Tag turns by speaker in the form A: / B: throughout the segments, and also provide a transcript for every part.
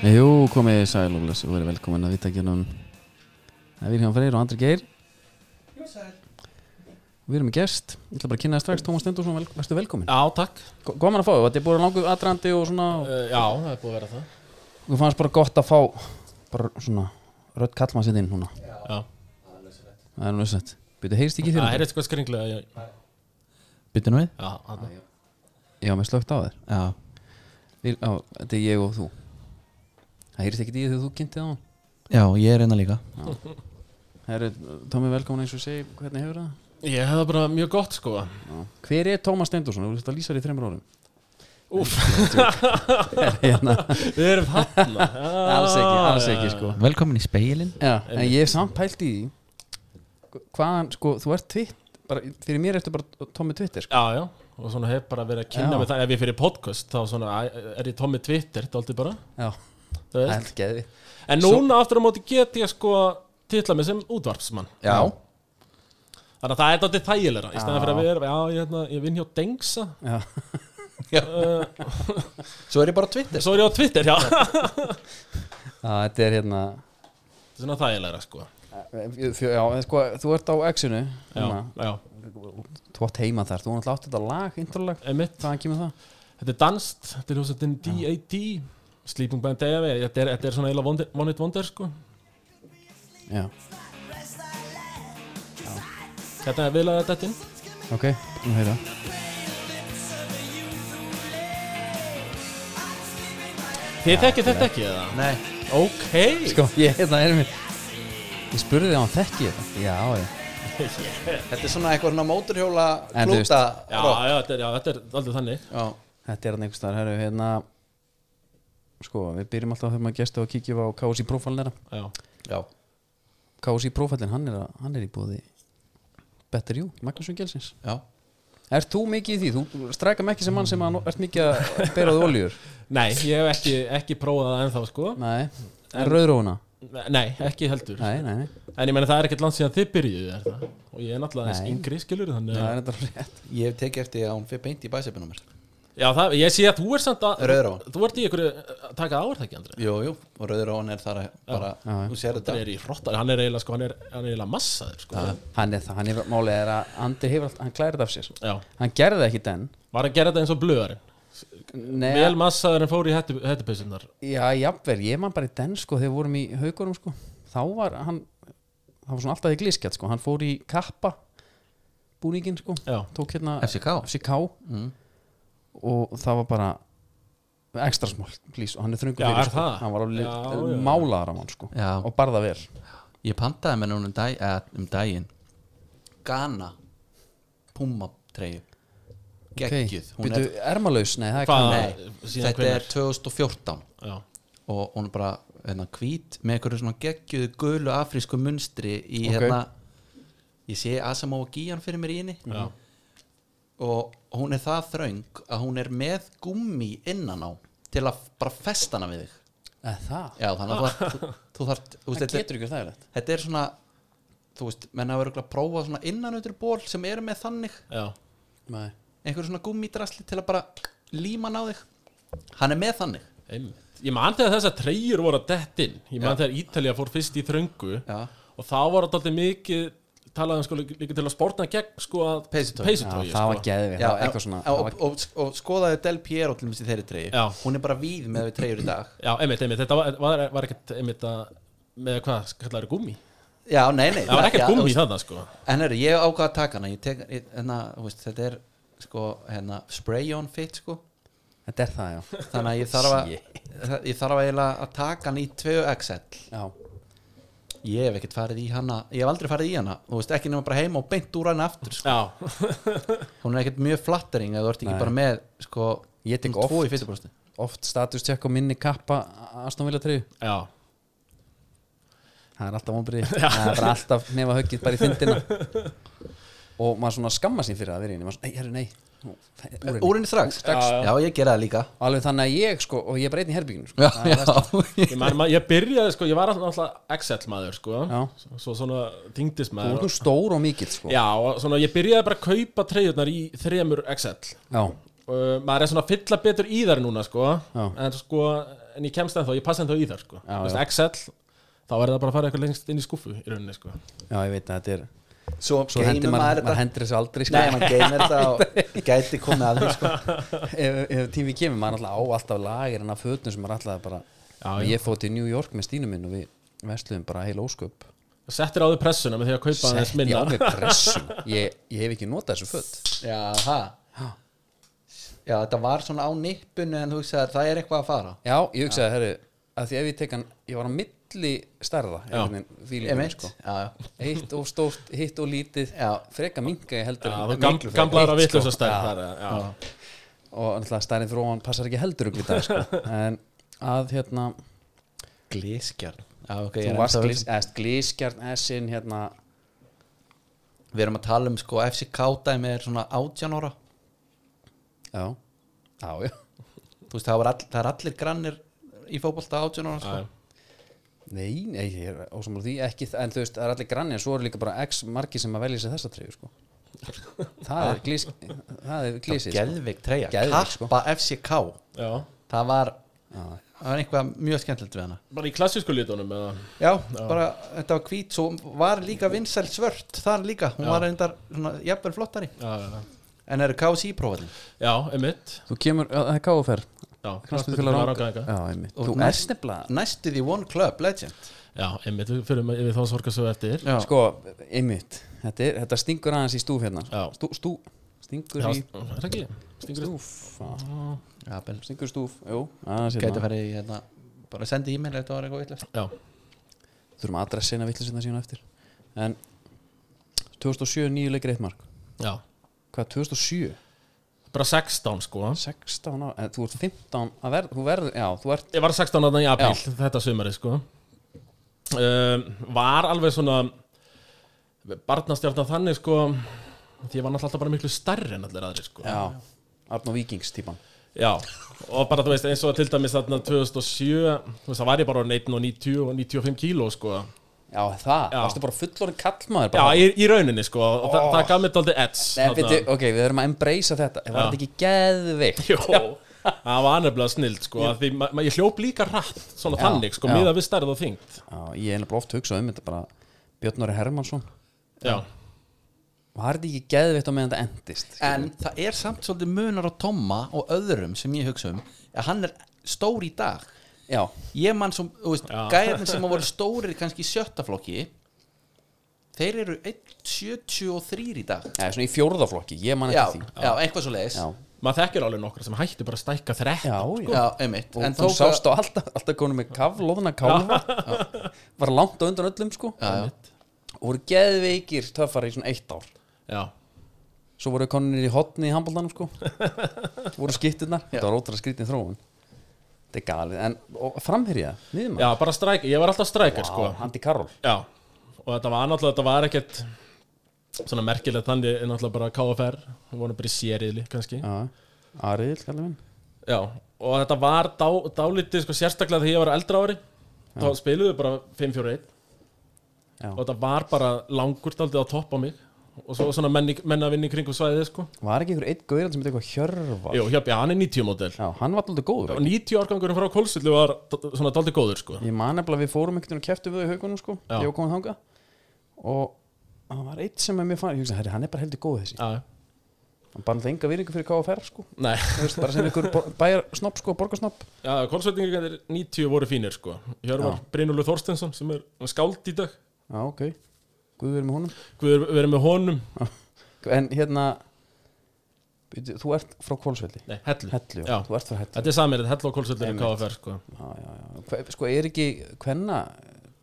A: Jú, komið sæl og blessu og verið velkomin að hérna vittagjörnum Það er Vilhján um Freyr og Andri Geir
B: Jú, sæl.
A: Við erum með gest, ég ætla bara að kynna það strax Tómas Stendursson, vel, verðstu velkomin
B: Já, takk.
A: Góman að fá þau, þetta er búin langur aðdrandi og svona og
B: Uh, já, það er búið að vera það.
A: Við fannst bara gott að fá bara svona rödd kallmann sitt inn núna
B: Já.
A: Það er nöðsett Býtu, heyrst ekki í
B: Það
A: þér?
B: er eitthvað skringlega. Já,
C: Byttu nú við?
B: já, þarna.
A: Já, mér slögt á þér
C: Já
A: Vil, á, Þetta er ég og þú Það heyrst ekki í þér þegar þú kynntið á hann
C: Já, ég er einna líka
A: Herri, Tómi, velkomin eins og ég segi, hvernig hefur það?
B: ég hefði bara mjög gott sko.
A: Já. Hver er Tómas Stendursson? Þú vilt að lýsa þér í þreymur orðum
B: Úf,
A: Hérna,
B: við erum þarna. Já,
A: Alls ekki, alls ekki sko
C: Velkomin í speilin
A: Já, en ég hef samt pælt í því hvaðan, sko, þú ert tvitt bara, fyrir mér ertu bara tómi Twitter sko.
B: Já, já. Og svona hef bara verið að kynna
A: Já.
B: mig það. Ef ég fyrir podcast, þá svona, æ, er ég Tommy Twitter, þetta aldrei bara.
A: Já,
B: þú
A: það
B: veist.
A: er geði
B: En núna aftur á móti get ég sko titla mig sem útvarpsmann.
A: Já,
B: Þannig að það er þetta þægilega. Í stæðan
A: Já.
B: fyrir að vera, já, ég, hérna, ég vinn hjá Dengsa.
A: já,
B: Uh,
C: Svo er ég bara á Twitter
B: svo er ég á Twitter, já. Þetta
A: Já, þetta er hérna
B: er svona þægilega sko.
A: þú- Já, en sko, þú ert á X-inu
B: Já,
A: hérna.
B: já.
A: Þú átt heima þar, þú náttúrulega átt þetta lag introlag,
B: Einmitt.
A: hvaðan kemur það?
B: Þetta er danst, þetta er hljómsveitin D.A.D. Sleeping Band D.A.V. Þetta er, þetta er svona eiginlega One Hit- One Hit Wonder sko
A: Já,
B: Þetta er viðlega þetta inn
A: ok, nú heyra
B: Þið þekkið þetta ekki eða?
C: Nei
B: Ok
A: Sko, ég, hérna er mér Ég spurði það hann þekki ég þetta Já, ég
C: Þetta er svona eitthvað svona móturhjóla
A: En þú veist-
C: klúta
B: Já, já, þetta er, já, þetta er aldrei þannig
C: Já
A: Þetta er hann einhvers staðar, herru, hérna Sko, við byrjum alltaf þegar maður gesta og kíkjum á KSI prófálnera
B: Já,
C: Já
A: KSI prófælinn, hann, er að- hann er í bóði Better You, Magnússon Gelsins
C: Já
A: Er þú mikið í því? Þú strækar mig ekki sem mann sem að no- ert mikið að beraði oljur
B: nei, ég hef ekki, ekki prófað það ennþá sko
A: Nei, en rauðrófuna
B: Nei, ekki heldur
A: Nei, nei, nei,
B: En ég meina það er ekkert land síðan þið byrjuðu er það Og ég er náttúrulega eins
A: Nei.
B: yngri skilur þannig
A: það
B: að-
A: er þetta rétt
C: Ég hef tekið eftir að hún fyrir beint í bæsepinu mér
B: Já, það, ég sé að þú er samt að
C: Rauðrófan.
B: Þú ert í ykkur að taka áverð ekki, Andri
C: Jú, jú Og rauður án er þar að bara
A: Já, já.
C: Þú sér
B: Andri
C: þetta
B: er í hrottar, hann er eiginlega sko, hann er, hann er eiginlega massaður sko
A: Hann er það, hann er málið er að Andri hefur allt, hann klærið af sér
B: Já,
A: Hann gerði það ekki den
B: var að gera þetta eins og blöðarinn
A: Nei,
B: Vel massaður en fór í hættupausunar
A: já, jafnver, ég man bara í den sko þegar við vorum í haugurum sko Þá var hann, það var svona alltaf í glískjætt sko Hann fór í kappa búningin sko
B: Já,
A: Tók hérna
C: FCK
A: FCK
C: Mm.
A: og það var bara ekstra smál, please, og hann er þröngur
B: Já,
A: fyrir
B: er
A: sko.
B: það?
A: hann var alveg
B: Já, já, já.
A: málaðar á hann sko.
C: Já.
A: og barða vel
C: Ég pantaði með núna um, dag, eða, um daginn Ghana Puma treyju Gekkið Hún
A: Býtu, ermalaus, nei, það er
B: Hvað?
A: kannan
C: er Nei
B: Síðan
C: Þetta er 2014
B: já,
C: og hún er bara hérna, hvít með einhverju svona geggjuðu gulu afrísku munstri í
A: Ok.
C: hérna ég sé Asamoah Gíjan fyrir mér í henni
B: já,
A: Mhm.
C: og hún er það þröng að hún er með gummi innan á til að bara festa hana við þig
A: Eða það,
C: já þannig að þú þarft- þú, þú þarft þú veist,
A: það
C: þetta,
A: getur ekki þægilegt
C: þetta er svona þú veist, menn hafa verið að prófa svona innanautur ból sem eru með þannig
B: já,
A: nei.
C: einhverju svona gummidrasli til að bara líma hann á þig hann er með þannig
B: einmitt Ég man þegar þessar treyjur voru að dett inn Ég man
C: Já.
B: þegar Ítalja fór fyrst í þröngu
C: Já.
B: Og þá var þetta alltaf mikið Talaði um sko líka líka til að spórna gegn sko að
C: Peysutogi.
A: Já,
B: Peysutogi,
A: það var
B: sko
A: geðvig,
C: Já,
A: það var
C: já,
A: eitthvað svona
C: já,
A: það
C: og,
A: var,
C: og, og skoðaði Del Piero til dæmis í þeirri treyju
B: Já.
C: hún er bara víð með við treyjur í dag
B: Já, einmitt, einmitt, þetta var, var, var ekkert einmitt að Með hvað, kallar það gummi?
C: já, nei, nei
B: Það var
C: já,
B: ekkert
C: þú
B: gummi
C: veist,
B: þarna sko
C: en er, ég ákvað að taka hana ég tek, ég, hana, þú veist, þetta er sko, hérna, spray on fit sko.
A: þetta er það, já,
C: þannig að ég þarf að það- ég þarf að, eiginlega að taka hana í 2XL
A: já.
C: ég hef ekkert farið í hana ég hef aldrei farið í hana, þú veist, ekki nema bara heima og beint úr hana aftur sko.
B: Já,
C: hún er ekkert mjög flattering að þú ert ekki bara með sko,
A: Ég tek
C: um tvo
A: oft.
C: í fyrstubrosti
A: oft status tjekk á minni kappa Aston Villa 3
B: já,
A: það er alltaf vonbrið, það er bara alltaf nefa höggið bara í fyndina og maður svona skamma sín fyrir að vera í henni maður svona, ei, herri, nei, nú, fe- úr henni."
C: Úr henni strax?
A: Strax.
C: Já, já. já, ég gera það líka
A: alveg þannig að ég sko, og ég breyti í herbygginu sko.
C: Já,
A: Það er verst.
C: já
B: Ég, man, man, ég byrjaði sko, ég var alltaf- alltaf Excel maður sko
A: Já.
B: Svo svona dingdist
A: þú ert
B: maður
A: nú stór og mikill sko.
B: Já, og svona ég byrjaði bara að kaupa treyjurnar í þremur Excel
A: Já.
B: uh, Maður er svona að fylla betur í þar núna sko
A: Já.
B: en, sko en ég kemst ennþá, ég passa ennþá í þar sko
A: Já,
B: Vist,
A: já.
B: Excel, þá er það bara að fara eitthvað lengst inn í skúffu í rauninni sko
A: já, ég veit að þetta er
C: Svo,
A: svo
C: geymir
A: hendir maður,
C: maður
A: maður
C: þetta
A: hendir þessu aldrei sko.
C: Nei, maður geymir þetta og gæti komið að því sko.
A: ef, ef tími kemur, maður alltaf á alltaf lagir en af fötnum sem maður alltaf bara
B: Já,
A: ég fótt í New York með stínu minn og við vestluðum bara heil ósköp
B: Settir á þau pressuna með því að kaupa aðeins
A: Sett ég
B: minna
A: á mig pressun ég, ég hef ekki notað þessu föt
C: Já, það Já, þetta var svona á nippinu en þú hugsaði að það er eitthvað að fara
A: já, ég hugsaði, herru, að því ef ég tek hann ég var á milli stærða
B: Já.
A: einhvern veginn feelingum,
C: Emitt,
A: sko.
C: já, já
A: eitt og stórt, hitt og lítið
C: Já.
A: freka minga ég heldur
B: Já,
A: en-
B: þú
A: en
B: gam,
A: miklu frekar.
B: gamlaður að
A: Eitt,
B: vitlu
A: sko. Já.
B: þess stærð þar, já.
A: og náttúrulega stærðin fyrir ofan passar ekki heldur upp í dag sko. en að hérna
C: Glískjarn Já, ok, ég
A: þú
C: er
A: varst
C: ennþá-
A: glís, eða, glískjarn essin hérna
C: Við erum að tala um sko FCK dæmi er svona 18 ára
A: já, já, já
C: Þú veist, það, var all, það er allir grannir í fótbolta 18 ára sko.
B: Já.
A: Nei, nei, ég er ósamlega því ekki, þa- en þú veist, það er allir granni en svo eru líka bara x margi sem að velja sér þessa treyju sko. það er glís það er glísið sko.
C: Geðvik treyja,
A: Geðveik, sko.
C: kappa FCK
B: Já.
C: Það var, það var eitthvað mjög skemmtilegt við hana
B: Bara í klassísku litunum eða
C: Já, bara þetta var hvít svo var líka vinsæl svört þar líka hún
B: Já.
C: var reyndar svona jafnvel flottari
B: Já, já, já.
C: en eru KSI prófallin
B: já emitt
A: þú kemur, já, það er káfer
B: Já,
A: Knattspyrnufélag
B: knattspyrnufélag Rangæinga.
A: já, einmitt.
C: Og
A: þú
C: næst-
A: erst nefnilega
C: næstu því One Club Legend
B: Já, einmitt, við fyrir yfir þá sorga svo eftir
C: Já,
A: sko, einmitt, þetta, er, þetta stingur aðeins í stúf hérna
B: Já.
A: stú, stú, stingur
B: Já,
A: í
B: er ekki Stingur í-
A: stúf já,
C: já bel,
A: stingur í stúf, jú aðeins
C: gæti
A: hérna.
C: farið í hérna bara sendi e-mail ef þetta var eitthvað villast
B: Já,
A: þurfum að adressina vittlisina síðan á eftir en 2007 nýju leikir eitt mark
B: já
A: hvað, 2007?
B: Bara 16 sko
A: 16 ára, en þú ert 15 að verð, þú verður, já, þú ert
B: Ég var 16 ára í apíl, þetta sumari sko um, Var alveg svona Barnastjarnan þannig sko Því ég var náttúrulega alltaf bara miklu stærri en allir aðrir sko
A: já, Arnó Víkings típan
B: Já, og bara þú veist eins og til dæmis þarna 2007 Þú veist það var ég bara orðinn 1 og 90 og 95 kíló sko
A: já, það,
B: Já.
A: varstu bara fullorinn kallmaður
B: Já,
A: bara,
B: í, í rauninni sko og þa það gaf mér daldið edds
A: Nei, veitu, ok, við erum að embracea þetta var þetta ekki geðvikt
B: Jó, það var nefnilega snild sko að því ma ma ég hljóp líka rætt svona
A: Já,
B: þannig sko,
A: já.
B: miða við stærð og þyngt
A: já, ég er bara oft hugsað um þetta bara Björn Orri Hermansson
B: Já,
A: var þetta ekki geðvikt á meðan þetta endist skilur?
C: en það er samt svolítið munar á Tomma og öðrum sem ég hugsa um að hann er stór í dag
A: já,
C: ég mann sem, þú veist,
B: Já.
C: gæðin sem að voru stórir kannski í sjötta flokki þeir eru 1.73 í dag
A: já, svona í fjórðaflokki, ég man
C: já,
A: ekki
C: já, eitthvað svo leiðis
A: því já,
B: maður þekkir alveg nokkra sem hætti bara að stækka þrett
A: já, já.
C: Já, einmitt
A: og
C: En
A: þú
C: tók
A: sást á alltaf, alltaf konum með kaflóðuna kálfa var langt á undan öllum sko
C: Já, já.
A: og voru geðveikir töffar í svona eitt ár
B: Já,
A: svo voru konunir í hotni í handbóltanum sko voru skitturnar, þetta var ótrúlega skrítin þróun þetta er galið, en og framherja miðum
B: já bara stræk, ég var alltaf strækar
A: sko.
B: sko
A: Andi Karol
B: Já, og þetta var náttúrulega, þetta var ekkert svona merkilegt þannig en náttúrulega bara KFR, við vorum bara í sériðli kannski Já,
A: ja. Ariðil kallar minn
B: og þetta var dá, dálítið sko sérstaklega þegar ég var eldra ári þá spiluðu bara 5-4-1
A: Já.
B: og þetta var bara langur daldið á topp á mig og svo svona menni, menna vinni kringum svæðið sko
A: var ekki ykkur eitt gauðir sem heit eitthvað hjörvar
B: Jú, hjá, já, hann er 90 módel
A: já, hann var alltaf góður
B: og
A: ekki?
B: 90 árgangurinn frá Kolsullu var d- svona daldi góður sko
A: ég man nefnilega að við fórum einhvern veginn og keftum við þau í haugunum sko,
B: Já.
A: ég var komin þanga og það var eitt sem er mér fann ég hugsa, herri, hann er bara heldur góð þessi
B: Já,
A: hann bara það enga virðingu fyrir KFR sko
B: nei,
A: Þú veist, bara sem ykkur bor- bæjarsnopp sko, borgarsnopp
B: já, Kolsullingar 90 voru fínir sko Hjörvar Brynulur Þorstensson sem er hann er skáld í dag
A: já, ok, guð verið með honum
B: Guður verið með honum
A: En hérna byrju, Þú ert frá Kólsvelli
B: Nei, Hellu,
A: Hellu, já.
B: Já.
A: þú ert frá Hellu
B: Þetta er samirinn, Hellu og Kolsullir
A: Einmitt.
B: KFR sko
A: já, já, já. Hve, Sko er ekki hvenna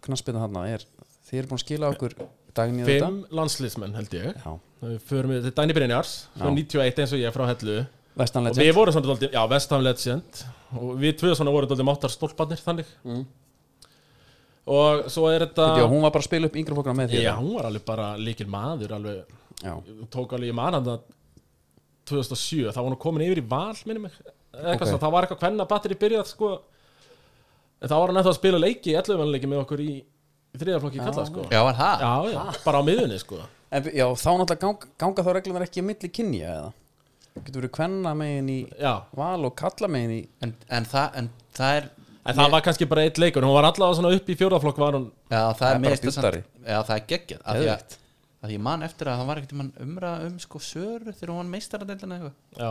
A: knassbyrna þarna er Þið eru búin að skila okkur daginn í þetta
B: Fimm landsliðsmenn held ég
A: Já,
B: Við förum við- Þetta er Dæni Brynjars, svona 91 eins og ég frá Hellu Og
A: vestanlega
B: við vorum svona daldið, já, Vestham Legend Og við tvö svona vorum daldið máttar stólparnir þannig
A: Mm.
B: Og svo er þetta
A: Já, hún var bara að spila upp yngri fólkana með þér
B: Já, hún var alveg bara líkil maður alveg
A: já,
B: tók alveg, ég man hann það 2007, þá var hann komin yfir í val minni mig, eða
A: Ok.
B: eitthvað okay. þá var eitthvað hvenna batteri byrjað sko en þá var hann eftir að spila leiki, 11 mannleiki með okkur í, í þriðaflokki kalla sko
C: Já, var það?
B: já, já, bara á miðunni sko
A: en, já þá náttúrulega ganga, ganga þá reglunar ekki að milli kynja eða getur verið kvenna megin í
B: já,
A: val og kalla megin í
C: En, en, það, en það er
B: en það var kannski bara eitt leikur, hún var allavega svona upp í fjórðaflokk var hún,
C: Já, það, það
A: er
C: er
A: bara
C: mér finnst það
A: djúpari.
C: samt- Já, það er geggjað af því að,
A: Geðveikt.
C: að ég man eftir að það var ekkert umra um sko söru þegar hún var meistaradeildin eitthvað
B: já,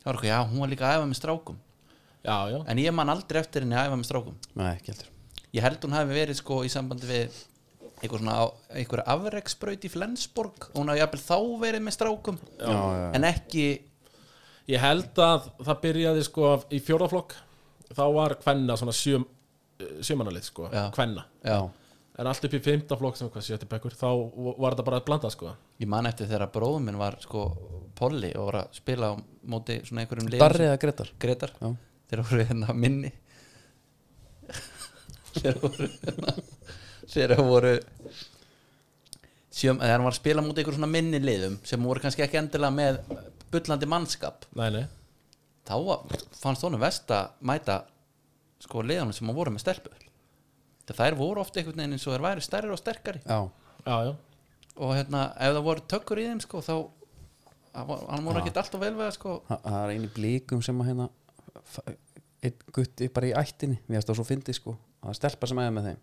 C: Það var eitthvað, já, hún var líka að æfa með strákum
B: já, já
C: En ég man aldrei eftir henni að æfa með strákum
A: nei, ekki heldur
C: Ég held hún hafi verið sko í sambandi við eitthvað svona, á- einhver afreksbraut í Flensborg og hún hafi jafnvel þá verið með strákum
A: já, já,
C: en ekki
B: Ég held að það byrjaði sko í fjórðaflokk þá var hvenna svona sjö, sjömanalið sko,
C: Já.
B: hvenna
A: já,
B: en allt upp í fimmtaflokk sem hvað sjötti bekkur þá var þetta bara að blanda sko
C: ég man eftir þegar bróðum minn var sko polli og var að spila á móti svona einhverjum liðum
A: darri eða gretar
C: sem- Gretar
A: Já.
C: þegar voru hérna minni þegar voru hérna þegar voru sjöum, þegar hann var að spila móti einhverjum svona minni liðum sem voru kannski ekki endilega með bullandi mannskap
B: Nei, nei,
C: þá var- fannst honum vest að mæta sko liðanum sem hann voru með stelpu það þær voru ofta einhvern veginn eins og þær væri stærri og sterkari
A: já,
B: já, já
C: og hérna ef það voru tökkur í þeim sko þá hann var- hann voru ekkert alltaf vel við það sko
A: það það er einu blíkum sem að hérna fa- einn gutti bara í ættinni við erum það svo fyndið sko að stelpa sem aðeins með þeim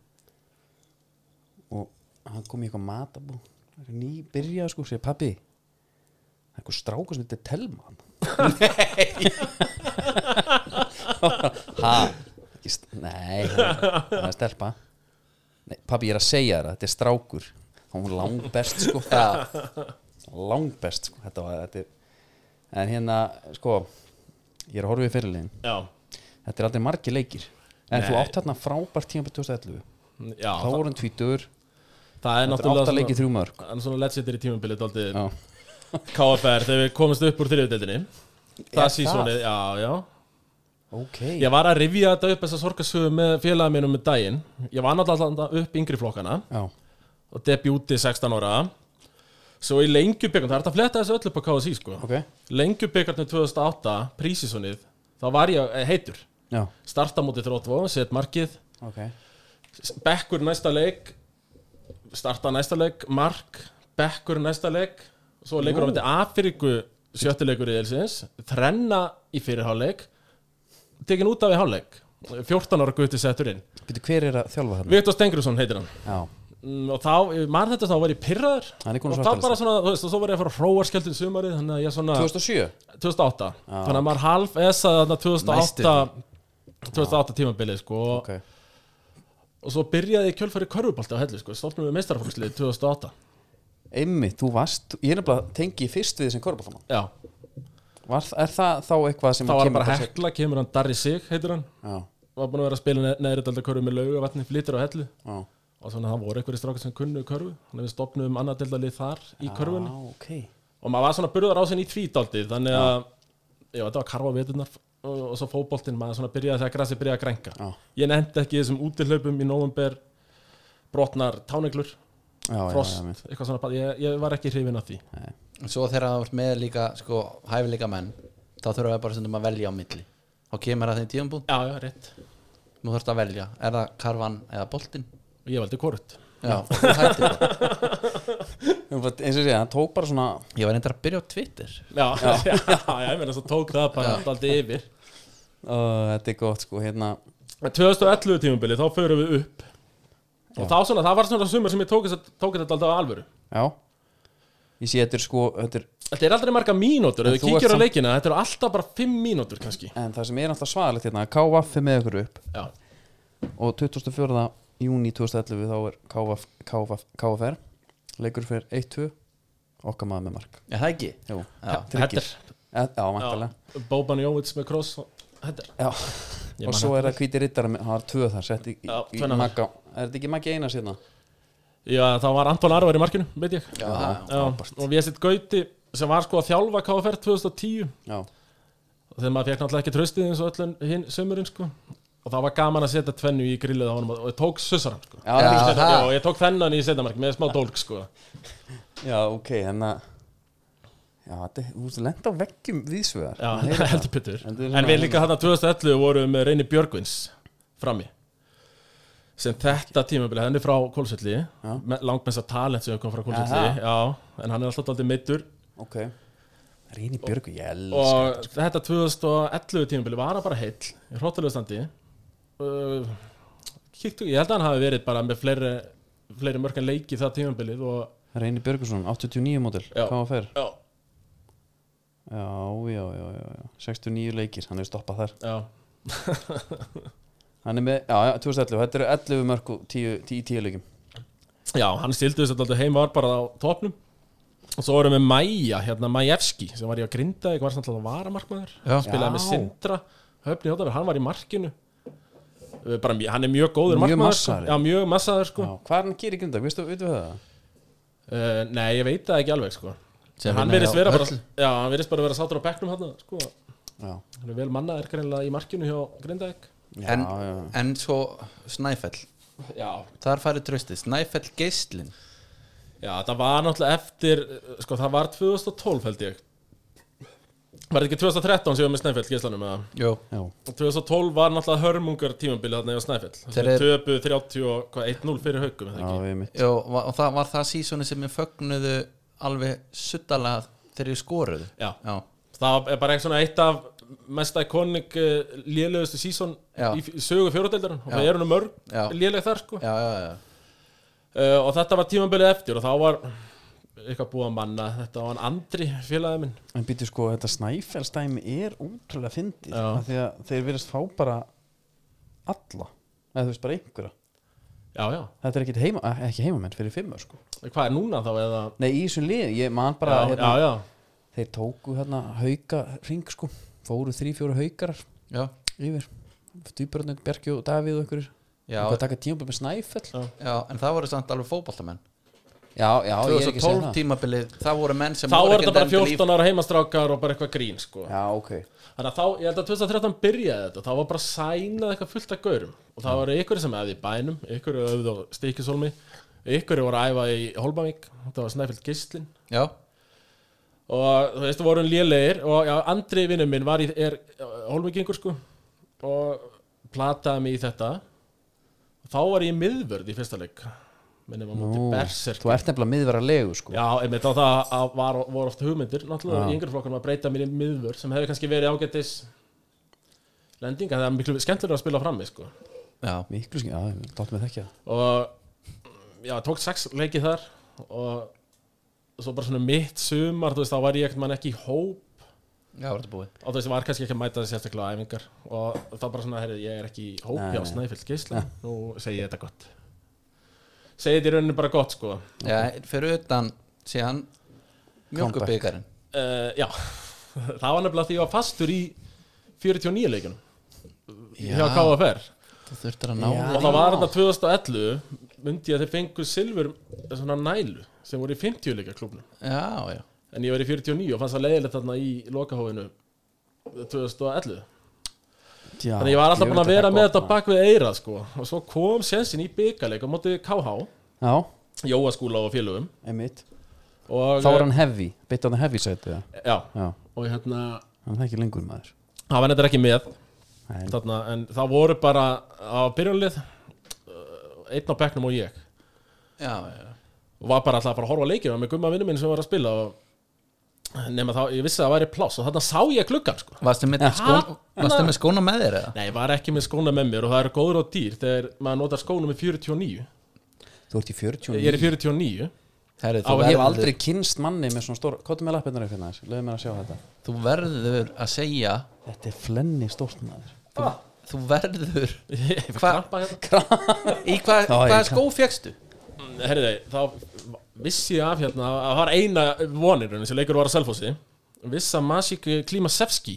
A: og hann kom í eitthvað matabú það er ný byrjað sko, segir pappi það er eitthvað strákur sem þetta er telma hann ha, ekki, st- nei það er stelpa nei, pappi ég er að segja þér að þetta er strákur hún var langbest sko langbest sko, þetta var þetta er, en hérna sko ég er að horfa í fyrirlegin
B: Já,
A: þetta er aldrei margi leikir en
B: Nei.
A: þú átt hérna frábært tíma 2011
B: já
A: þá
B: það,
A: voru hann tvítur,
B: það er
A: þetta er
B: náttúrulega
A: átta leikið þrjú mörg
B: en svona legendary tímabilið daldið
A: já,
B: KFR þegar við komumst upp úr þriðudeldinni
A: Er
B: Það sísonið, já, já
A: ok,
B: Ég var að rifja þetta upp þess að sorgarsögu með félagið mínum með daginn Ég var náttúrulega upp yngri flokkana
A: já,
B: og debjúti 16 ára svo í lengjubikarnum, það er hægt að fletta þessu öllu upp á KSI sko
A: ok
B: lengjubikarnum 2008, prísisonið þá var ég eh, heitur
A: já,
B: starta mútið þróttvó, set markið
A: ok,
B: bekkur næsta leik starta næsta leik, mark bekkur næsta leik svo leikur á myndi Afriku sjöttileikur í Elsins, þrenna í fyrirháleik tekin út af í háleik 14 ára gutti settur inn
A: veitu hver er að þjálfa þarna
B: Viktor Stengrusson heitir hann
A: já,
B: Mm, og þá, maður þetta þá var ég pyrraður
A: Hann er
B: og
A: kominn
B: þá
A: svartalista.
B: bara svona, þú veist, og svo var ég að fara hróarskeltin sumarið, þannig að ég svona
A: 2007
B: 2008, þannig að maður half essa þarna 2008 2008 tímabilið sko og-
A: ok,
B: og svo byrjaði ég kjölfæri körfubalti á hellu sko, stofnum við meistarfólkslið 2008
A: einmitt, þú varst ég er nefnilega tengi fyrst við þessum korfafann
B: já,
A: er það þá eitthvað sem
B: þá
A: að
B: var
A: kemur
B: bara
A: þessu-
B: hekla, kemur hann Darri Sig, heitir hann
A: já,
B: var búin að vera að spila ne neðri dalda körfu með lauga vatni, flytur á hellu
A: já,
B: og svona það voru einhverjir strákar sem kunnu körfu þannig að við stopnum annað deildalið þar í körfunni
A: já, ok
B: og maður var svona burðar á sinni í tvítaldið þannig að já, þetta var karfa veturnar og, og svo fótboltinn, maður svona byrjaði þegar grassi byrjaði að grænka
A: Já.
B: ég nefndi ekki þessum útihlaupum í november brotnar táneglur,
A: já, já,
B: frost,
A: já, já,
B: eitthvað svona bara- ég, ég var ekki hrifin af því
C: en svo þegar það vart með líka sko hæfileika menn þá þurfum við bara stundum að velja á milli þá kemur að þeim tíðanbúð
B: já, já, rétt,
C: nú þurft að velja er það karvan eða boltinn
B: og ég valdi korut
C: já, og þú hættir bara.
A: Þú veist, eins og segja, hann tók bara svona
C: ég var reyndar að byrja á Twitter
B: já, já, já, ég meina svo tók það bara alltaf yfir
A: uh, þetta er gott sko, hérna
B: 2011 tímubili, þá förum við upp og þá svona, það var svona sumar sem ég tók, þess- tók þetta alltaf á alvöru
A: Já Ég sé þetta er sko þetta er,
B: þetta er aldrei marga mínútur,
A: En
B: ef þú
A: þú ert
B: kíkir á
A: samt-
B: leikina þetta eru alltaf bara 5 mínútur kannski
A: En það sem er alltaf svaðalegt hérna KVF er með ykkur upp
B: já,
A: Og 24. júni 2011 þá er KVF, KVF, KVR Leikur fyrir 1-2 Okkar maður með mark
C: er það ekki?
A: Jú,
C: Já.
A: tryggir
B: Header.
A: Já, vantarlega
B: Já, Boban Jóvits með kross Þetta er
A: Já,
B: Ég
A: og
B: man
A: svo er það hvíti rittar með, það er tvö þar, sett í,
B: Já,
A: í
B: tvennar.
A: magga Er þetta ekki maggi hérna? eina síðan?
B: Já, það var Anton Arvar í markinu, veit ég
C: Já, já.
B: Og við sitt gauti sem var sko að þjálfa KFR 2010
A: Já,
B: og þegar maður fekk náttúrulega ekki tröstið eins og öllum hinn sömurinn sko og það var gaman að setja tvennu í grillið á honum og ég tók sussaran sko
A: já, já.
C: Já.
B: Já, ég tók þennan í setjamark með smá dólk sko
A: já, ok, en að já, þetta, þú veist, lenda á veggjum viðsvegar
B: Já,
A: Maður heyrir það.
B: heldur betur
A: En við-
B: En við líka þarna 2011 vorum með Reyni Björgvins frammi sem þetta tímabilið, hann er frá Kólsvelli langmest að talent sem kom frá Kólsvelli Já, en hann er alltaf aldrei meittur
A: ok, Ríni Björgu, ég elska
B: og þetta 2011 tímabilið var hann bara heill í hróttalegu standi uh, kíktu, ég held að hann hafi verið bara með fleiri, fleiri mörkan leiki það tímabilið og
A: Ríni Björgusson, 89 mótil,
B: Já.
A: KFR
B: já,
A: já, já, já, já, já, 69 leikir hann er stoppað þar,
B: já,
A: hann er með, já, já, 2011 þetta eru 11 mörg og 10 í 10 leikum
B: já, hann stildi þess að alltaf heim var bara á topnum og svo erum við Maja, hérna Majewski sem var í að grinda, ég var samt alltaf varamarkmaður
D: Já.
B: spilaði með Sindra Höfni Hjóttafur, hann var í markinu Eh, bara, mj- hann er mjög góður
A: Mjög
B: markmaður sko.
A: massaður.
B: já, mjög massaður sko.
A: já, hvað er hann að gera í grindag, veistu, veitum við það
B: uh, nei, ég veit það ekki alveg sko.
D: Sem
B: hann
D: vinna
B: verðist
D: hjá
B: vera bara
D: Höll.
B: já, hann verðist bara vera sátur á bekknum hann sko.
A: já,
B: hann er vel mannaður greinlega í markinu hjá Grindavík
A: já,
D: en,
A: já, já.
D: en svo Snæfell
B: já,
D: Þar farið tröstið, Snæfell geislin
B: já, það var náttúrulega eftir eh, sko, það var 2012 held ég var þetta ekki 2013 sem ég var með Snæfell geislanum eða
D: Jó,
A: já.
B: 2012 var náttúrulega hörmungar tímabilið þarna hjá Snæfell
D: Þeir eru-
B: þeir töpu 30 og hvað, 1-0 fyrir haugum
A: Já, við mitt
D: Jó va- og það var það sísoni sem ég fögnuðu alveg suttalega þegar ég skoruðu
B: já,
D: Já,
B: Það er bara eitthvað svona eitt af mest ikonik uh, lélegustu sísón
D: Já.
B: í f- sögu fjóruðeldarinn og það eru nú mörg
D: Já.
B: léleg þar sko. uh,
D: já, já, já.
B: Eh, og þetta var tímabilið eftir og þá var eitthvað búið að manna þetta var hann Andri félagið minn
A: En býtu sko, þetta snæfellstæmi er ótrúlega fyndið
B: Já.
A: af því að þeir virðast fá bara alla, eða þú veist bara einhverja
B: já já,
A: Þetta er ekkit heima, eh, ekki heimamenn fyrir fimmur sko
B: hvað er núna þá eða
A: Nei, í þessum liðin, ég man bara
B: já,
A: hérna,
B: já, já,
A: Þeir tóku hérna hauka ring sko, fóru þrý, fjóru haukarar
D: já.
A: yfir Dýbröndin, Bjarki og Davíð og einhverjir
D: Já.
A: Hvað taka tíma með snæfell
B: Já.
D: Já, en það voru samt alveg fótballtamenn
A: Já, já, ég er ekki að segja
D: 2012
A: það
D: tímabilið, það voru menn sem
B: þá
D: voru
B: var
D: ekki
B: þetta bara
D: dæmdir í-
B: 14 ára heimastrákar og bara eitthvað grín sko.
A: Já, ok
B: þannig að þá, ég held að 2013 byrjaði þetta þá var bara sænað eitthvað fullt af gaurum og það var ykkur sem æði í bænum ykkur öfðu á Stíkisólmi ykkur voru að æfa í Holmavík þetta var Snæfjöld Gíslin
D: Já,
B: og þú veist, voru lélegir og já, Andri vinnum minn var í er, Holmvíkingur sko og plataði mig í þetta þá var ég í miðvörð í fyrsta leik minnum á móti Berserk
A: Þú ert nefnilega miðvara legu sko
B: Já, einmitt á það að var, voru oft hugmyndir náttúrulega í yngri flokkanum að breyta mér í miðvör sem hefði kannski verið ágættis lending, en það er miklu skemmtilega að spila frammi sko.
D: já,
A: Miklu skil, já, dátum við þekkja það.
B: og já, tók sex leiki þar og svo bara svona mitt sumar, þú veist, þá var ég ekkert mann ekki í hóp
D: já, var þetta búið
B: á þess að var kannski ekki að mæta þess sérstaklega á æfingar og það bara svona, heyrðu, ég er ekki í hóp
A: Nei,
B: hjá
A: nei.
B: Snæfjöld Geisla, nú segi ég þetta gott segi þetta í rauninu bara gott sko uh,
D: Já, fyrir utan síðan mjölkubyggarinn
B: Eh, já, það var nefnilega því að ég var fastur í 49 leikinu hjá KFR
D: Þú þurftir að
A: ná Já.
B: og það var þetta 2011 myndi ég að þeir fengu silfur svona nælu sem voru í 50 leika klubnum
D: Já, já,
B: en ég var í 49 og fannst það leiðilegt þarna í lokahófinu 2011
A: Já,
B: þannig ég var alltaf búin að
A: djöfull er
B: vera
A: það
B: með
A: gott,
B: þetta
A: maður.
B: bak við eira sko og svo kom sensin í byggarleik á móti KH
A: Já,
B: Jóaskúla og félögum
A: einmitt
B: og,
A: Þá var hann heavy, beitt á það heavy sæti það
B: já,
A: Já,
B: og hérna
A: hann er ekki lengur maður
B: það var nefndir ekki með
A: Nei,
B: þarna, en það voru bara á byrjunlið eh, einn á bekknum og ég
D: já, já.
B: og var bara alltaf bara að horfa á leikina með gumma vinnu minn sem var að spila og nema þá, ég vissi að það væri pláss og þarna sá ég klukkan sko
D: Varstu með, skón, varstu með skóna með þér eða?
B: Nei, ég var ekki með skóna með mér og það eru góður og dýr þegar maður notar skónum í 49
A: þú ert í 49
B: Ég er í 49
D: Herri, þú,
B: Á,
A: Ég hef
D: verður,
A: aldrei kynst manni með svona stór Kottu með lappirnar upp hérna aðeins, leiðu mér að sjá þetta
D: þú verður að segja
A: Þetta er flenni stórt maður
D: Þú verður
B: Ég fekk
D: Hva-
B: krampa hérna.
D: Í hvað
A: Já, ég
D: hvaða
A: kann-
D: skó fegstu?
B: Herriði, þá vissi ég af hérna að það var eina vonirun sem leikur var að selfósi Viss að Masík Klimasevski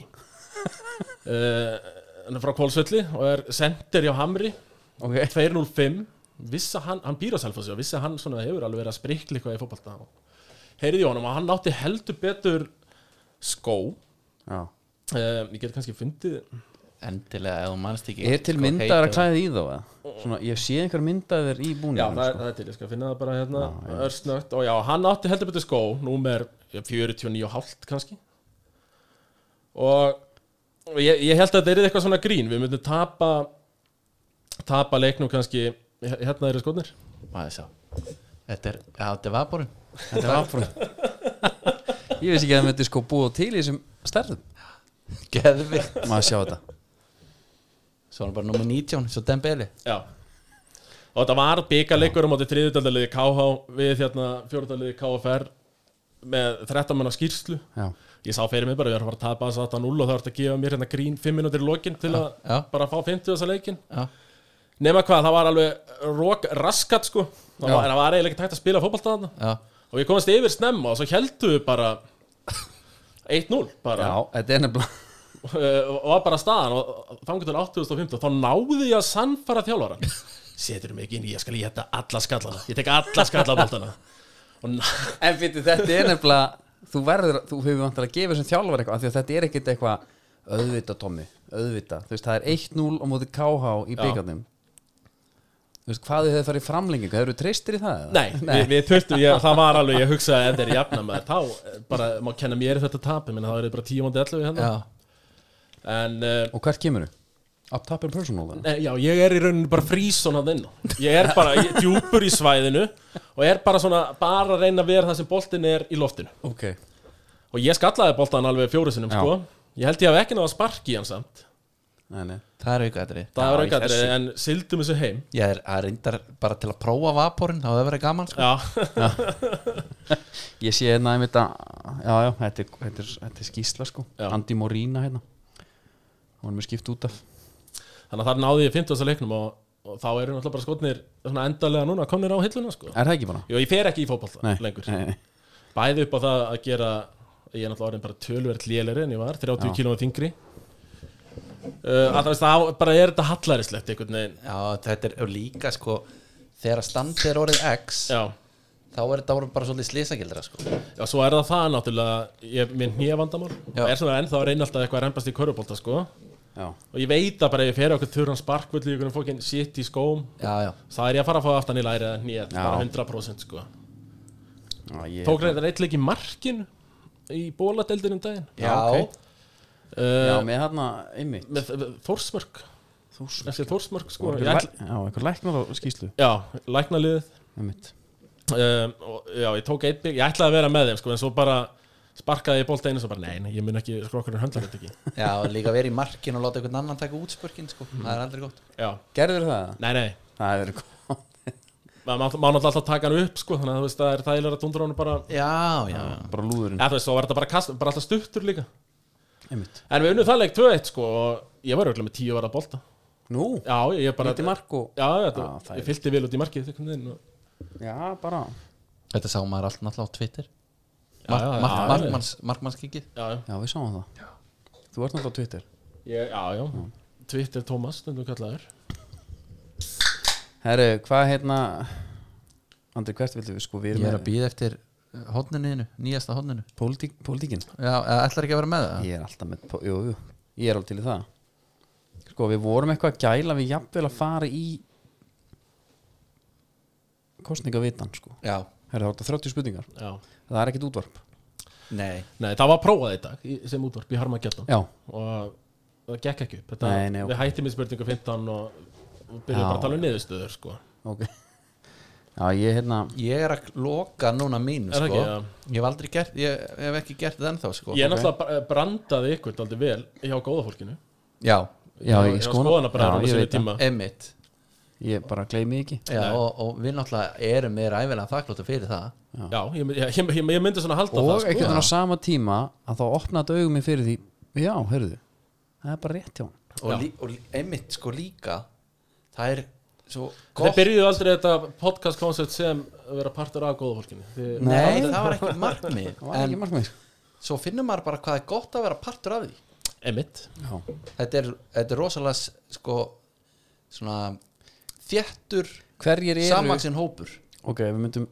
B: uh, Hann er frá Kólsvölli og er sendir hjá Hamri
A: okay.
B: 205 Viss að hann, hann býr á selfósi og vissi að hann svona hefur alveg verið að sprikla eitthvað í fótbolta Heyriði í honum og hann átti heldur betur skó Eh,
A: Já,
B: Uh, ég get kannski fundið
C: endilega ef þú manst ekki
A: Er til
C: sko,
A: myndaðar að
C: heitir-
A: klæða í þá eða? Svona, ég sé einhver myndaðar í
B: Já,
A: búningum
B: það, er-
A: sko.
B: það er til, ég skal finna það bara hérna Örsnögt, og já, hann átti heldur betur skó Númer 49,5 kannski Og og ég, ég held að þetta er eitthvað svona grín Við myndum tapa Tapa leiknum kannski Hérna eru skotnir
C: Maður sjá. Þetta er, já, þetta er vaporun
A: Þetta er áfram Ég veist ekki að það myndi sko búa til í þessum stærðum
C: Geðvikt
A: Maður sjá þetta
C: Svo hann bara nummer 19, svo Dembele
B: Já Og þetta var byggaleikur á móti þriðutaldaliði KH Við hérna fjórutaldaliði KFR Með 13 manna skýrslu
A: Já,
B: Ég sá fyrir mig bara, við erum að fara að tapa þess að 0 og það var að gefa mér hérna grín 5 minútur í lokin til að
C: Já.
B: bara fá 50 þessa leikin
C: Já,
B: Nefna hvað, það var alveg rok, raskat sko Það
C: Já.
B: var, það var eiginlega ekki tægt að spila fótbolta þarna
C: já,
B: Og ég komast yfir snemma og svo heldum við bara 1-0 bara
A: já þetta er nefnilega
B: Eh, og var bara staðan og þangur til 2015 þá náði ég að sannfara þjálfara setur mig ekki inn í, ég skal ég geta alla skallana ég tek alla skallaboltana og na-
A: En fyrir þetta er nefnilega Þú verður, þú hefur vantilega að gefa sem þjálfar eitthvað af Því að þetta er ekkit eitthvað Öðvita Tommy, öðvita Þú veist, það er 1-0 á móti KH í byggarnum Þú veist, hvað þau hefur farið í framlengingu Hefur þú treystir í það? eða?
B: nei, við, við þurftum, ég, það var alveg ég hugsaði ef þeir jafna maður, þá eh, bara má kenna mér þetta tapi, menn það er bara 10 mándi 11 hérna,
C: já
B: en uh,
A: Og hvert kemur þau? Up top and personal þannig
B: Nei, já, ég er í rauninu bara fríson að inn á. Ég er bara ég, djúpur í svæðinu og er bara svona, bara að reyna að vera það sem boltin er í loftinu.
A: Ok
B: Og ég skallaði boltan alveg fjóru sinnum,
A: Já.
B: sko. Ég held ég hef ekki náða spark í hann samt.
A: Nei, nei
C: Það er aukaðri
B: Það
A: Já,
B: var
A: í
B: aukaðrið,
A: þessu.
B: en sildum þessu heim.
C: Ég er að reyndar bara til að prófa vaporun Það hefur verið gaman sko
B: Já,
A: Ég sé hérna einmitt að Já, já, þetta er, þetta er, þetta er skýsla sko
B: Já.
A: Andi Morína hérna Hún er mér skipt út af
B: þannig að þar náði ég 50. leiknum og, og þá eru náttúrulega bara skotnir svona endalega núna, komnir á hilluna, sko.
A: Er það ekki bara?
B: Jú, ég fer ekki í fótballta
A: Nei,
B: lengur.
A: nei, nei.
B: Bæði upp á það að gera, ég er náttúrulega orðin bara tölverð léleri en ég var, 30
A: Já.
B: kílóma þingri. Uh, að það veist, þá bara er þetta hallaríslegt einhvern veginn.
C: Já, þetta er og líka sko Þegar að standi er orðið X
B: Já,
C: Þá er þetta orðið bara svolítið slísagildra sko
B: já, svo er það það náttúrulega ég, minn hnévandamál,
C: Já.
B: er svona ennþá að reyna alltaf eitthvað að rempast í körubólta sko og
A: Já
B: ég veit að bara ef ég fer okkur þurran sparkvöld í okkur fókin sitt í skóm
C: Já, já
B: það er ég að fara að fá aftan í læri eða hnið,
A: Já.
B: bara 100% sko
A: Já, ég
B: Tók reyndar eitt leik í markin í bóladeldinum daginn
A: Já,
C: Já,
A: ok. Já,
B: uh,
A: með hérna einmitt
B: með Þórsmörk
A: Þúsund
B: þessi Þórsmörk sko
A: Já,
B: ég ætl,
A: einhver læknar á skýslu
B: Já, læknaliðið
A: Einmitt
B: um, og, Já, ég tók eitt bygg, ég ætlaði að vera með þeim sko en svo bara sparkaði ég bólta einu og svo bara nei, nei, ég mun ekki, sko okkur er höndlar þetta ekki
C: já líka verið í markin og láta einhvern annan taka útspörkin sko Það er aldrei gott
B: Já,
A: Gerður það?
B: nei, nei
A: Það er verið
B: maður má, má náttúrulega alltaf taka hann upp sko, þannig að þú veist það er þægilega að tundra hann bara
C: Já, já, já
A: Bara lúðurinn
B: ja, þú veist, þá var þetta bara, kast, bara alltaf stuttur líka
A: Einmitt
B: en við unnum það leik 2-1 sko og ég var auðvitað með 10 ára bolta
A: Nú
B: já, ég bara
A: Lítið mark og
B: já, þetta,
A: Já, það er-
B: ég fylgdi vel út í markið einhvern veginn og-
A: Já, bara
C: Þetta sá maður allt náttúrulega á Twitter
B: Já, já, já, já.
C: Markmannskikið
B: já, já,
A: Já, við sáum það Já Þú ert náttúrulega á Twitter
B: ég, já, já Twitter Thomas, stundum kallaður
A: Herru, hvað hérna Andri, hvert viltu við sko Við
C: Ég er
A: erum
C: að
A: með
C: býða eftir hodninu, nýjasta hodninu
A: pólitík, pólitíkin
C: Já, eða ætlar ekki að vera með það?
A: Ég er alltaf með, po- jú, jú, ég er alveg til í það Sko, við vorum eitthvað að gæla við jafnvel að fara í kostningavitan, sko
C: Já,
A: Herra, þá er þetta 30 spurningar,
B: já
A: það er ekkit útvarp
C: nei
B: nei, það var prófað í dag í- sem útvarp í Harmageddon
A: Já,
B: og það gekk ekki upp þetta,
A: Nei, nei, ok.
B: við hættum í spurningu 15 og og byrjuðum
A: Já,
B: bara að tala um niðurstöður sko
A: ok Já, ég hérna,
C: Ég er að loka núna mínu
B: Er það
C: sko.
B: ekki, já?
C: Ég hef aldrei gert, ég, ég hef ekki gert það ennþá sko.
B: ég náttúrulega br- brandaði ykkur aldrei vel hjá góða fólkinu
C: Já,
A: já,
B: Hjá-
A: ég
B: hjá
A: skoðan
B: skoðanabræðrunum
A: Já, ég
B: sinni
A: veit það,
B: tíma.
C: emmitt
A: ég bara gleymi ekki
C: já, og, og við náttúrulega erum með ræfilega þakkláttu fyrir það
B: Já, ég, ég, ég, ég myndi svona halda það
A: Og
B: sko.
A: einhvern veginn á sama tíma að þá opnaði augum mér fyrir því Já, heyrðu, það er bara rétt hjá hann
C: Og, lí, og lí- einmitt sko líka Það er svo
B: Þeir
C: gott
B: byrjuðu aldrei þetta podcast koncept sem að vera partur af góða fólkinu Þið,
C: Nei, það var ekki markmið
A: Það var
C: En
A: ekki markmið
C: svo finnum maður bara hvað er gott að vera partur af því
B: Emitt
A: Já,
C: Þetta er, þetta er rosalega s- sko svona þéttur
A: hverjir eru
C: samaksin hópur
A: Ok, við myndum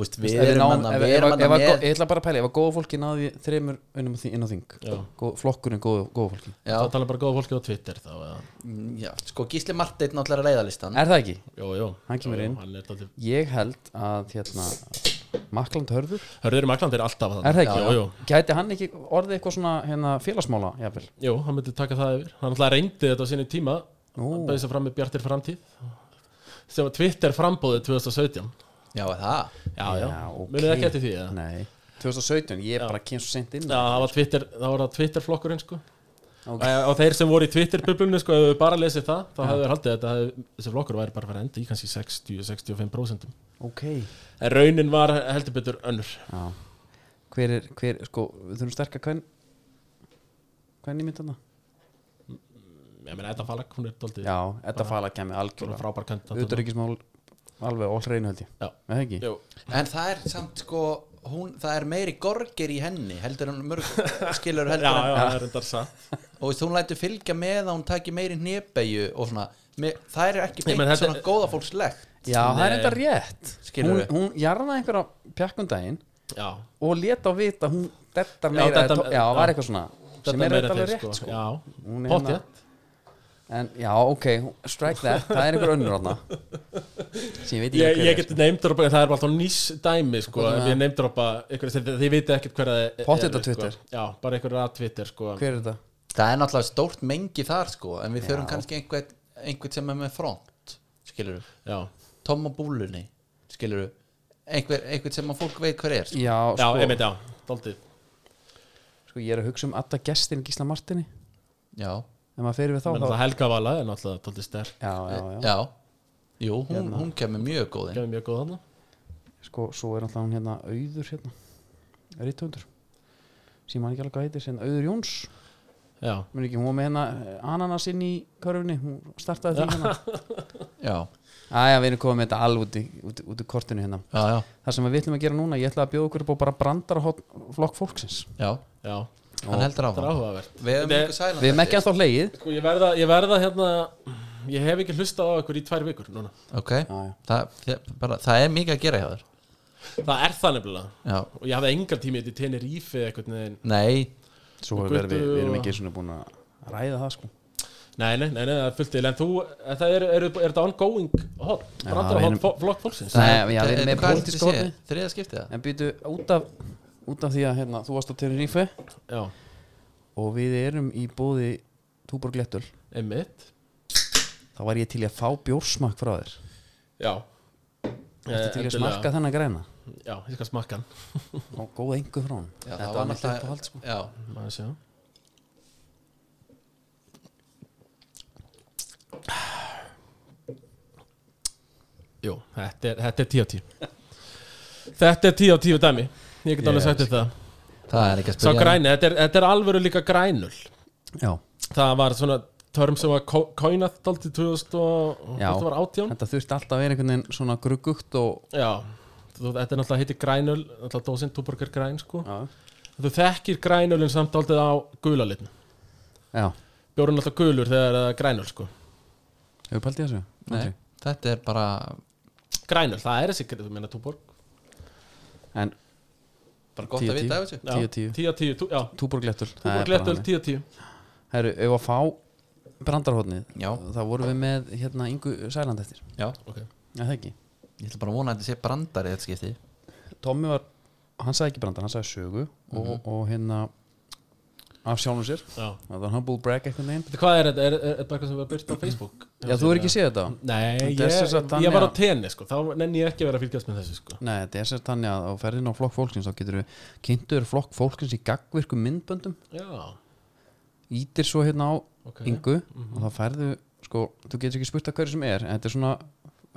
C: Þú veist,
A: Ef
C: við
A: við
C: erum
A: náum-
C: hann
A: ef-
C: við
A: ef-
C: erum
A: ef- ef-
C: hann með
A: Ég ætla bara að pæla, ef að góða fólki náði þreymur inn á þing- inn á þing
B: Já.
A: Góð- flokkurinn góða góða fólki
C: Já,
B: það tala bara góða fólki á Twitter þá eða.
C: mm, já, sko Gísli Marteinn náttúrulega er leiðalistan
A: Er það ekki?
B: Jó, jó,
A: Hann kemur
B: Jó, jó,
A: inn.
B: hann er dálítið-
A: Ég held að hérna, Makland Hörður
B: Hörður Magland er alltaf þannig
A: Er það ekki?
B: Jó, jó,
A: Gæti hann ekki orðið eitthvað svona hérna, félagsmála jafnvel?
B: jó, hann myndi taka það yfir Hann alltaf reyndi þetta á sinni tíma Hann bæði sér fram með Bjartir framtíð sem var Twitter frambóðið 2017
C: Já, er það
B: Já, já,
A: ok.
B: munið ekki eftir því eða?
A: Nei, 2017, ég bara kemst svo sent inn
B: Já, það var Twitter, það var það Twitter flokkurinn sko
A: Ok.
B: okay. Og þeir sem voru í Twitter bublunni sko, ef við bara lesið það, þá hefðu við haldið að þetta hefði, þessi flokkur væri bara að fara að enda í kannski 60-65%
A: Ok
B: En raunin var heldur betur önnur
A: Já. Hver er, hver, sko, við þurfum sterkar hvern hvern í myndana?
B: Ég meina, Edda Falag, hún er daldið
A: Já, þetta fala kemur algjörlega
B: frábær kant
A: Utanríkismál alveg all reynu held ég
B: Já.
A: Er það ekki?
B: Jú,
C: En það er samt sko hún, það er meiri gorger í henni heldur en mörg skilur
B: já, já,
C: heldur en
B: það er endar satt
C: og þú veist, hún lætur fylgja með að hún taki meiri hnebegju og svona me, það er ekki
B: Nei,
C: beint
B: menn þetta
C: svona
B: er-
C: góða fólkslegt
A: Já, það er
B: Nei.
A: enda rétt
C: Skilurðu?
A: Hún, hún jarðaði einhverja pjakkundaginn
B: Já,
A: og leta á vita hún þetta
B: Já,
A: meira
B: þetta-
A: eða tó- já, var
B: já.
A: eitthvað svona
B: Þetta
A: sem er
B: meira
A: þetta alveg
B: til,
A: rétt sko.
B: Já,
A: Hún er
B: potið
A: hérna- en já, ok, strike that það er einhver önnur ána sem ég veit ekki sko.
B: Ég,
A: hver
B: ég
A: er,
B: get neymdropa, það er alltaf nýs dæmi sko,
A: Hvað er
B: ef
A: það?
B: ég neymdropa einhverja sem þið vitið ekkert hverja það er
A: Pottþétt á
B: sko.
A: Twitter.
B: Já, bara einhverja að Twitter sko.
A: sko. hver er þetta?
C: það er náttúrulega stórt mengi þar sko en við þurfum kannski einhvern, einhvern sem er með front skilur
B: Já,
C: Tom og búlunni skilur einhver, einhvern sem að fólk veit hver er sko.
A: já,
B: já
A: sko,
B: einmitt, já, daldið
A: sko, ég er að hugsa um alltaf gestin Gísla Martini
C: já,
A: ef maður fer við þá,
B: Menn
A: þá
B: það Helga Vala er náttúrulega daldið sterk
A: já, já, já,
C: já. Hérna. Jú, hún, hún kemur mjög góð inn
B: Gæði mjög góð hann
A: sko, svo er alltaf hún hérna auður hérna, rítundur sem hann ekki alveg hvað heitir, sem auður Jóns
B: Já,
A: mér ekki, hún var með hérna eh, ananas inn í körfunni, hún startaði því hérna
C: já,
A: aðja, við erum komið með þetta alveg út í, út, í- út í kortinu hérna
C: já, já,
A: það sem við ætlum að gera núna, ég ætla að bjóða okkur upp á bara brandar flokk fólksins
C: já.
B: já,
C: hann
B: það
C: heldur
B: er
C: áfram
B: áhugavert
C: við hefum
B: Þetta-
C: einhver sælan
A: við erum ekki að þá hlegið
B: Sko, ég verða, ég verða hérna Ég hef ekki hlustað á ykkur í tvær vikur núna
C: ok,
A: Já, já.
C: það, þið- bara, það er mikið að gera hjá þér
B: Það er það nefnilega
C: já,
B: Og ég hafði engan tími til tenni rífi eitthvað neginn
C: nei,
A: Svo
B: Og
A: er verið,
B: Guttu
A: við, við erum
B: og-
A: ekki eins og búin að ræða það sko
B: Nei, nei, nei, nei, það er fullt til En þú, en það er, er, er þetta ongoing hot Brandar
A: við
B: hot
A: erum-
B: fo- flokk fólksins
A: Nei, já, við
C: Þetta-
A: erum með
C: hvað
A: pólitísk
C: þetta sé?
A: horni.
C: þriða skiptið það
A: En býtu út af, út af því að hérna, þú varst á Tenerife
B: Já,
A: og við erum í bóði Túborg Lettul
B: einmitt
A: þá var ég til í að fá bjórsmakk frá þér
B: Já
C: Eh,
A: Þetta til í að smakka þennan græna
B: Já, ég skal smakka hann
A: og góða engu frá hann
C: Já,
A: Þetta
C: það
A: var
C: var
A: mitt upp á hald sko
C: náttúrulega já,
B: Maður sjá Jú, þetta er, þetta er 10 á 10 Þetta er 10 á 10 dæmi Ég get alveg sagt þetta
C: það er ekki að
B: Sá
C: spyrja
B: græni, þetta er, þetta er alvöru líka grænul
A: Já,
B: Það var svona törm sem var kóinað daldið 2000 og
A: Já.
B: þetta var átján
A: þetta þurfti alltaf að vera einhvern veginn svona gruggugt og
B: Já, þú, þetta er náttúrulega heitir grænul náttúrulega dósinn túborg er græn sko
A: Já,
B: Þú þekkir grænulinn samt daldið á gulalitn
A: já.
B: Bjórun alltaf gulur þegar það er grænul sko
A: hefur pælt í þessu?
C: Nei,
A: Ok.
C: þetta er bara
B: Grænul, það er þessi, þú meina túborg
A: En
C: bara gott
A: Tíu,
C: að
A: tíu.
C: vita af þessu
B: Já,
A: 10, 10.
B: 10, 10, tú- já
A: Túborg Lettul
B: Túborg letul 10, 10
A: Herru, ef að fá brandarhóðnið
C: Já.
A: þá vorum við með hérna Ingu Sæland eftir
C: já,
B: okay.
A: Já, það ekki
C: ég ætla bara að vona að þetta sé brandari þetta skiptið
A: Tommi var, hann sagði ekki brandar, hann sagði sögu
C: Mhm.
A: og, og hérna af sjálfum sér
B: Já.
A: það var humble brag eitthvað neginn
B: Veitu, Hvað er þetta? Er, er, er þetta eitthvað sem var byrt á Facebook?
A: Já, þú er ekki séð þetta?
B: Nei,
A: Þetta er
B: ég,
A: sem sagt þannig
B: ég var á
A: að-
B: tenni sko, þá nenni ég ekki að vera að fylgjast með þessu sko
A: Nei, þetta er sér þannig að á ferðin á flokk fólksins þá getur við kynntur flokk fólksins í gagvirkum myndböndum
B: Já,
A: ítir svo hérna á
B: ok
A: Ingu og þá færðu, sko, þú getur ekki spurt að hverju sem er en þetta er svona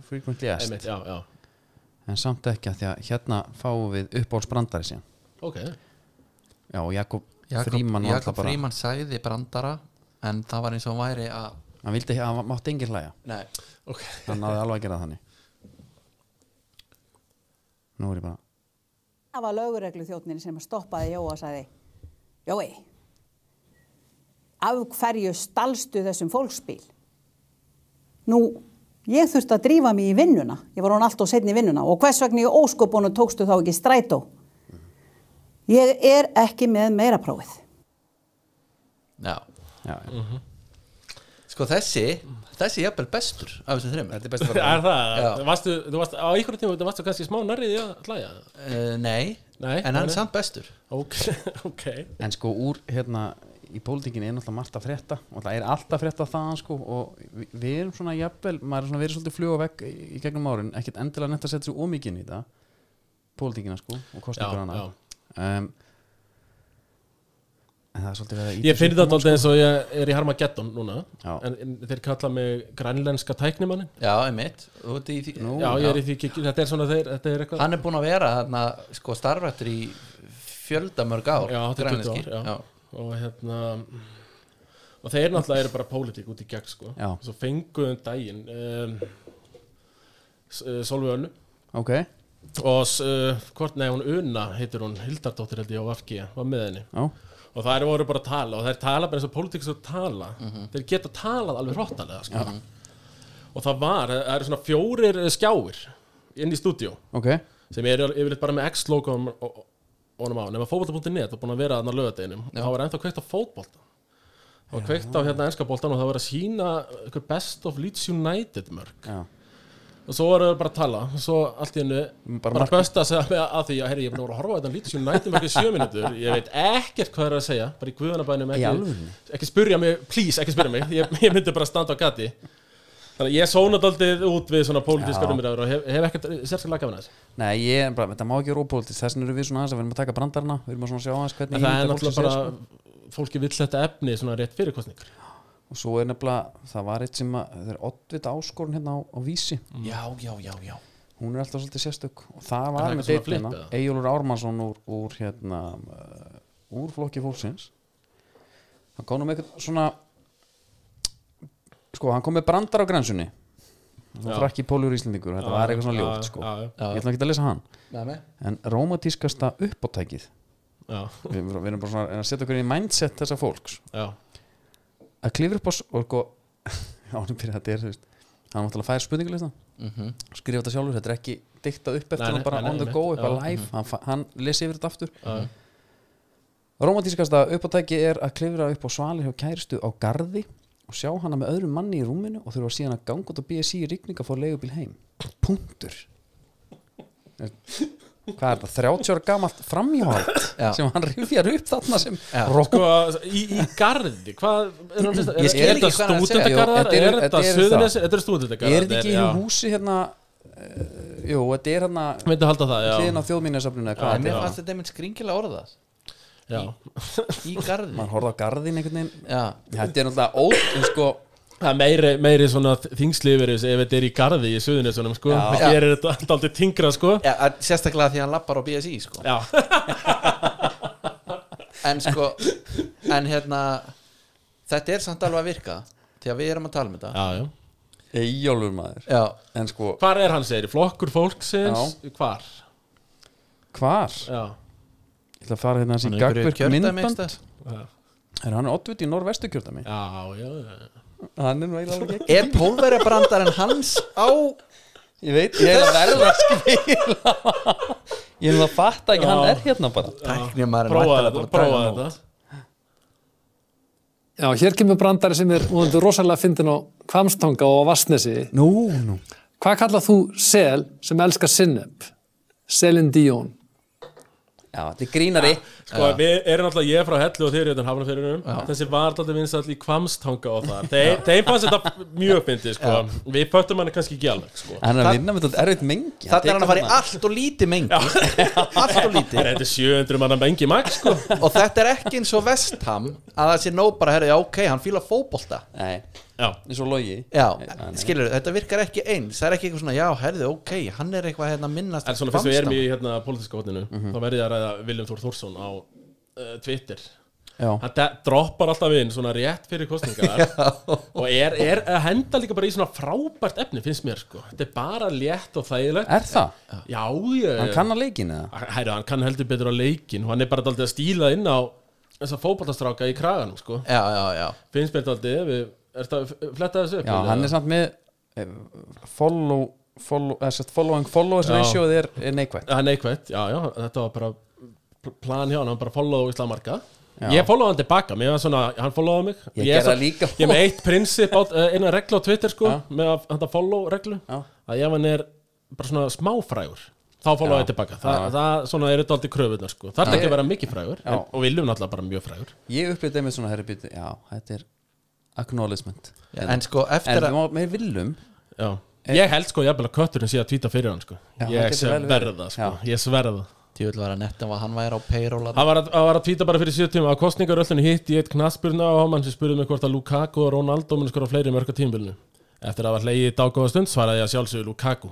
A: frequently asked
B: Einmitt, já, já,
A: en samt ekki að því að hérna fáum við uppáhaldsbrandari síðan
B: ok
A: Já, og Jakob,
C: Jakob,
A: Fríman var alltaf
C: Jakob
A: bara
C: Fríman sagði brandara en það var eins og hann væri að
A: hann vildi, hann mátti engin hlæja
C: Nei.
B: Ok,
A: hann náði alveg að gera það þannig nú er ég bara
E: Það var lögureglu þjóttnin sem stoppaði Jóa og sagði Jói, af hverju stalstu þessum fólksbíl? Nú Ég þurfti að drífa mig í vinnuna. Ég var hún allt og setni í vinnuna. Og hvers vegna í ósköpunum tókstu þá ekki strætó? Ég er ekki með meira prófið.
D: Já,
A: já, já.
D: sko þessi þessi er jafnvel bestur af þessum þreymur
A: Þetta er best að fara
B: Er það,
D: Já.
B: varstu, þú varst á einhverjum tíma þú varstu kannski smá nærrið í að hlæja
C: Eh,
D: uh, Nei,
B: Nei,
D: en hann
B: nei.
D: er samt bestur
B: Ok, ok
A: En sko úr hérna í pólitíkinni er náttúrulega margt að frétta og það er alltaf að frétta þaðan sko og vi- við erum svona jafnvel, maður er svona verið svolítið fljóa vekk í í gegnum árin, ekkert endilega netta að setja sér ómikinn í það pólitíkina sko og kostningur
B: Já,
A: hana
B: já.
A: um, En það er svolítið verið að ýta
B: Ég finn
A: sér
B: þetta
A: fram,
B: alltaf eins og ég er í Harmageddon núna
A: Já.
B: en, en þeir kalla mig grænlenska tæknimannin
D: Já, einmitt Þú ert í því-
A: Nú.
B: Já, ég er í því kikið, þetta er svona þeir Þetta er eitthvað
D: Hann er búinn að vera þarna sko starfrættur í fjöldamörg ár
B: Já, þetta er 20
D: grænlenski.
B: ár já. Og hérna Og þeir náttúrulega eru bara pólitík út í gegn sko
A: Já.
B: Svo fenguðum daginn um, Solvi Önnu
A: sko. Ok,
B: og uh, hvort, nei, hún Una heitir hún, Hildardóttir held ég á FG var með henni
A: já,
B: og það eru voru bara að tala og þeir tala bara eins og pólitíkus að tala þeir geta talað alveg hróttalega sko. og það var, það eru svona fjórir eh, skjáir inn í stúdíó
A: ok
B: sem eru yfirleitt bara með X-logoðum honum á, nema fótbolta.net og búin að vera þarna lögadeginum og það var ennþá kveikt á fótbolta það var kveikt á hérna ennska boltan og það var að sína einhver best of Leeds United mörg
A: já.
B: og svo voru þau bara að tala og svo allt í hennu
A: Bara
B: bara, bara
A: markið.
B: bösta sig að, að því að herri, ég er búin að voru að horfa á þetta lítið sem nættum ekki sjö mínútur ég veit ekkert hvað það er að segja bara í guðanabænum
A: Í
B: ekki,
A: alvörunni?
B: ekki spyrja mig, please ekki spyrja mig ég, ég myndi bara standa á gati þannig að ég sónað aldrei út við svona
A: Já.
B: pólitískar umræður og hef, hef ekkert sérskilega gafin að þessu
A: Nei, ég er bara, þetta má ekki vera ópólitísk þess vegna eru við svona aðeins að við erum að taka brandarna við erum að svona sjá aðeins hvernig sko.
B: en það er
A: ímynd fólksins
B: náttúrulega bara fólki vill þetta efni svona rétt fyrir kostningar
A: og svo er nefnilega, það var eitt sem að það er oddvita áskorun hérna á, á vísi
B: Mm.
D: Já, já, já, já
A: hún er alltaf svolítið sérstök og það
B: Er það
A: var
B: ekki
A: með deilina
B: svona flip, eða?
A: Egilur Ármannsson úr, úr hérna uh, úr flokki fólksins hann kom nú með eitthvað svona sko, hann kom með brandar á grensunni
B: Já.
A: það frakki pólur íslendingur og þetta var eitthvað svona ljótt sko.
B: já,
A: ég ætla ekki að lesa hann
D: Með mig
A: en rómatískasta uppáttækið
B: já,
A: við, við erum bara svona að reyna að setja okkur í mindset þessa fólks
B: já,
A: að klifra upp á s- og sko ánum fyrir að þetta er þú veist, hann máttalega fær spurningulistan
B: Mhm.
A: skrifa þetta sjálfur, þetta er ekki diktað upp eftir
B: Nei, nei,
A: hann bara
B: nei, nei,
A: on the
B: einmitt.
A: go, eitthvað
B: Já, mhm.
A: live hann, fa- hann lesi yfir þetta aftur
B: já,
A: romantískasta uppátæki er að klifra upp á svali hjá kæristu á garði og sjá hana með öðrum manni í rúminu og þurfa síðan að ganga út á BSI í rigning að fá leigubíl heim punktur hvað er það, 30 ára gamalt framhjáhald
D: Já.
A: sem hann rifjar upp þarna sem
D: Já.
A: rock
B: Sko, í, í garði, hvað er,
D: Ég
B: er, er,
D: skil
B: er
D: ekki
B: þetta
D: hvað hann er að segja.
B: stúdendagarðar,
A: Jú, þetta
B: er
A: eru-
B: þetta
A: þetta eru það.
B: suðurnes, þetta er
A: er þetta
B: stúdendagarðar
A: ekki í húsi hérna uh, jú, þetta er hérna
B: myndi halda það, já,
A: hliðin á þjóðmínasafninu
B: Já,
A: hvað
D: Mér
A: þetta er
D: fannst þetta einmitt skringilega orðað
B: já.
D: Í garði
A: maður horfði á garðin einhvern veginn
D: Já,
A: þetta er náttúrulega ótt en sko,
B: það er meiri, meiri svona þingslifir ef þetta er í garði í suðunesunum sko.
A: Já.
B: það gerir þetta alltaf aldrei tingra sko.
D: já að- sérstaklega því að hann lappar á BSI sko.
B: já,
D: En sko, en hérna Þetta er samt alveg að virka Því að við erum að tala um þetta
B: já, já
A: eigjálfur maður
D: Já,
A: en sko,
B: hvar er hann segir, flokkur fólksins hvar,
A: hvar?
B: já,
A: Ég ætla að fara hérna þessi
D: Hann er einhverju
A: gagverk
D: kjördæmi
A: myndband
D: einhvers
B: já,
A: er hann oddvit í norvestu kjördæmi
B: já, já, já.
A: hann er nú eiginlega alveg ekki
D: er pólverja brandar en hans á
A: ég veit, ég er að verða að skila ég er nú að fatta ekki, hann er hérna bara
D: Tæknimaður
B: prófa þetta, prófa þetta
F: Já, hér kemur brandari sem er vonandi rosalega fyndin á Kvamstanga og á Vastnesi.
A: nú, nú
F: Hvað kallað þú sel sem elskar sinneb? Selin Dion.
A: já, þetta er grínari
B: Sko, við erum alltaf ég er frá Hellu og þeir eru utan hafnafyririnum Þessi var alltaf vinsall í kvamstanga og það Þeir, þeir fannst þetta mjög fyndið, sko Við pöttum hann kannski ekki alveg, sko
A: hann er að vinna með þetta erfitt mengi
D: Þannig er hann að fara í allt og lítið mengi Allt og lítið
B: Þetta er 700 manna mengi max, sko
D: Og þetta er ekki eins og vestham Að það sé nóg bara, herri, já, ok, hann fíla fótbolta
A: nei,
B: Já,
A: eins og logi
D: Já,
A: Nei, nei.
D: skilur, þetta virkar ekki eins Það er ekki eitthvað svona, já, herði, ok Hann er eitthvað hérna minnast
B: En svona fyrst við erum í
D: Hvammstanga.
B: hérna pólitíska hotninu Þá verði ég að ræða Viljum Þór Þórsson á uh, Twitter
A: já,
B: Hann de- droppar alltaf inn svona rétt fyrir kostningar Og er, er að henda líka bara í svona frábært efni finnst mér sko Þetta er bara létt og þægilegt
A: er það?
B: Já, ég
A: hann kann að leikin eða?
B: Hæru, hann kann heldur betur á leikin og hann er bara daldið að stíla inn á þessa fótballastráka í kraganum sko
D: Já, já, já
B: Finnst mér daldið við Ertu að fletta þessu upp?
A: já, hann er samt með eh, follow, follow, eh, sest, following followers
B: Já.
A: ratio er, er neikvægt
B: Það er neikvætt, já, já, þetta var bara pl- plan hjá hann, hann bara followaði Ísla marga
A: Já.
B: Ég followaði hann tilbaka, mér var svona, hann followaði mig
A: Ég
B: er
A: gerði það
B: svo-
A: líka.
B: Ég er með eitt prinsip, eina reglu á Twitter sko,
A: Já.
B: með að þetta follow reglu
A: Já.
B: Að ef hann er bara svona smáfrægur, þá followaði
A: Já.
B: hann tilbaka Það,
A: Já.
B: það svona er þetta aldrei kröfunar sko, það er ekki að vera mikið frægur
A: Já.
B: en, Og viljum náttúrulega bara mjög frægur
A: ég upplýði einmitt svona herri býti, já, þetta er acknowledgement
C: En, sko,
A: en
C: eftir
A: við
C: að
A: má- við viljum
B: Já Ég held sko, jafnvel að kötturinn sé að tvíta fyrir hann sko
A: Eh. Já, það
B: Ég
A: getur vel verið.
B: sverða sko, ég sverða
C: Tjóðvill var að netta að hann væri á payroll að
B: Hann var, að, hann var að tvíta bara fyrir 7 tíma að kostningaröllinu hitt í eitt knassbyrna og hann sem spurði mig hvort að Lukaku og Ronaldo muni skora fleiri mörg á tímabilinu. Eftir að það var hlegið í dágóða stund svaraði ég að sjálfsögðu Lukaku.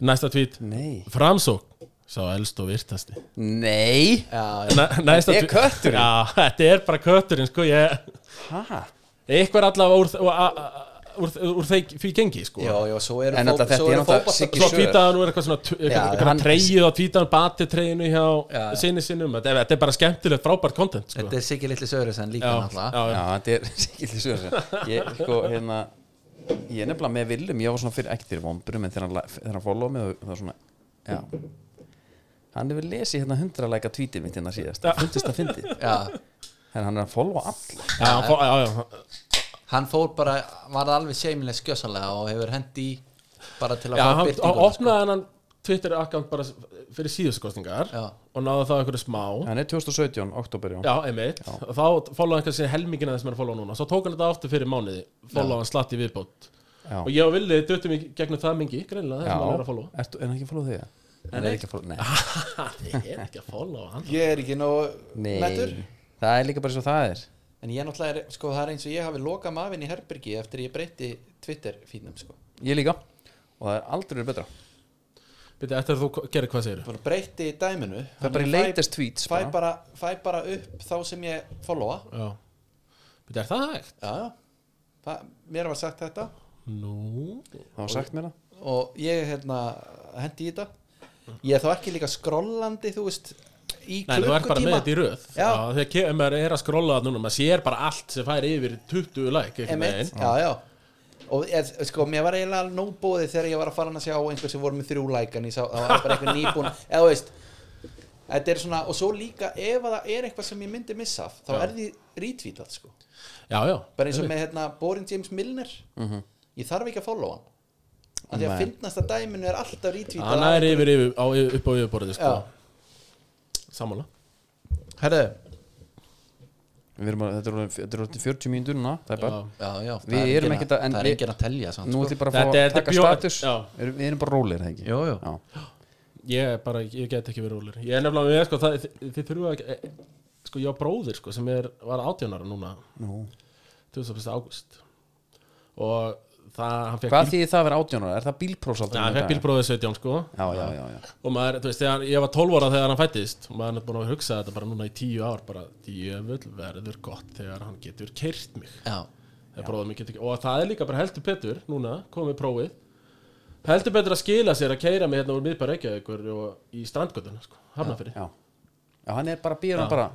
B: Næsta tvít,
A: nei,
B: framsók, sá elst og virtasti.
A: nei,
C: Já,
B: Næ, næsta
A: Þetta er
B: tweet-
A: kötturinn.
B: Já, þetta er bara kötturinn, sko, ég...
A: hæ
B: Eitthvað er allavega úr, úr, úr, úr, úr þeir fyrir gengi, sko.
C: já, já, svo eru
A: En náttúrulega þetta er náttúrulega Siggi
B: Svo
A: Sör.
B: tvítaðan nú er eitthvað svona tu-
C: Já,
B: eitthvað
A: hann-
B: eitthvað treyið og tvítaðan bati treyinu
C: Já, já.
B: hjá sinni sinnum Þetta er- þetta er bara skemmtilegt frábært content sko.
C: Þetta er Siggi Littli Sörjusen líka
B: já,
C: náttúrulega
B: já,
A: já, þetta er sikkert í sögur ég, sko, hérna ég er nefnilega með viljum, ég var svona fyrir ektir vombrum en þegar hann, la- þegar hann follow mig það var svona, já hann hefur lesið hérna hundralæka tweetið mitt hérna síðast, það fundist að fyndi
C: Já,
A: en hann er að followa alla
B: Já, hann fó- já, já,
C: hann fór bara, var alveg seimilega skjössanlega og hefur hendi í bara til að
B: já,
C: fá
B: hann
C: birtinguna,
B: hann opnaði hennan Twitter-akkant bara s- fyrir síðuskostningar
C: Já.
B: og náði það einhverju smá
A: hann er 2017, oktober já,
B: Já, einmitt, og þá followaði hann kannski helmingin að þess að followa núna, svo tók hann þetta aftur fyrir mánuði followaði hann slatt í viðbót
A: já.
B: og ég og Villið duttum í gegnum það mingi greinilega, það sem hann er að
A: já.
B: followa
A: Ertu, er hann ekki að followa þig? hann er ekki að followa, nei,
B: Það er ekki að followa hann
G: Ég er ekki nóg mettur
A: nei. það er líka bara eins og það er
C: En ég náttúrulega, er, sko, það er eins og ég hafi lokað mafinn í herbergi eftir ég breytti Twitter fínum, sko.
A: ég líka, og það er aldrei verið betra
B: Býtti, eftir að þú gerir hvað segir
C: Bara breytti dæminu.
A: það er bara í latest tweets
C: Fæ
A: bara.
C: bara, fæ bara upp þá sem ég followa.
B: Já Býtti, er það hægt?
C: Já, já. Það- Mér var sagt þetta
B: Nú
A: það var sagt mér það
C: og ég, hérna, hendi í þetta. Ég er þá ekki líka skrollandi, þú veist, í
B: Nei, þú ert bara með
C: klukkutíma.
B: þetta í röð
C: Já.
B: Þegar kemur maður er að skrolla það núna maður sér bara allt sem fær yfir 20 like einhvern veginn.
C: Emitt, já, já og ég, sko, mér var eiginlega nóbóðið þegar ég var að fara hann að sjá einhver sem voru með þrjú lækan sá, það var bara eitthvað nýbúin eða þú veist þetta er svona, og svo líka ef að það er eitthvað sem ég myndi missa af, þá er því retweetað sko.
B: Já, já
C: bara eins og með hérna, Borin James Milner
B: Mhm.
C: ég þarf ekki að follow hann af því að
A: Nei.
C: finnast að dæminu er alltaf retweetað
B: Hann
C: af
B: er
C: einhverjum-
B: yfir, yfir á, upp á yfirborðið sko.
C: Já.
B: Sammála
C: herðu,
A: Við erum að, þetta eru orðin- þetta eru orðin 40 mínútur núna, það er bara
C: já, já,
A: Við
C: það er
A: erum
C: enginn
A: ekkert að- en
C: það er
A: við-
C: enginn að telja samt,
A: Nú
C: sko.
A: ætlum ég bara að
B: Þetta
A: fá að
B: er- þetta er
A: taka
B: bjó-
A: status
B: já.
A: Erum- Við erum bara rólir, það ekki?
C: Jú, jú.
A: Já.
B: Ég er bara, ég get ekki verið rólir Ég er nefnilega með, sko, það, þið, þið þurfa ekki eh, Sko, ég á bróðir, sko, sem er, var 18 ára núna
A: Nú.
B: 21. águst Og það, hann fekk
A: Hvað þýðir það að vera 18 ára? Er það bílprófsaldur?
B: Hann fekk bílbróðið 17, sko
A: Já, já, já, já.
B: og maður, þú veist, þegar ég var 12 ára þegar hann fættist og maður er búin að hugsa þetta bara núna í 10 ár bara, djöfull verður gott þegar hann getur keirt mig
C: já,
B: Þegar bróðir minn getur, og það er líka bara heldur betur núna, komið prófið heldur betur að skila sér að keira mig hérna úr miðbæra Reykjavíkur og í strandgötuna sko, hafnafyrir
A: Já, já hann er bara, býr hann bara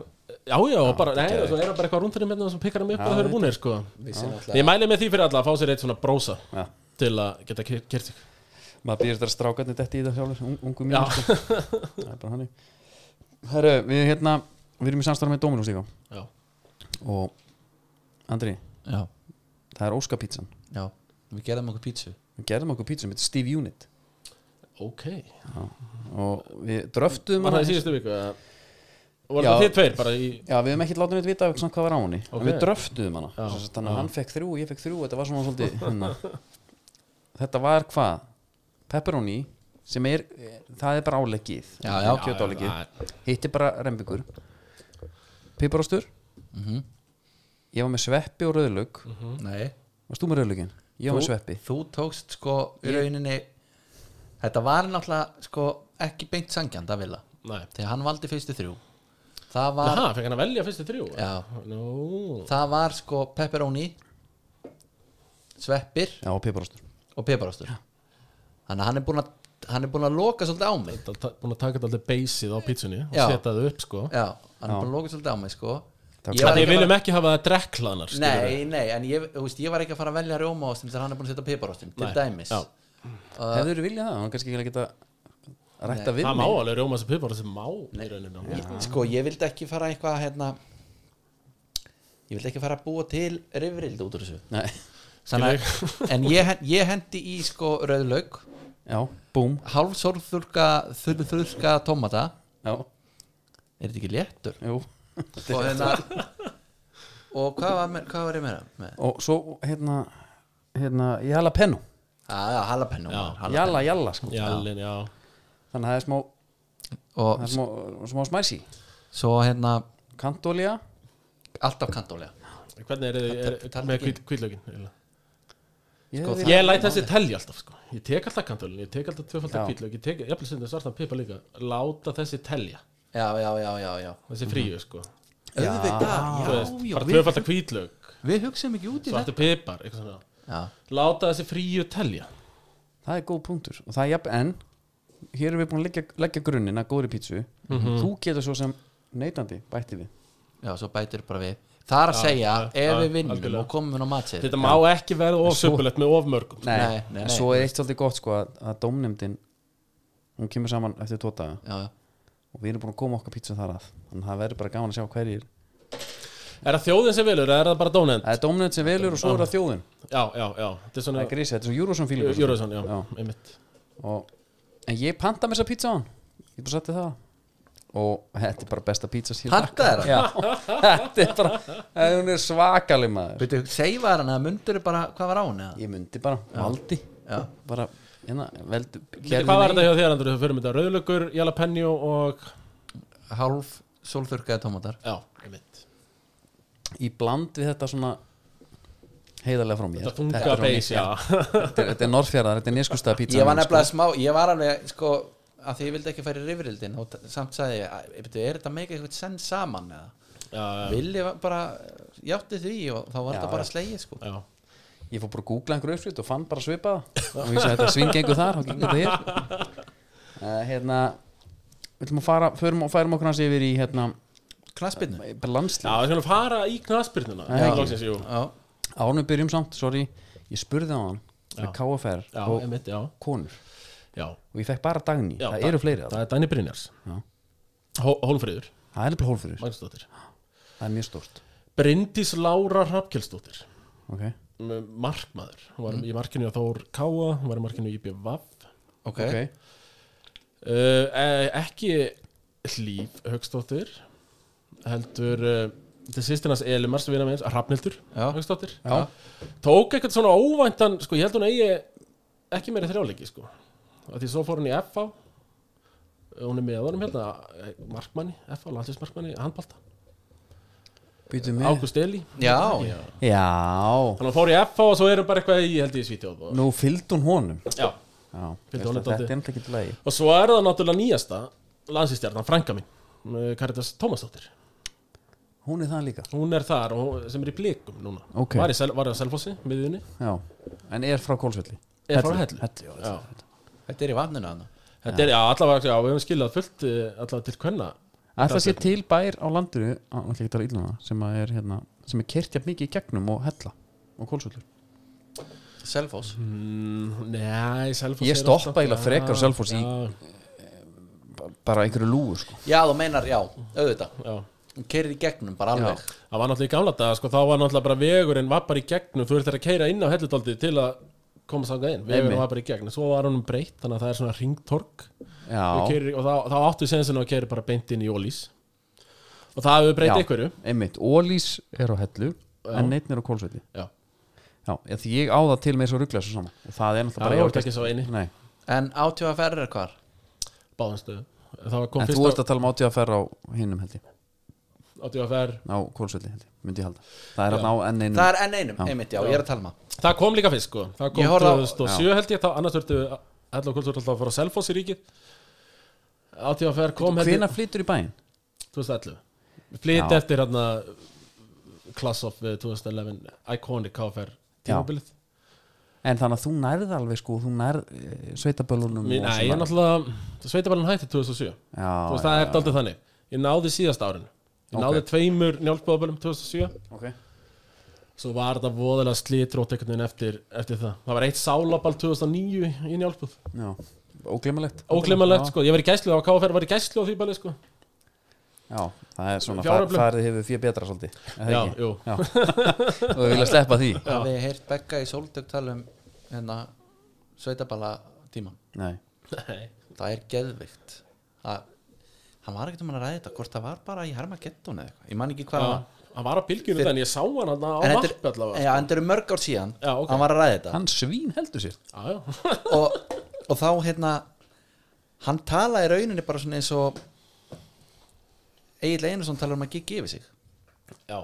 B: Já, já, og bara, nei, og svo er hann bara eitthvað rúnd fyrir með sem pikkar hann mig upp og þau eru búinir, sko
C: vissi
B: Ég
C: náttúrulega
B: mæli með því fyrir alla að fá sér eitt svona brósa
A: Já,
B: til að geta kert sig
A: maður býr þetta strákarnir detti í þetta sjálfur un- Ungu mínu,
B: Já.
A: sko Það er bara hann Herru, við hérna, við erum í samstarf með Dominus líka
B: Já,
A: Og, Andri,
C: já,
A: það er Óska pítsan
C: já, við gerðum okkur pítsu
A: Við gerðum okkur pítsum, þetta er Steve Unit
B: ok
A: Og við dröftum
B: Var það í síðustu viku? eða? Voru
A: Já.
B: það þið tveir bara í
A: Já, við hefum ekkert látið neitt vita svona, hvað var á henni
B: Ok.
A: okay. Við dröftuðum hana
B: Já.
A: Sem sagt, Þannig að hann fekk þrjú, ég fekk þrjú Þetta var svona svolítið hérna. Þetta var hvað? Pepperoni sem er, það er bara áleggið
C: Já, já.
B: Já, já,
A: Kjötáleggið Hitti bara rembikur Piparostur
B: Mhm.
A: Ég var með sveppi og rauðlaug
C: nei
A: Varst þú með rauðlaugin? Ég var með sveppi
C: þú tókst sko í rauninni þetta var náttúrulega sko ekki beint sangjand að vilja
B: Nei
C: þegar hann valdi fyrstu þrjú það var,
B: Jaha, fekk hann að velja fyrstu þrjú?
C: Já.
B: Nú,
C: það var sko pepperoni sveppir
A: Já, og piparostur
C: og peparostur þannig að hann er búin að hann er búin að loka svolítið á mig
B: það er búin að taka þetta alltaf beysið á pítsunni og
C: Já.
B: setja það upp sko
C: já, hann er búin að loka svolítið á mig sko Ég
B: Þannig
C: var
B: við
C: ekki
B: viljum
C: bara-
B: ekki hafa það drekklaðnar
C: Nei, nei, en ég, þú veist, ég var ekki að fara að velja rjómaostin þegar hann er búin að setja piparostin, til
B: Nei,
C: dæmis
B: já.
A: hefur þú viljað það, hann kannski ekki geta rætta við
B: Uh, Það má
A: mig
B: alveg rjóma sem pipar sem má í rauninu
C: ég, Sko, ég vildi ekki fara eitthvað hérna, ég vildi ekki fara að búa til rifrild út úr þessu
A: Nei.
C: Sannig, En ég, hen- ég hendi í sko rauðlaug
A: já, búm
C: hálfsorfþurka þurrka tomata
A: já,
C: er þetta ekki léttur?
A: jú
C: og hérna og hvað var, með, hvað var ég meira með?
A: og svo hérna, hérna jala pennu,
C: Ah, já, jalapeno
B: Já.
C: maður, jalapeno.
A: jala jala sko
B: Jallin, já
A: þannig að það er smá,
C: og
A: það er smá, smá smæsi
C: svo hérna
A: kantolja
C: alltaf kantólega
B: Hvernig er þið er-
C: Taldi
B: með
C: ekki.
B: hvít- hvítlögin? eiginlega?
A: sko,
B: Ég læt þessi telja alltaf sko Ég tek alltaf kantölin, ég tek alltaf
A: Já.
B: tvöfaldar kvítlög Ég tek jafnvel sem svartan pipar líka Láta þessi telja,
C: já, já, já, já, já
B: þessi fríu sko
C: Mhm.
B: Þú veist,
C: auðvitað, já, já,
B: Bara
C: við,
B: tvöfaldar kvítlög,
C: við hugsaðum ekki út í þetta
B: svartan pipar eitthvað svona.
C: já,
B: Láta þessi fríu telja
A: það er góð punktur og það er jafn en hér erum við búin að leggja, leggja grunninn að góðri pítsu þú getur svo sem neytandi bætti við
C: já, svo bætir bara við það er að segja, ef
B: já,
C: við vinnum
B: algjörlega.
C: og komum inn á matsið
B: Þetta má ekki verða ofsöpulegt með ofmörgum sko.
C: Nei, nei,
A: en
C: nei.
A: svo er eitt svolítið gott sko að, að dómnefndin hún kemur saman eftir tvo daga
C: já, já.
A: og við erum búin að koma okkar pítsu þar að þannig að það verður bara gaman að sjá hverjir
B: Er það þjóðin sem velur eða er það bara dónend?
A: það er dómnefnd sem velur og svo er það þjóðin
B: Já, já, já Þetta er
A: það
B: svona
A: er grísið, þetta er svo Júrósson fílingur sko.
B: Júruðsson, já,
A: Já.
B: einmitt
A: og, en ég panta mér þessa pítsa á hann ég bara satt það og þetta er bara besta pítsa síðan
C: Pantaðir hann?
A: Já. þetta er bara, hún er svakaleg maður
C: Veitu, seifa hann að mundur bara hvað var á hann eða?
A: ég myndi bara, valdi
C: Já.
A: bara, hérna, veldu
B: Bíddu, Hvað var þetta hjá þér, Andrú? Þau fyrir mynda rauðlökur, jalapeno og
C: Hálf sólþurkaði tómatar
B: Já, einmitt
A: í bland við þetta svona heiðarlega frá mér
B: Þetta þunga
A: er svona-
B: beis, já
A: þetta er, þetta er norðfjörðar, þetta er nýrskustaða pítsa
C: Ég var nefnilega smá, ég var alveg sko að því ég vildi ekki fara í rifrildin og t- samt sagði ég, "Æ, veitu, er þetta meika eitthvað senn saman eða?
B: Já,
C: Villi var bara, játti því og þá var
A: Já,
C: þetta bara
A: já.
C: slegið sko
B: já
A: ég fór bara að googla einhverju uppslut og fann bara svipaða og ég sagði þetta svingengu þar og gengur þetta hér uh, hérna viljum að fara, förum og færum okkur hans yfir í hérna,
C: Knaspinnu
A: bara
B: Já,
A: landslið
B: við skulum fara í knaspyrnuna
A: Já.
B: Loksins, jú
C: Já,
A: ánum byrjum samt, sorry, ég spurði á hann með KFR
B: Já,
A: og
B: einmitt, já
A: konur
B: Já,
A: og ég fekk bara dagni,
B: já
A: það eru fleiri það,
B: Það er Dæni Brynjars
A: Já.
B: Hó- Hólmfríður,
A: það er nefnilega hólfyrir,
B: Magnúsdóttir
A: það er mjög stórt
B: Bryndís Lára Hrafkjelsdóttir
A: ok,
B: m- Markmaður Hún
A: Mm.
B: var í markinu á Þór Káa Hún var í markinu í IBVAF
C: ok,
A: ok,
B: Uh, eh, ekki Hlíf Högstóttir heldur uh, til sýstinans Elimars vina meins, Hrafnildur
C: Já.
B: Högstóttir
A: Já.
B: tók eitthvað svona óvæntan sko, ég held hún eigi ekki meiri þrjáleiki sko. að því svo fór hún í FH hún er með honum hérna eh, markmanni, FH, landslífsmarkmanni handbalta,
A: býtum við
B: Ágúst Eli
C: Já,
B: Já.
A: já,
B: þannig að hún fór í FH og svo er hún bara eitthvað í, ég held ég í Svítjóð og,
A: nú fylgd hún honum
B: já.
A: já,
B: Fylgdi
A: veist
B: honum
A: að þetta
B: dálítið.
A: er nefnilega ekki til lagi
B: og svo er það náttúrulega nýjasta landslífstjarnan, frænka mín eh, Karitas Tómasdóttir
A: hún er það líka,
B: hún er þar og hún- sem er í blikum núna
A: Ok.
B: var, í sel, var á Selfossi, miðjunni
A: já en er frá Kólsvelli
B: er frá Hellu
A: Hellu, já,
B: já.
C: þetta er í vatninu hann
B: þetta er, já, allavega, já, við hefum skilað fullt eh, allavega til kvenna
A: Ætla sé til bær á landinu á, ætla ekki að tala illa um það, sem að er hérna sem er kertjað mikið í gegnum og hella og kólsvöldur
C: Selfoss
B: mm, nei, Selfossi
A: Ég
B: er
A: stoppa
B: alltaf-
A: eiginlega frekar á
B: Já,
A: Selfossi í-
B: já,
A: bara einhverju lúgur sko
C: Já, þú meinar, já, auðvitað
B: já.
C: Hún keirir í gegnum bara alveg
B: það var náttúrulega í gamla daga sko, þá var náttúrulega bara vegurinn var bara í gegnum þú ert þeirra að keira inn á hellutaldið til að koma sanga inn, vegurinn
A: Einmitt.
B: var bara í gegnum svo var honum breytt, þannig að það er svona ringtork og,
A: Já,
B: keirir, og þá, þá áttu sensin að keira bara beint inn í Ólís og það hefur breytt einhverju
A: einmitt, Ólís er á hellu en neittn er á kólsvöldi
B: já
A: Já, eða því ég á það til með svo ruggla svo saman og það er
B: Það
A: náttúrulega
B: er
A: bara
B: ekki svo eini
A: Nei,
C: En átjóðaferð er hvar?
B: báðum stöðu Það var kom
A: en
B: fyrst
A: þú ert að tala um átíða að ferra á hinnum held ég
B: á DFR
A: á kólsvöldi held ég, myndi ég halda Það er að ná enn einum
C: Það er enn einum, einmitt, já, ég er að um talma
B: Það kom líka fyrst sko Það kom
C: Ég horfði á-
B: 2007 held ég þá annars þurftu Ætla og kvöldsvöld alltaf að fara á Selfoss í ríkið á DFR kom held
A: Hvena
B: ég
A: flytur í bæinn?
B: 2011 Flyt
A: Já.
B: eftir hann að Class of eh, 2011 Iconic KFR
A: Já.
B: tímabilið
A: En þannig að þú nærð alveg sko, þú nærð eh, sveitabölunum
B: Mér-
A: og
B: Nei,
A: svona.
B: ég er náttúrulega Sveitabalinn hætti 2007
A: Já,
B: Þú veist, það er daldið þannig Ég náði síðast árinu ég náði tveimur njálpbóðabölum 2007
A: ok
B: svo var þetta voðalega slítrótt einhvern veginn eftir, eftir það það var eitt sálabal 2009 í njálpbóð
A: Já, óglemalegt
B: óglemalegt sko, ég var í gæslu á KFR var í gæslu á því bæli sko
A: Já, það er svona far,
B: Fjáröflun.
A: farið hefur fyrir betra svolítið er það
B: Já,
A: ekki?
B: jú.
A: Já. og við vilja sleppa því
C: hafið þið heyrt Begga í Sóldögg tala um hérna sveitabala tíma
A: Nei,
B: Nei.
C: það er geðvikt að hann var ekkert um að ræða þetta hvort það var bara í Harmageddon eða eitthvað ég man ekki
B: Já,
C: hvað það var
B: hann var á bylgjunum
C: Fyrir-
B: þannig ég sá hann hann á
C: en
B: varpi
C: þetta er,
B: allavega sko.
C: já, en þetta eru mörg ár síðan
B: Já, ok.
C: hann var að ræða þetta
A: hann svín heldur sér
B: Já, já.
C: og, og þá hérna hann talaði í rauninni bara svona eins og Egil Einarsson talar um að giggi yfir sig
B: já,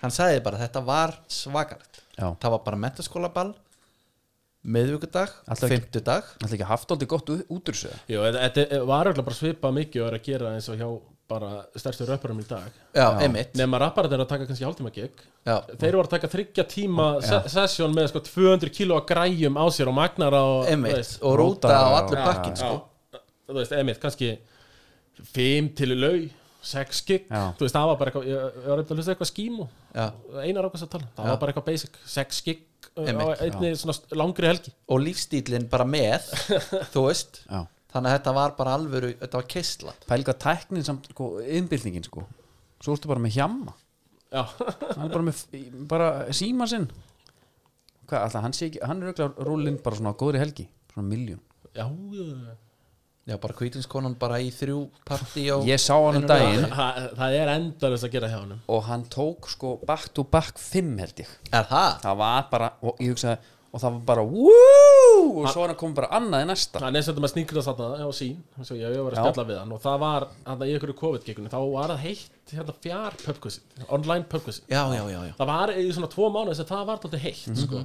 C: hann sagði bara þetta var svakalegt
A: Já.
C: það var bara mentaskólaball miðvíkudag,
A: Alltaf ekki.
C: fymtudag
A: Það er ekki haft aldrei gott út út úr sér
B: Jú, þetta- þetta var öll bara svipað mikið og er að gera eins og hjá bara stærstu röpparum í dag
C: já, einmitt
B: nema rapparat er að taka kannski hálftíma gig
C: Já.
B: þeir voru að taka þryggja tíma se sesjón með sko 200 kilo að græjum á sér og magnara og þú
C: einmitt,
B: veist,
C: og
A: Rúta
C: rúta og
A: og-
C: allur
B: Já,
C: pakkin
B: já.
C: sko.
B: þú veist, einmitt, kannski 5 til lau 6 gig,
A: Já.
B: þú veist, það var bara eitthvað ég, ég var eitthvað að hlusta eitthvað skímu
C: Já.
B: einar ákvæmst að tala, um. það var bara eitthvað basic 6 gig uh, á
C: Einmitt.
B: einni svona st- langri helgi
C: og lífstílinn bara með þú veist,
A: Já.
C: þannig að þetta var bara alvöru, þetta var keisla
A: Pælga tæknin samt, sko, innbyltingin sko Svo ertu bara með hjamma
B: já,
A: Hann er bara með, bara síma sinn Hvað, alltaf hann sé ekki Hann er auðvitað rúlinn bara svona á góðri helgi Svona miljón
B: já, já.
C: já, bara kvítinskonan bara í þrjú partí á
A: Ég sá hann um
C: einum
A: daginn.
C: degi.
B: Það, það er endalega að gera hjá honum
A: Og hann tók sko back to back 5 held ég
C: er það?
A: Það var bara, og ég hugsaði Og það var bara, wúúú Og svo var hann kom bara annað í næsta
B: hann er svolítið með sníkra satna á sín eins og ég hef verið að
A: Já.
B: spjalla við hann og það var hann í einhverju COVID-gikunni þá var það heitt hérna fjár pubquizin online pubquizin
C: já, já, já, já
B: það var í svona tvo mánuð þess að það var alltaf heitt sko.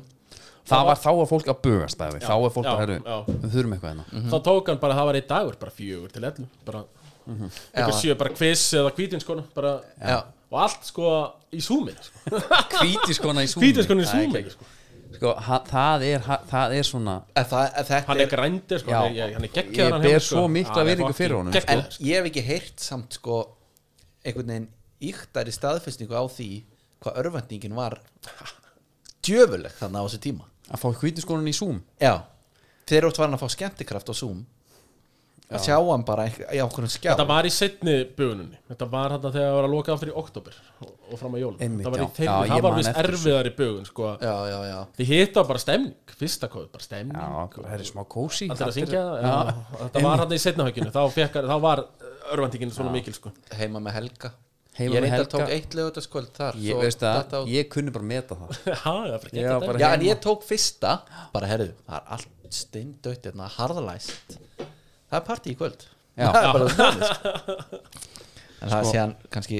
A: Það var þá að fólk að bugast það við Þá er fólk
B: já,
A: að herru,
B: já.
A: við þurfum eitthvað hérna
B: þá tók hann bara það var einn dagur bara fjögur til ellu bara
A: Mhm.
B: einhver
C: Já.
B: sjö bara quiz eða kvítinskonu bara
C: Já.
B: og allt sko í súmi sko.
A: Kvítiskona í súmi
B: kvítinskonu í
A: Það er
B: súmi
A: ekki-
B: sko.
A: Sko, ha- það er, ha- það er svona
C: en það, en þetta
B: hann er grændir sko.
A: Já.
B: hann er- hann er geggjaður
A: Ég
B: hann
A: ber
B: hefur, sko.
A: svo mikla
B: Hann er
A: virðingu
B: fucking
A: fyrir honum.
B: geggjaður,
C: en
B: sko.
C: ég hef ekki heyrt samt sko einhvern veginn íktari staðfestingu á því hvað örvendingin var djöfuleg þannig á þessu tíma
A: að fá kvítiskonan í súm
C: já, þeir ótt var hann að fá skemmtikraft á Zoom að sjá hann bara einhver- í ákveðum skjá
B: Þetta var í setni bugununni Þetta var þetta þegar það var að loka aftur í oktober og, og fram að jólum
A: Einmitt,
B: Það var, í
A: já.
B: þeirri,
A: Já, ég
B: það var
A: man
B: vist
A: eftir þessu.
B: erfiðari bugun sko.
C: já, já, já,
B: Þið hitta bara stemning Fyrsta kóð, bara stemning
A: Já, það er smá kósi
B: Allt er að syngja já. Þetta var hann í setna hökjunu Þá, fékk, þá var örvendingin svona mikil sko.
C: heima með Helga
A: Heima
C: ég
A: með
C: reyndar
A: Helga.
C: tók eitt lögutaskvöld þar
A: Ég
C: svo
A: veist
C: datt á-
A: það, ég kunni bara meta það
B: Já, það er
A: Já, bara-
B: bara
C: já, en
A: heima.
C: ég tók fyrsta bara herðu, það er allt steindött hérna, harðalæst það er partí í kvöld
A: Já. Sko-
C: það er bara þannig sko. en það er síðan kannski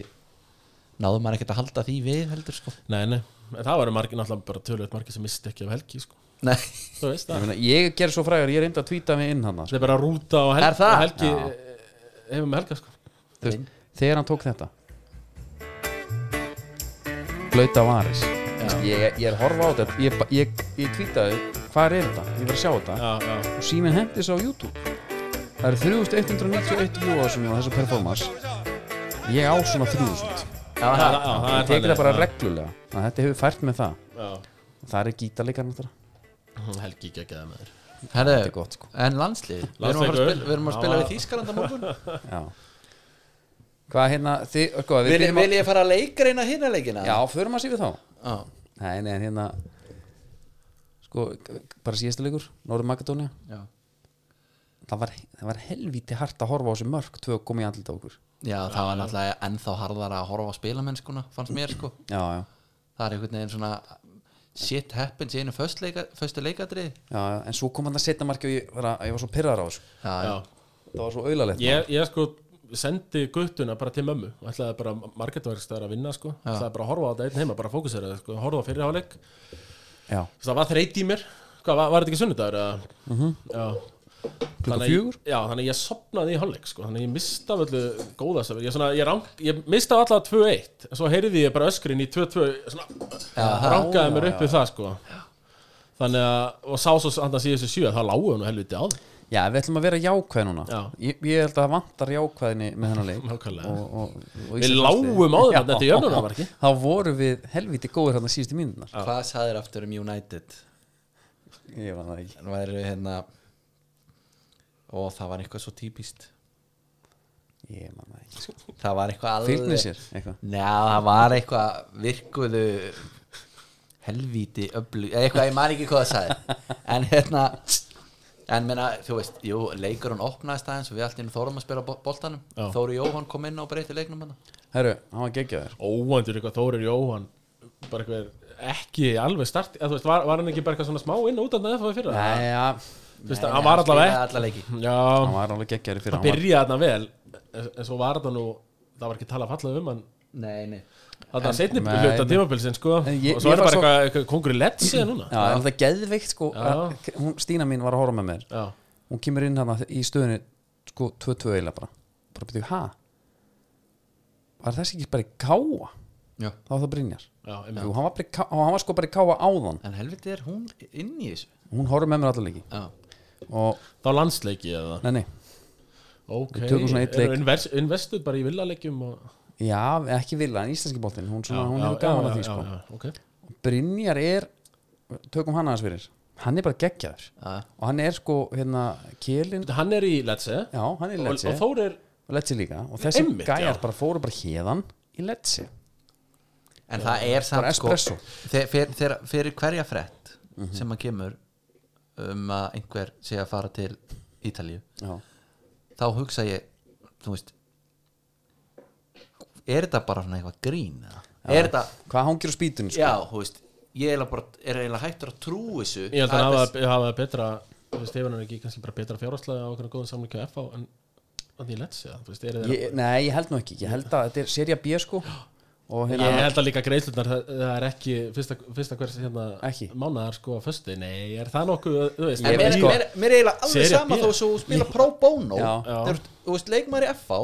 C: náðum maður ekkert að halda því við heldur sko
B: Nei, nei En það varum margir náttúrulega bara tölvöld margir sem misti ekki af helgi sko.
C: Nei,
B: Þú veist
A: Ég
B: það
A: meina, Ég ger svo frægar, ég reyndi að tvíta mig inn hann
B: Þetta er bara rúta og helgi,
C: Er það?
B: og helgi eh, Hefur með helga sko.
A: Þegar hann tók þetta Blauta varis ég, ég er að horfa á þetta Ég, ba- ég, ég tvítaði, hvað er þetta? Ég var að sjá þetta
B: Já, já
A: og síminn hendis á YouTube Það eru 3191 view á þessum á þessu performance Ég á svona 3000
B: Það- já, það
A: Ég
B: er
A: tekur
B: þannig,
A: það bara
B: já.
A: reglulega Þannig að Þetta hefur fært með það
B: Já.
A: Það er gítarleikar náttúrulega
B: Mhm, Helgi geggjaði með þér
A: Þetta er
C: herðu,
A: gott sko
C: en landslið við erum að, fara að
B: Landsleikur.
C: spila, við, erum að spila
B: Já.
C: við Þýskalanda morgun
A: Já Hvað hérna, þið, sko við
C: vil,
A: byrjum
C: vil ég fara að leika reyna hérna leikina
A: Já, förum að sé við þá
C: Já.
A: Nei, nei, en hérna Sko, g- g- bara síðasta leikur Norður Makedónia
C: Já.
A: það var, það var helvíti hart að horfa á þessu mörg Tvö að koma í andlita okkur
C: já, það var náttúrulega ennþá harðara að horfa á spilamennskuna fannst mér sko
A: Já, já,
C: það er einhvern veginn svona shit happens í einu föstu leika, leikadrið
A: já, já. en svo kom hann að setja marki og ég var, að, ég var svo pyrrar á þessu
C: já,
B: Já
A: Það var svo auðalegt
B: ég, ég sko sendi guttuna bara til mömmu og ætlaði bara marketverkstæðar að vinna sko ætlaði bara að horfa á þetta einn heima, bara að fókusera það, sko, horfa á fyrirháleik
A: Já,
B: það var þreyt í mér, hvað, var, var þetta ekki sunnudagur eða? já
A: klukka
B: að ég,
A: fjögur
B: já, þannig að ég sopnaði í hálfleik sko, þannig að ég mista af öllu góða sem ég, svona, ég, rank, ég mista af allavega 2-1 en svo heyrði ég bara öskrin í 2-2 svona, rankaði mér upp við það sko þannig að, og sá svo hann að síðan þessu sjö þá lágu hann og helviti á því
A: Já, við ætlum að vera jákvæð núna
B: Já.
A: ég, ég held að það vantar jákvæðinni með hennar leik
B: Nákvæmlega.
A: og, og, og
B: Við lágum á þeim
A: Já.
B: þarna eftir jöfnunarmarkið.
A: Þá vorum við helviti góður hann að síðustu mínúnar
C: Hvað sagðir aftur um United?
A: Ég var það ekki
C: Hann væri hérna og það var eitthvað svo típist
A: Ég man það ekki sko.
C: það var eitthvað alveg
A: Fylgni sér eitthvað
C: Njá, það var eitthvað virkuðu helvíti öflug, eða eitthvað, ég man ekki hvað það sagði en hérna en meina, þú veist, jú, leikur hún opnaðist aðeins og við allt innum þórum að spila bo- boltanum
B: Já.
C: Þóri Jóhann kom inn og breyti leiknum hann
A: Herru, hann var geggjaður
B: óvæntur eitthvað Þórir Jóhann bara eitthvað ekki alveg start eða, þú veist, var, var hann ekki bara eitthvað svona smá inn og út af það fyrir fyrra
A: Nei, já,
B: þú veist, hann var allaveg
C: alla leiki
A: hann
B: já,
A: var alveg geggjaður fyrir
B: hann
A: hann var,
B: byrjaði þarna vel en, en svo var þetta nú það var ekki talað fallað um hann
C: Nei, nei
B: þarna setni
A: Nei,
B: hluta
A: nei.
B: tímabilsin sko
A: En ég-
B: og svo
A: ég
B: er
A: var
B: bara
A: svo-
B: eitthvað, eitthvað kongur í lett síðan núna
A: Já, en það geðveikt sko
B: Já.
A: að, hún, Stína mín var að horfa með mér
B: já,
A: Hún kemur inn hann í stöðunni sko 2-2 eila bara Bara byrjuðu, ha? Var þessi ekki bara í káa?
C: Já.
A: Þá var það Brynjar
B: já,
A: Jú,
B: einmitt.
A: hann var, bara í ká- hann var sko bara í káa áðan
C: En helviti er hún inn í þessu
A: hún horfði með mér alla leiki
C: Já,
A: og,
B: þá landsleiki eða
A: nei, nei,
B: ok,
A: Við tökum svona einn leik.
B: Eru invers, investuð bara í villaleikjum og...
A: já, ekki vilja en íslenski boltinn, hún, svona, hún hefur
B: já,
A: gaman að
B: já,
A: því sko.
B: já, já, ok.
A: Brynjar er tökum hann aðeins fyrir, hann er bara geggjaður
C: Já.
A: og hann er sko, hérna kélin,
B: Bíddu, hann er í Lecce
A: já, hann er í
B: og,
A: Letsi
B: og Þórir
A: og Letsi líka, og þessi
B: Einmitt,
A: gæjar
B: já.
A: bara fóru bara hérðan í Letsi
C: En það er samt sko-
A: Bara espresso.
C: þe- fyr- þegar- Fyrir hverja frett sem að kemur um að einhver sé að fara til Ítalíu
A: já,
C: þá hugsa ég þú veist er þetta bara svona eitthvað grín eða? er þetta,
A: hvað hangir á spýtunni sko?
C: já, þú veist ég er eiginlega bara, er eiginlega hættur að trú þessu
B: ég held að
C: Það
B: hann
C: er
B: hafa, hafa betra þú veist, hefur hann ekki kannski bara betra fjárháslega á okkur góðum samlingu á FH en hann í Lecce eða, þú veist, eru þeir-
A: ég, nei, ég held nú ekki, ég held að þetta er serja B sko og
B: ég,
A: hérna,
B: held að líka greiðslutnar það, það er ekki fyrsta, fyrsta hvers hérna,
A: Ekki.
B: mánaðar sko að föstu nei, er það nokkuð þú veist,
C: En
A: Ég
C: mér,
A: veit sko-
C: mér, mér er eiginlega alveg
B: Serie
C: sama
B: B.
C: þó að þú spila pro bono
A: Já.
B: Já.
C: Þegar þú- þú veist leikmaður í FH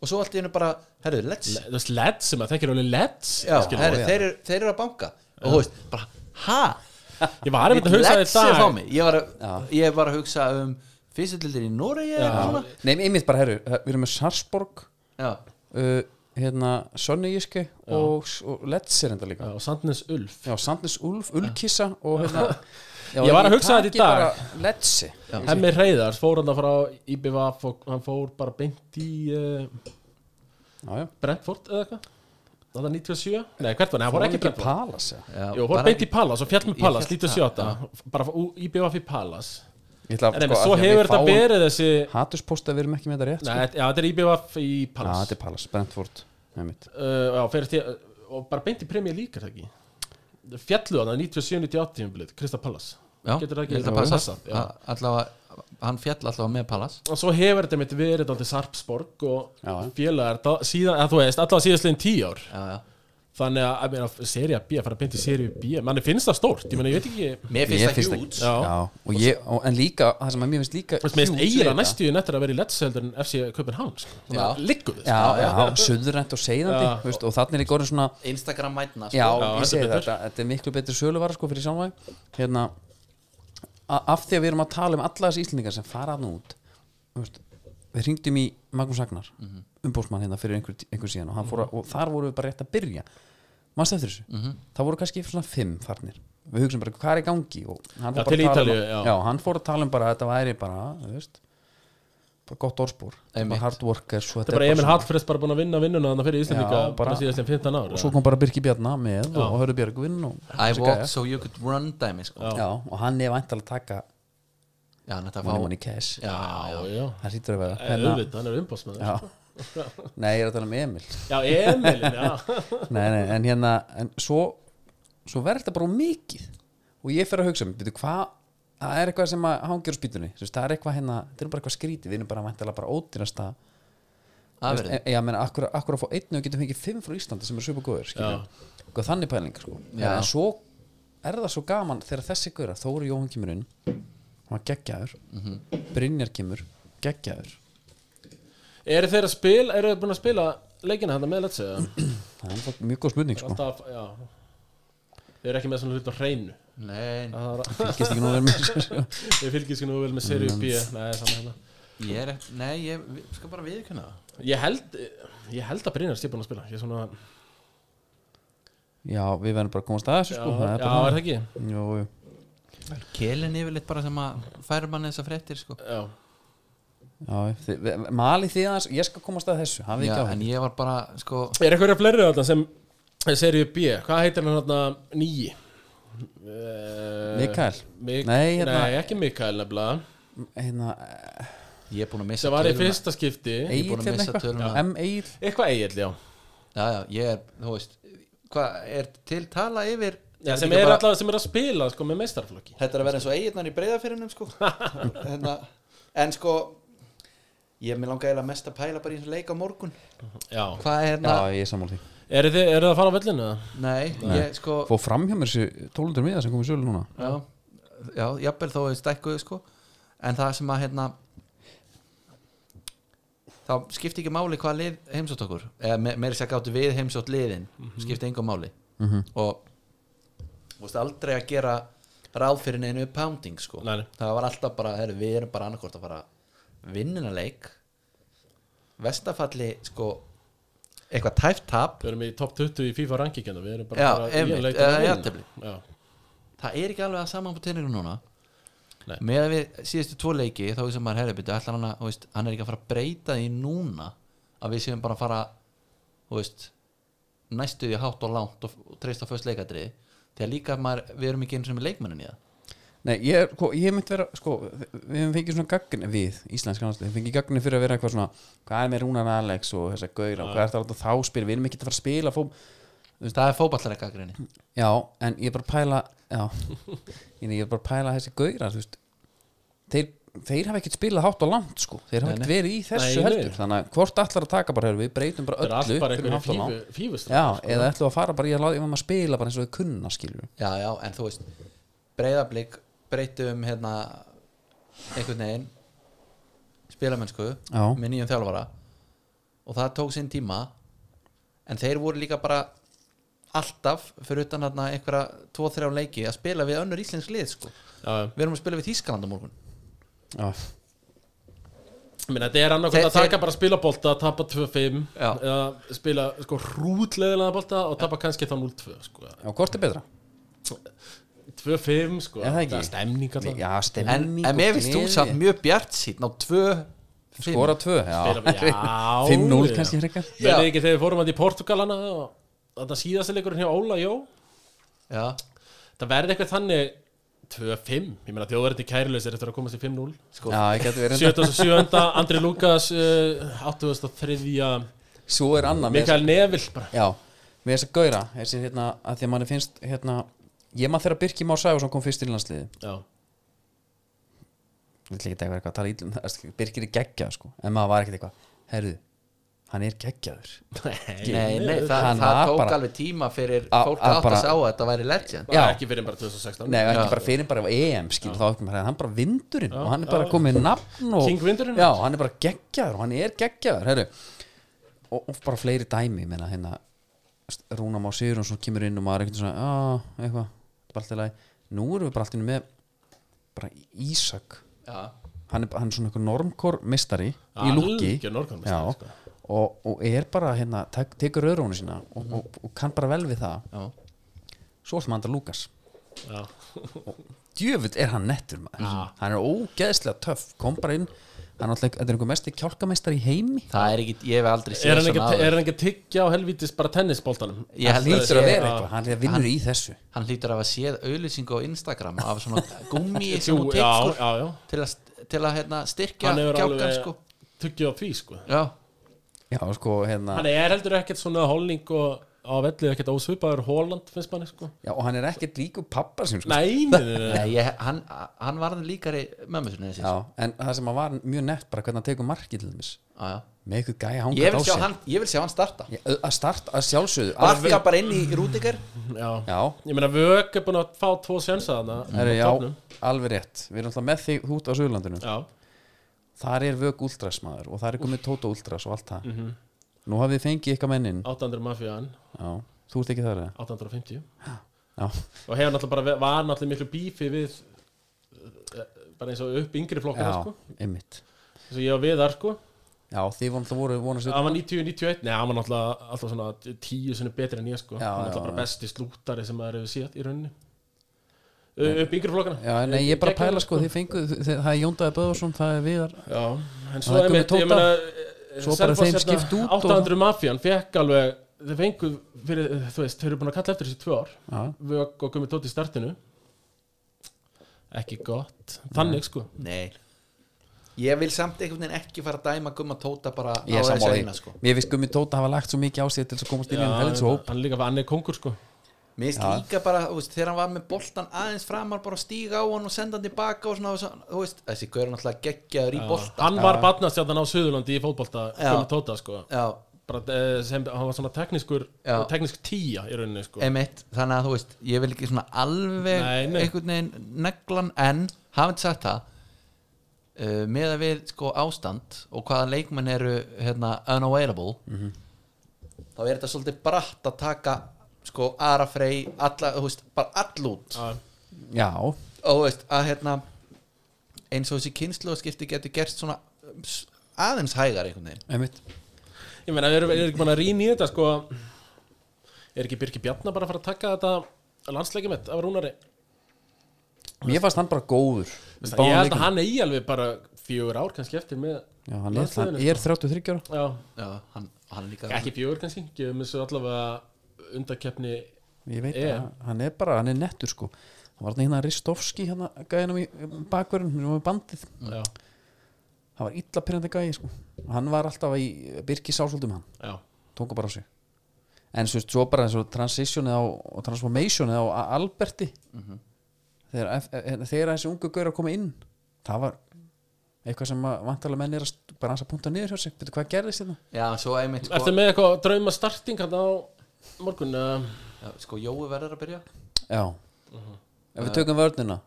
C: og svo allt í hennu bara, herru, let's
B: Le- þú veist, lett sem að þekkir alveg lett
C: já, herru, þeir, eru- þeir eru að banka og þú veist, bara, ha
B: ég var einmitt að hugsa
C: Let's
B: þetta
C: fá mig. ég var, að, ég var að hugsa um fyrstildildir í Noregi eða eitthvað svona.
A: nei, einmitt bara, herru, við erum með Sarsborg
C: já,
A: uh, hérna Sönni Jíski og, og Letser enda líka
B: og Sandnes Ulf
A: já, Sandnes Ulf, Ulkissa og hérna já,
B: Ég var að hugsa þetta í
A: taki
B: dag.
A: bara Letsi
B: Hemmi Reyðars fór hann að fara á IBVF og hann fór bara beint í uh,
A: já, já.
B: Brentford eða eitthvað það er 97, nei hvert var, nei, hann fór ekki Brentford
A: Palas já.
C: já,
B: Jú,
C: bara
B: fór beint í Palas og fjall með Palas,
C: féll-
B: lítið sjöta bara ú- í BVF í Palas
A: ég ætla
B: en sko, svo hefur þetta berið þessi
A: Sko.
B: nei,
A: haturspósta við erum ekki með þetta rétt sko.
B: þetta- já, þetta er í BVF í
A: já,
B: Palas
A: þetta er Palas, Brentford einmitt.
B: uh, já, fyrir til og bara beint í premjör líka það ekki fjallu hann að 97-98 tímabilið, Krista Pallas
C: Já,
B: getur það
C: ég
B: ekki
C: held að
B: Þetta
C: passa.
B: passar, já.
C: A- allavega, hann fjall allavega með Pallas
B: og svo hefur þetta mitt verið dálítið Sarpsborg og
A: Já.
B: félagar da- síðan, að þú veist, allavega síðastliðin 10 ár
C: já, já.
B: þannig að, að meina, seria B, að fara beint í seria B manni finnst það stórt, ég meina, ég veit ekki
C: mér
A: Mér
C: finnst það
A: finnst
C: hjút
B: já,
A: já, og ég, og, en líka það sem að mér finnst líka
B: Þú veist, mér finnst
A: huge við
B: eiginlega
A: þetta.
B: næstíðin eftir að vera í Letseldur en FC Copenhagen sko. Þannig að
C: Já.
B: liggur þið
A: já, já, suðrænt og seiðandi
B: Já.
A: veist, og þannig er líka orðin svona
C: Instagram mætna sko.
A: Já,
B: heldur
A: ég segi
B: betur.
A: þetta, þetta er miklu betur söluvara sko fyrir samvæg hérna, a- af því að við erum að tala um alla þessi íslendingar sem fara þarna út þú veist, við hringdum í Magnús Agnar, mm umbósmann hérna fyrir einhver, einhver síðan og, hann fór að, og þar voru við bara rétt að byrja mannst eftir þessu, það voru kannski svona fimm farnir, við hugsaum bara hvað er í gangi og hann fór bara
B: Já, til
A: að tala
B: Ítalíu,
A: um,
B: já.
A: hann fór að tala um bara að þetta væri bara, þú veist bara gott orðspor, þetta er bara hard workers og
B: Þetta er bara Emil
A: svona-
B: Hallfreds bara búin að vinna vinnuna þannig fyrir Íslandika
A: Já, bara-
B: bara síðast en 15 ár
A: og svo kom bara Birki Bjarnar með og Hörðu Björgvinn og
C: I
A: þessi
C: walk
A: gæjar.
C: so you could run dæmi sko.
A: já, og hann er væntal að taka
C: já, þetta fá
A: money money cash
C: já,
B: já, já,
A: hann hlýtur að vera
B: Eh, auðvitað, hann er umbóðsmaður já.
A: Hérna. já. nei, ég er að tala um Emil
B: Emil, já
A: nei, nei, en hérna, en svo svo verður þetta bara of mikið og ég fer að hugsa, um, veitu hvað það er eitthvað sem að hangir á spýtunni Þú veist, það er eitthvað hérna, þetta er bara eitthvað skrítið við erum bara væntalega bara ódýrasta
C: afverði
A: Veist, e- já, menn, akkur, akkur að fá einn og getum fengið fimm frá Íslandi sem er super góður og þannig pæling sko.
C: Já.
A: en svo er það svo gaman þegar þessi góður að Þóri Jóhann kemur inn hann var geggjaður
C: Mhm.
A: Brynjar kemur, geggjaður
B: Eru þeir að spila, eru þeir búin að spila leikina þetta með Let's eða?
A: það er bara mjög góð spurning sko.
B: Alltaf, já Þeir eru ekki með svona hlut á hreinu
C: Nei,
B: Það var-
A: fylgist ekki nú verið með þessu. sko.
B: Ég fylgist ekki nú vel með Serie B Nei, saman hérna
C: ég er ekki Nei, ég við- skal bara viðkynna það
B: Ég held, ég held að Brynjar sé búin að spila Ég er svona,
A: já, við verðum bara að komast að þessu
B: já,
A: sko
B: já, er
A: bara
B: það ekki?
A: Jú, jú.
C: Kélin yfirleitt bara sem að færa mann þessa fréttir sko.
B: Já,
A: Já, þið, við- malið þið aðeins, ég skal komast að þessu hafið
C: Já,
A: ekki á
C: en
A: henni
C: ég var bara sko,
B: Er eitthvað fleiri þarna sem Serie B, hvað heitir hann þarna nýji?
A: Mikael?
B: Mik
A: Nei, hérna-
B: Nei, ekki Mikael nefnilega
A: hérna,
C: ég er búin að missa
B: sem var í
C: töluna.
B: fyrsta skipti
C: er búinn
A: Egil
C: að
A: hérna
C: missa töluna.
A: eitthvað M. Egil
B: Eitthvað Egil, já
C: Já, já, ég er, þú veist Hvað, er til tala yfir
B: Já, sem
C: ekki
B: er
C: bara-
B: allavega sem er að spila sko, með meistarflokki
D: Þetta er að vera eins og eiginnar í breyðafyrinum sko. Hérna, en sko ég er mér langa eiginlega mest að pæla bara í eins og leik á morgun
B: Já,
C: Hvað er hérna?
A: Já,
C: það?
A: ég er sammála því
B: eru þið, eru þið að fara á vellinu? eða?
C: Nei, ég sko
A: Fó fram hjá mér þessu tólundur miða sem kom í sölu núna
C: já, já, jafnvel þó við stækkuðu sko en það sem að hérna þá skipti ekki máli hvað lið heimsótt okkur eða me- meira sér gáttu við heimsótt liðin
B: Mhm.
C: skipti engum máli -hmm. og þú veist aldrei að gera ráð fyrir neinu pounding sko
B: Nei, nei.
C: það var alltaf bara, heru, við erum bara annarkort að fara vinnina leik vestafalli sko eitthvað tæft tap
B: Við erum í top 20 í FIFA rankinginu Við erum bara
C: Já,
B: bara í
C: einmitt,
B: að leika
C: eða
B: að vinna.
C: jafntefli.
B: Já,
C: það er ekki alveg að saman på tenningum núna
B: Nei.
C: með að við síðustu tvo leiki þá er sem maður herribyttu ætlar hann að þú veist, hann er ekki að fara að breyta því núna að við séum bara að fara þú veist, næstu því hátt og langt og, og treyst á föst leikadriði þegar líka maður, við erum ekki eins og með leikmennin í það
A: Nei, ég, er- sko, ég myndi vera, sko, við við höfum fengið svona gagni við, íslensk náttúrulega, við höfum fengið gagni fyrir að vera eitthvað svona, hvað er með Rúnan Alex og þessa gauðra og hvað er það að láta þá spila, við erum ekki að fara að spila fó...
C: Þú veist, það er fótballarleika grinni
A: Já, en ég er bara að pæla, já, ég er bara að pæla þessi gauðra, þú veist, þeir, þeir hafa ekkert spilað hátt og langt, sko, þeir hafa ekkert verið í þessu
B: Nei, nei.
A: heldur, þannig að hvort allar að taka bara, heyrðu, við breytum bara
B: það er allt
A: öllu
B: bara
A: fyrir hátt og
B: einhverju
A: langt.
B: fífust
A: Já, eða ætlum við að fara bara í að láta um að spila bara eins og við kunna, skilur
C: já, já, en þú veist, breyðablík breytum hérna einhvern veginn spilamennsku
A: Já.
C: með nýjum þjálfara og það tók sinn tíma en þeir voru líka bara alltaf fyrir utan hérna einhverja 2-3 leiki að spila við önnur íslensk lið sko.
B: Já,
C: við erum að spila við Þískaland á morgun
A: Já,
B: Minna, þetta er annarkvæmt að
C: Þeir-
B: taka bara spilabolta tapa 2-5
C: Já.
B: eða spila sko hrútleðilega bolta og tapa kannski þá 0-2 sko.
A: já, hvort er betra?
B: 2-5 sko,
A: Er það ekki?
B: er stemning alltaf
A: Já,
C: en,
A: stemning
C: en
A: og
C: mér finnst þú
A: gleði.
C: samt mjög bjart síðan á 2
A: skora tvö já.
B: Spila- já.
A: 5-0 kannski hrekar
B: Við erum ekki þegar við fórum að í Portugalana og þetta síðasta leikurinn hjá Óla Jó
C: já,
B: það verði eitthvað þannig 2-5, ég meina þjóðverðin kærileysir eftir að komast í 5-0 sko.
A: já, ég geti verið
B: 77. Andri Lukas uh, 83.
A: svo er annað með
B: Mikael Neville bara.
A: já, með þess að gauðra þessi hérna, að því að manni finnst hérna, ég maður þegar Birki Már Sæfarsson kom fyrst í landsliði
B: Já,
A: ég ætla ekki að vera eitthvað að tala ítlum það Birkir er geggjað sko, en maður var ekkert eitthvað herðu, hann er geggjaður
C: nei, nei, það,
A: Hann
C: það
A: var
C: tók
A: bara-
C: alveg tíma fyrir
A: Að-
C: fólk
A: að
C: að átta
A: bara-
C: sig á að þetta væri legend
B: bara
A: Já.
B: ekki fyrir bara 2016
A: Nei, ekki bara fyrir bara á EM skil, þá ekki maður, hann er bara vindurinn og hann er bara
B: já.
A: komið nafn og,
B: King vindurinn.
A: Já, hann er bara geggjaður og hann er geggjaður herru. og, og bara fleiri dæmi menna, hérna, Rúna Má Sigurjónsson kemur inn og maður er eitthvað svona "Ah, eitthvað, þetta er bara allt í lagi Nú erum við bara allt í einu með bara Ísak
C: já,
A: hann er, hann er svona einhver normkor mistari í lúki
B: Algjör normkormeistari,
A: Já.
B: sko.
A: og, og er bara hérna, tek, tekur öðrónu sína og, og, og kann bara vel við það
C: já
A: svo ætlum hann að Lukas
B: Já.
A: djöfull er hann nettur maður hann er ógeðslega töff, kom bara inn hann er alltaf, þetta er einhver mesti kjálkameistar í heimi
C: Það er ekki, ég hef aldrei séð
B: Er hann ekki, er
C: svona áður
B: hann ekki að tyggja á helvítis bara tennisboltanum?
C: Ég
A: hann
C: held að
A: lítur að
C: sé-
A: vera eitthvað, hann er að vinnur í þessu
C: Hann hlýtur að hafa séð auðlýsingu á Instagram af svona gummi sem
B: Jú, já,
C: hún tek sko
B: já, já.
C: til að, til að hérna, styrkja
B: Hann hefur
C: kjálkan
B: alveg
C: sko
B: tyggja á því sko
C: Já,
A: já, sko, hérna,
B: Hann er heldur ekkert svona holning og á vellið ekkert ósvipaður Holland finnst manni sko
A: já, og hann er ekkert líku pappa sem sko
B: Nei, nei, nei, nei.
C: Nei, ég, hann, hann varði líkari mömmu sinni þessi
A: já,
C: já.
A: en það sem hann var mjög nett bara hvernig hann tekur markið til þeimis
C: Já,
A: með eitthvað gæja hangað
C: Ég, vil
A: á
C: sjá
A: sér.
C: hann, ég vil sjá hann starta
A: Já, að starta, að sjálfsögðu
D: Barka
A: alveg-
D: bara inn í Rúdiger
B: Já.
A: já,
B: Ég meina vök er búin að fá tvo sjensa þarna
A: Herru,
B: á
A: já,
B: toppnum.
A: alveg rétt Við erum alltaf með þig út á Suðurlandinu
B: já
A: Þar er vök úldrasmaður og þar er komið Tóta úldras og allt það Nú hafið þið fengið ykkar mennin
B: 800 mafían,
A: Já, þú ert ekki þar eða?
B: 850
A: Já.
B: og hefur náttúrulega bara ve- var náttúrulega miklu bífi við eh, bara eins og upp yngri flokkar
A: Já,
B: sko,
A: einmitt
B: eins og ég og við þar sko
A: Já, þið voru alltaf voru vonast
B: hann var 90-91, neða hann var náttúrulega alltaf svona tíu sinni betri en ég sko
A: Já,
B: hann var
A: já,
B: náttúrulega bara
A: já.
B: besti slútari sem maður hefur séð í rauninni Ö, upp yngri flokkana
A: Já, nei, ég er bara að pæla sko, þið fengu þið- það er Jóndaði Böðarsson, það er Viðar
B: Já, en svo
A: Það er
B: er
A: Gummi
B: mitt, ég
A: Tóta.
B: meina
A: Svo
B: Selfoss
A: bara þeim
B: hérna,
A: skipt út og-
B: 800 mafjan fekk alveg, þeir fengu fyrir, eh, þú veist, þeir eru búin að kalla eftir þessi tvö ár
A: Já,
B: Vögg og Gummi Tóti í startinu ekki gott þannig sko
C: Nei
D: Ég vil samt einhvern veginn ekki fara að dæma gumma tóta bara
A: ég er
D: á þessu
A: sammála
D: eina
A: í-
D: sko
A: Mér finnst Gummi Tóta hafa lagt svo mikið á sig til þess að komast inn í
B: Já,
A: enn helins hóp
B: hann er líka var annir kongur sko
D: Mér finnst
A: Já.
D: líka bara, þú veist, þegar hann var með boltan aðeins framar bara stíga á hann og senda hann tilbaka og svona, og svo- þú veist, þessi gaur er náttúrulega geggjaður í bolta
B: hann var barnastjarnan á Suðurlandi í fótbolta
D: Já.
B: Gummi Tóta sko
D: Já,
B: bara, eh, sem, hann var svona teknískur
C: Já.
B: teknísk tíja í rauninni sko
C: Emitt, þannig að þú veist, ég vil ekki svona alveg
B: Nei, nei.
C: einhvern veginn neglan en hafandi sagt það uh, með að við sko ástand og hvaða leikmenn eru hérna, unavailable
B: Mhm.
D: þá er þetta svolítið bratt að taka sko Ara Frey, alla, þú veist, bara all út
B: Já.
A: Já,
D: og þú veist, að hérna eins og þessi kynnslóðskipti getur gerst svona um, s- aðeins hægar einhvern veginn
A: einmitt
B: ég meina, er, er ekki mann að rýna í þetta sko er ekki Birki Bjarnar bara að fara að taka þetta landsleikið mitt af Rúnari
A: Mér fannst hann bara góður í
B: ég
A: báðum
B: held
A: leikjum.
B: að hann eigi alveg bara fjögur ár kannski eftir með
A: Já, hann er, hann,
B: landsliðinu,
A: ég er 33 ára
B: já,
C: Já, hann, hann er líka
B: ekki fjögur kannski gefum þessu allavega undarkeppni
A: Ég veit
B: Ég.
A: að hann er bara, hann er nettur sko Hann var hérna Ristovski hérna gæðinum í bakverðin, hann var bandið
D: Mm.
B: já,
A: Hann var illa pyrrandi gæði sko Hann var alltaf í Birki sásvöldum um hann
B: já
A: tóka bara á sig en svo, svo bara eins og transitionið á, og transformationið á A- Alberti þegar, F- e- þegar þessi ungu gaur að koma inn það var eitthvað sem að vantarlega menn er að st- bara hans að punta niður hjá sig Byrju, hvað gerðist hérna? þetta?
C: Já, svo emitt sko,
B: Ertu með eitthvað drauma starting hann á morgun uh,
C: já, sko Jói verður að byrja
A: Já ef við tökum vörnina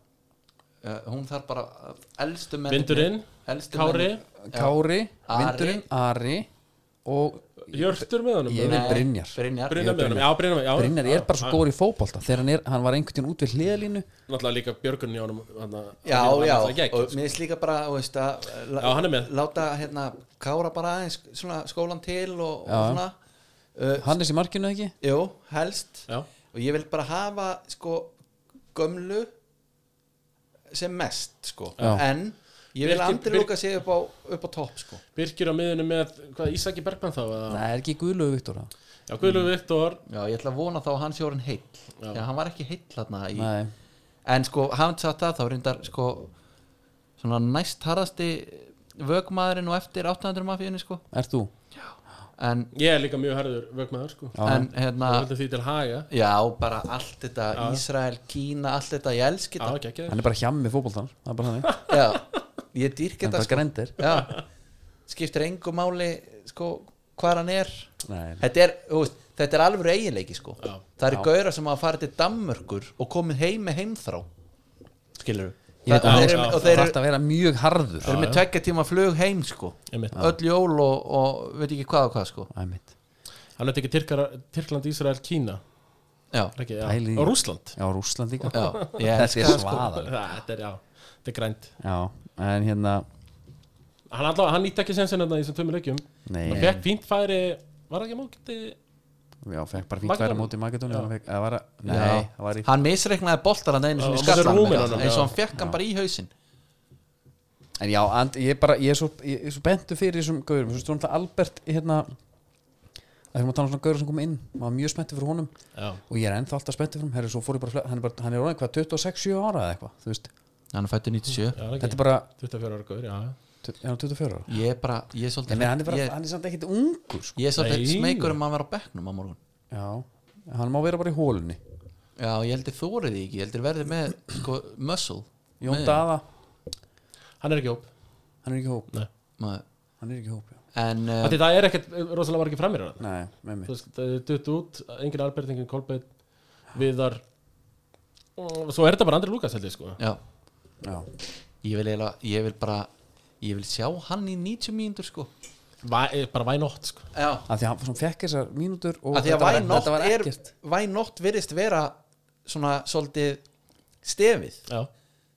D: Eh,
C: uh, hún þarf bara uh, elstu menn
B: Vindurinn,
C: elstu
B: Kári,
C: mennirnir-
A: Kári,
C: Ari.
A: Vindurinn, Ari og
B: Hjörtur með honum
A: Ég
D: Eh,
A: vil Brynjar.
C: Brynjar
B: Brynjar með honum, já Brynjar með já.
A: Brynjar er bara sko- svo
B: Já,
A: góður í fótbolta þegar hann, er, hann var einhvern tíðan út við hliðalínu
B: Náttúrulega líka Björgun í honum hann að-
D: Já,
B: hann er
D: já,
B: náttúrulega gegn,
D: og
B: sko.
D: mér finnst líka bara, þú veist, að la-
B: Já, hann er með.
D: láta, hérna, kára bara aðeins svona skólan til og, og
A: Já.
D: svona uh,
A: Hannes í markinu ekki?
D: Jú, helst
B: Já,
D: og ég vil bara hafa, sko gömlu sem mest, sko
A: Já.
D: en ég vil
B: Birkir-
D: andri
B: Birk-
D: lúka sig upp á, upp á topp, sko
B: Birkir á miðunum með hvað, Ísaki Bergmann þá eða?
A: Það er ekki Guðlögu Viktor það?
B: Já, Guðlu Viktor
C: já, ég ætla að vona þá að hann sé orðin heill já. hann var ekki heill þarna í,
A: Nei,
C: en sko, hafði sagt það þá reyndar sko, svona næst harðasti vögmaðurinn og eftir 800 mafíunni sko
A: er þú?
C: en,
B: Ég er líka mjög harður vökmaður sko
A: Já.
C: en hérna
B: Það heldur því til haga
C: já, bara allt þetta, Ísrael, Kína allt þetta, ég elski
B: Já, ekki, ekki
A: Hann er bara hjammi fótboltan Það er bara þannig
C: þetta já,
D: ég dýrk
A: Hann er
D: þetta,
A: bara grendir
D: sko já. skiptir engu máli, sko hvað hann er
A: Nei,
D: þetta er, þú veist, þetta er alveg eiginleiki sko.
B: Já.
D: það eru gauðra sem hafa farið til Danmörkur og komið heim með heimþrá skilur
A: Ég veit
D: og
A: að
D: þeir eru
B: já,
D: og
A: það
D: þeir
A: þarf
D: eru-
A: að vera mjög harður
D: þeir eru með tvekja tíma flug heim sko.
B: Einmitt.
A: Ah.
C: öll jól og, og veit ekki hvað og hvað sko
A: Æmitt
B: Hann er ekki Tyrkar- Tyrkland, Ísrael, Kína
C: já,
B: er ekki, já.
A: Pæli í-
B: Og Rússland
A: Já, Rússland líka
C: já, ég
A: Þetta
C: elska
A: er
C: það, sko.
A: svaðal
B: Þetta er, já, þetta er grænt
A: Já, en hérna
B: Hann, allavega, hann nýtti ekki sensin þetta í þessum tveimur leikjum
A: Nei.
B: Hann fekk fínt færi Var það ekki mókiti
A: Já, fekk bara fínt væri á móti Makedóni Nei,
C: Já.
A: það var í
C: hann misreiknaði boltar hann einu
B: Já,
C: svona í
B: hann
C: skallan
B: rúminn
C: með
B: honum,
C: það, eins
B: já.
C: og hann fekk hann bara í hausinn
A: En já, and, ég, er bara, ég, er svo, ég er svo bentu fyrir þessum gaurum Svo stóðum það Albert hérna Það er maður að tala um svona gaurum sem kom inn Maður var mjög spenntu fyrir honum
B: Já,
A: Og ég er ennþá alltaf spenntu fyrir honum Herri, svo fór ég bara, að fle- hann er, bara, hann er orðin hvað, 26-7 ára eða eitthvað Þú veist,
C: hann er fættur 97
B: já,
A: þetta
B: ekki
A: er bara
B: 24 ára góður, já
A: Er hann 24 ára?
C: ég er bara, ég er
A: En
C: svolítið
A: hann er, bara,
C: ég,
A: hann er samt ekkit ungur sko.
C: ég er svolítið
B: Nei.
C: smeykur um að vera á bekknum á morgun
A: Já, hann má vera bara í hólunni
C: já, ég heldur þórið ekki, ég heldur verðið með sko, muscle
A: Jón
C: Nei.
A: Daða,
B: Hann er ekki hóp
A: hann er ekki í hóp
B: Nei.
C: Maður-
A: Hann er ekki í hóp, já
C: en
B: Af
C: uh,
B: Því það er ekkert eh, rosalega margir framir hann
A: Nei, með
B: Þú
A: mér
B: veist, það er dutt út Engin Albert, engin Kolbeinn Viðar Og Svo er þetta bara Andri Lukas heldur sko
C: já,
A: Já,
C: ég vil eiginlega ég vil bara, ég vil sjá hann í 90 mínútur sko
B: Væ, eh, Bara vænótt sko
C: já,
A: af því að hann svona fekk þessar mínútur og
D: að því að
A: þetta var-
D: Why Not
A: þetta var
D: er
A: ekkert
D: Why Not virðist vera svona svolítið stefið
B: já,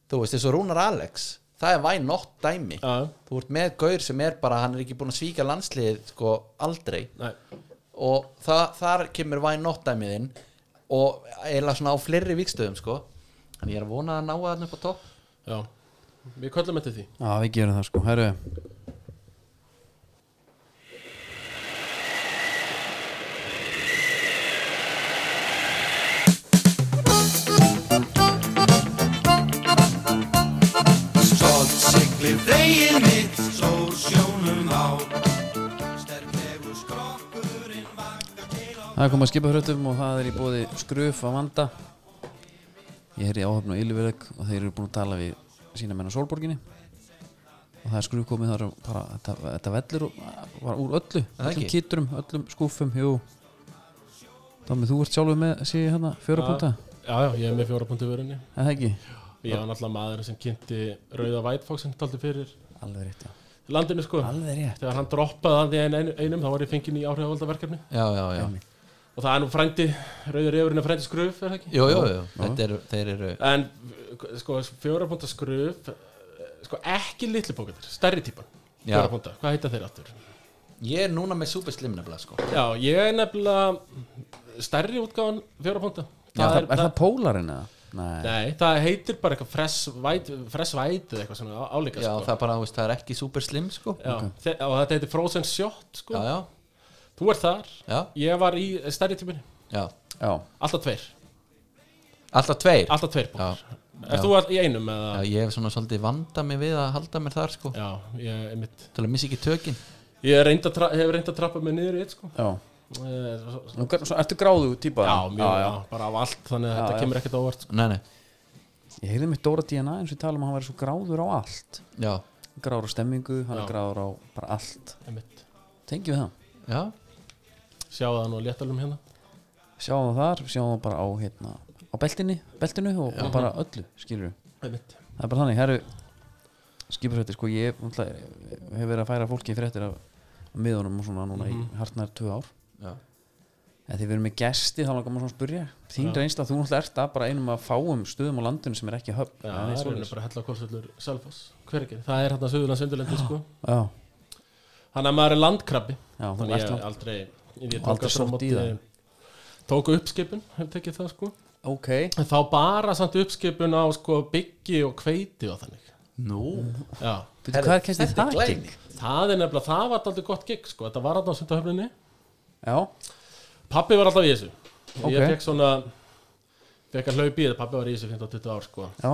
D: þú veist, eins og Rúnar Alex það er væn nótt dæmi
B: já,
D: þú ert með gaur sem er bara, hann er ekki búin að svíka landsliðið sko aldrei
B: nei,
D: og það, þar kemur væn nótt dæmiðinn og eiginlega svona á fleiri vikstöðum sko en ég er að vona að ná að hann upp á topp
B: já Við köllum eftir því
A: Já, við gerum það sko, herru
H: Stolt siglir veginn mitt, sló sjónum á Sterklegur skrokkurinn vakar til á
A: Það er komið að skipa hröttum og það er í bóði skröf að vanda Ég heyri áhöfn og yliverðeg og þeir eru búin að tala við sína menn á Sólborginni og það er skröf komið þar og bara, þetta, þetta vellur og- var úr öllu
C: það
A: öllum
C: ekki?
A: kitturum, öllum skúfum, jú Dómi, þú ert sjálfur með sé ég hérna, fjóra púnta,
B: Já, já, ég er með fjóra punktu vörunni
A: er það ekki?
B: Ég var náttúrulega maður sem kynnti Rauða Vætfóksin taldi fyrir
A: Alveg rétt, já,
B: landinu sko
A: alveg rétt
B: Þegar hann droppaði hann í ein- einum þá var ég fenginn í áhrifavölda verkefni
C: já, já, já,
B: Og það er nú frændi, Rauður Efurinn er frændi skröf, er það ekki?
C: jú, jú, jú. þetta eru, þeir eru
B: En eh, sko, fjóra punktu skröf eh, Sko, ekki litli bókendur, stærri típan
C: Já.
B: Fjóra punktu, hvað heita þeir aftur?
C: ég er núna með super slim nefnilega sko
B: Já, ég er nefnilega stærri útgáðan fjóra punktu
A: Já, það, er, það pólarinn eða? Nei,
B: Nei, það heitir bara eitthvað fresh white, fresh white eða eitthvað svona á- álíka
C: já,
B: sko.
C: það er bara, þú veist, það er ekki super slim sko
B: Já, þe- og þetta heitir Frozen Shot sko.
C: já, já,
B: Þú ert þar,
C: já,
B: ég var í stærri tíminni
C: já.
A: já,
B: Alltaf tveir,
C: alltaf tveir
B: alltaf tveir
C: já,
B: bókar Ert þú all í einum eða?
C: já, ég hef svona svolítið vanda mig við að halda mér þar sko,
B: Já, ég er mitt
C: til að missa ekki tökin
B: Ég er reynd að tra- hef reynd að trappa mig niður í eitt sko
A: já
B: Eh, svo- svo-
A: Nú, hvern- svo, Ertu gráðu típa?
B: Já, mjög,
A: já, já.
B: já, bara af allt Þannig að þetta kemur ekkert á óvart sko.
C: nei, nei,
A: Ég heyrði mitt Dóra DNA eins og ég tala um að hann væri svo gráður á allt
C: já,
A: gráður á stemmingu, hann er
B: Já.
A: gráður á bara allt
B: Einmitt.
A: tengjum við það,
C: já,
B: Sjáðu það nú að léttalum hérna
A: sjáum það þar sjáum það bara á hérna, á beltinni beltinu og, og bara öllu, skilur
B: Einmitt.
A: það er bara þannig, herru skipurhætti, sko, ég náttúrulega, hef verið að færa fólki í fréttir af af miðunum og svona núna
B: Mhm.
A: í hartnar tvö ár
C: já,
A: en þegar við erum með gesti þá langar maður svona að spurja þín reynsla, þú náttúrulega ert að bara einum að fáum stöðum á landinu sem er ekki höfn
B: Já,
A: það er
B: það er
A: svoleiðis.
B: bara hella kólsvöllur Selfoss, hvergir, það er hérna Söðurlands undirlendi sko
A: já,
B: Þannig að maður er landkrabbi
A: Já, þú
B: Þannig
A: ert
B: ég
A: land-
B: aldrei Ég
A: aldrei
B: tók að
A: sótt í það.
B: Tók uppskipun, hef tekið það sko
A: ok,
B: En Þá bara samt uppskipun á sko byggi og kveiti og þannig Nú Já,
A: Bíddu, hvað er kennst þið það ekki?
B: það er nefnilega, það var aldrei gott gig sko Þetta var alltaf á sundahöfninni
A: já,
B: Pappi var alltaf í þessu
A: Ok.
B: Ég fekk svona Fekk að hlaupi í það, pappi var í þessu 15-20 ár sko
A: já,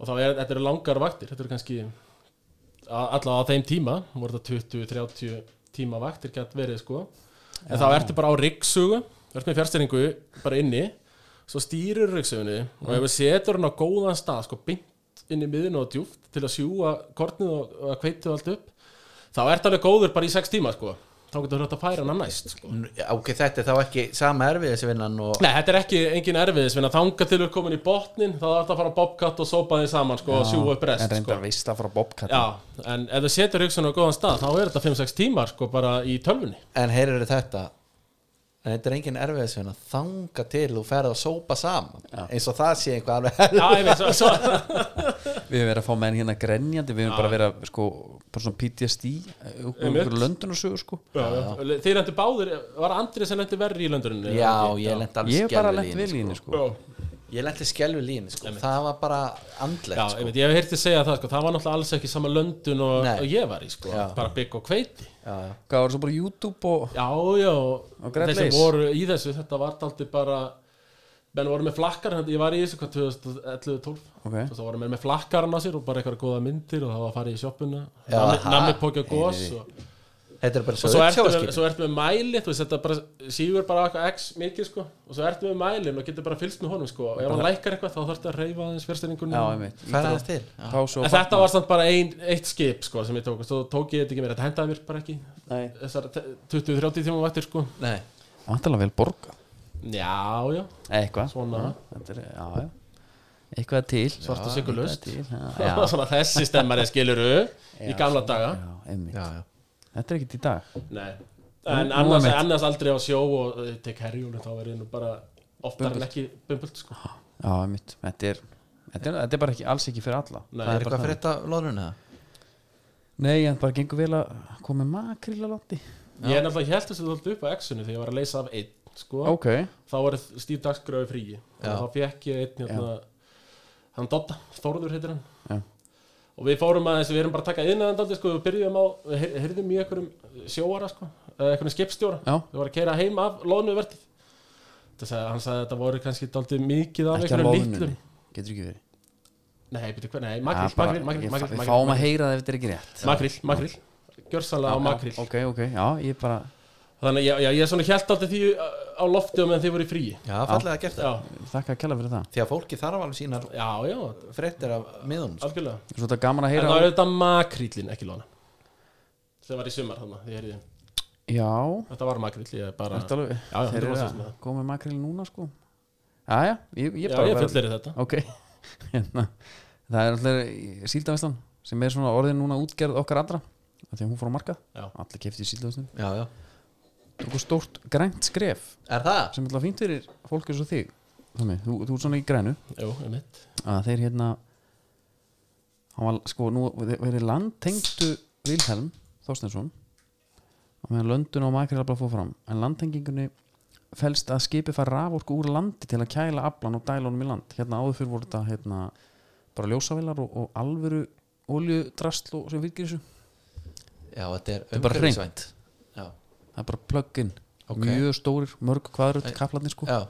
B: Og þá er, þetta eru langar vaktir Þetta eru kannski a- Allavega á þeim tíma, voru þetta 20-30 tíma vaktir gætt verið sko En þá ertu bara á ryggsugu Ertu með fjárstæringu bara inni Svo stýrir ryggsugunni Og
A: Mm.
B: ef við setur hann á góðan stað sko Bint inn í miðinu og djúft Til að sjúga kornið og, og kveitið allt upp Þá ertu alveg góður bara í 6 tíma sko Þá getur þetta að færa hann næst sko
D: Nú, já, ok, þetta er þá ekki sama erfið þessi vinnan og
B: Nei, þetta er ekki engin erfiðis Þannig að þanga til við komin í botnin Þá þarf það að fara á bobcat og sópa þeim saman sko, og sjúga upp
A: en
B: rest sko.
A: reyndar veist það frá Bobcat
B: Já, en ef þú setur hugsun á góðan stað þá er þetta 5-6 tímar sko bara í tölvunni
D: en heyrir þetta en þetta er engin erfið þessi vinnan þanga til þú ferð að sópa saman eins og það sé einhver alveg
B: Já, ég veit, svo, svo
A: Við hefum verið að fá menn hérna grenjandi Við hefum bara verið að sko, bara svona PTSD
B: Einmitt.
A: eh, Einhverju löndunarsögur sko
B: já, já. Þeir lendu báðir, var Andri sem lendi verri í löndurinn
D: já, ég lenti alveg
A: Ég hef bara
D: skelfið
A: lent vel í henni sko
B: Já,
D: ég lenti skelfið líni sko. það var bara andlegt
B: já
D: sko.
B: ég veit, ég hef heyrti segja það sko Það var náttúrulega alls ekki sama löndun og,
D: Nei.
B: og ég var í sko
D: Já.
B: Bara bygg og kveiti
A: Hvað var svo bara YouTube og
B: Já, já, og
A: Grand
B: þeir sem
A: Lace.
B: voru í þessu Þetta var taldi bara Menn voru með flakkar, hérna, ég var í þessu hvað 2011-12
A: Ok.
B: Svo það voru menn með flakkarna sér og bara eitthvað góða myndir og það var að fara í sjoppuna
D: Já, ha.
B: Nammi pókja gós og
D: þetta er bara
B: og
D: svo
B: svo ertu, með,
D: uppsjáðskip
B: svo ertu með mæli þú veist þetta bara sígur bara eitthvað x mikið sko og svo ertu með mælin og getur bara fylgst með honum sko og ef hann lækkar eitthvað þá þarftu að reyfa aðeins fyrstæringunni
A: Já, einmitt
D: ferða þess til
A: Pásu
B: en
A: og
B: þetta var samt bara ein, eitt skip sko sem ég tók og svo tók ég þetta ekki mér þetta hendaði mér bara ekki
A: Nei.
B: þessar te- 20-30 tíma vaktir sko
C: nei
A: Vantalega vel borga
B: já já
A: Eh, Eitthvað Mm.
B: svona
A: Þetta er, já, já Eitthvað er til
B: Svart og sykurlaust.
A: Eitthvað er til, Já,
B: svona þessi stemmari skiluru í gamla daga
A: já, einmitt Þetta er ekkert í dag
B: nei en
A: Nú- nú
B: annars,
A: einmitt.
B: annars aldrei á sjó og eh, tek herjúlu þá verið nú bara oftar en
A: Bumbult.
B: ekki bumbult sko.
A: Já, mitt, þetta er Þetta er, þetta er bara ekki, alls ekki fyrir alla
B: Nei.
A: Það bara
C: er eitthvað
A: þannig.
C: fyrir þetta loðrun eða?
A: Nei, en bara gengur vel að koma með makríl að landi
B: Ég er náttúrulega held þessu alltaf upp á X-unu þegar ég var að leysa af einn sko.
A: Ok,
B: Þá var stíf dagskröðu fríi
C: Já.
B: og þá fekk ég einn hérna, hann Dodda, Þórður heitir hann
A: Já.
B: Og við fórum aðeins, við erum bara að taka inn aðeins sko, við byrjuðum á, við heyr- heyrðum í einhverjum sjóara sko, eða einhverjum skipstjóra
A: Já.
B: Við varum að keira heim af loðnuvertið Þetta sagði, hann sagði að þetta voru kannski daldið mikið af
A: ekki að
B: einhverjum
A: loðnunni
B: litlum
A: Getur ekki verið
B: Nei, betur hvað, nei,
A: Ja,
B: makrill,
A: bara-
B: makrill, makrill,
A: ég-
B: makrill,
A: Við
B: makrill,
A: fáum að heyra það ef þetta er ekki rétt
B: makrill, makrill, gjörsanlega á makrill
A: Ok, ok, já, ég bara
B: þannig að ég- já, ég er svona hjælt alltaf því uh, á lofti og meðan þið voru í fríi
C: Já, fallega gert það
B: já,
A: Þakka að kella fyrir það
C: Því að fólki þarf alveg sínar
B: já, já,
C: fréttir af miðunum sko.
B: algjörlega
A: Svo þetta er gaman að
B: en
A: heyra á-
B: það er Hérna auðvitað makrílin, ekki lóna sem var í sumar þannig, því heyrði
A: Já,
B: þetta var makríl, ég er bara
A: þetta alveg
B: já,
A: Þeir eru
B: 100%
A: að
B: með það.
A: koma með makríl núna sko Já, já, ég, ég
B: já,
A: bara
B: ég
A: verð-
B: fullir þetta
A: Ok, hérna Það er alltaf síldavislan sem er svona orðin núna útgerð okkar allra af því að hún fór á markað,
B: Já.
A: allir kefti síldavislan
C: Já, já
A: Tóku stórt grænt skref
C: Er það?
A: sem er alltaf fínt fyrir fólk eins og þig Þannig, þú, þú ert svona í grænu
B: jú, um mitt
A: að þeir hérna hann var sko nú verið landtengdu Vilhelm Þorstensson og meðan löndun og makrill afla fóð fram en landtengingunni felst að skipi fær raforku úr landi til að kæla aflan og dælunum í land hérna áður fyrir voru þetta hérna, bara ljósavilar og, og alvöru oljudrasl og sem virkir þessu
C: Já, þetta er
A: er bara
C: umhverfisvænt. Já,
A: það er bara plugin,
C: Ok.
A: okay. mjög stórir mörg hvaðröld
C: Ei.
A: kaplarnir sko
C: já,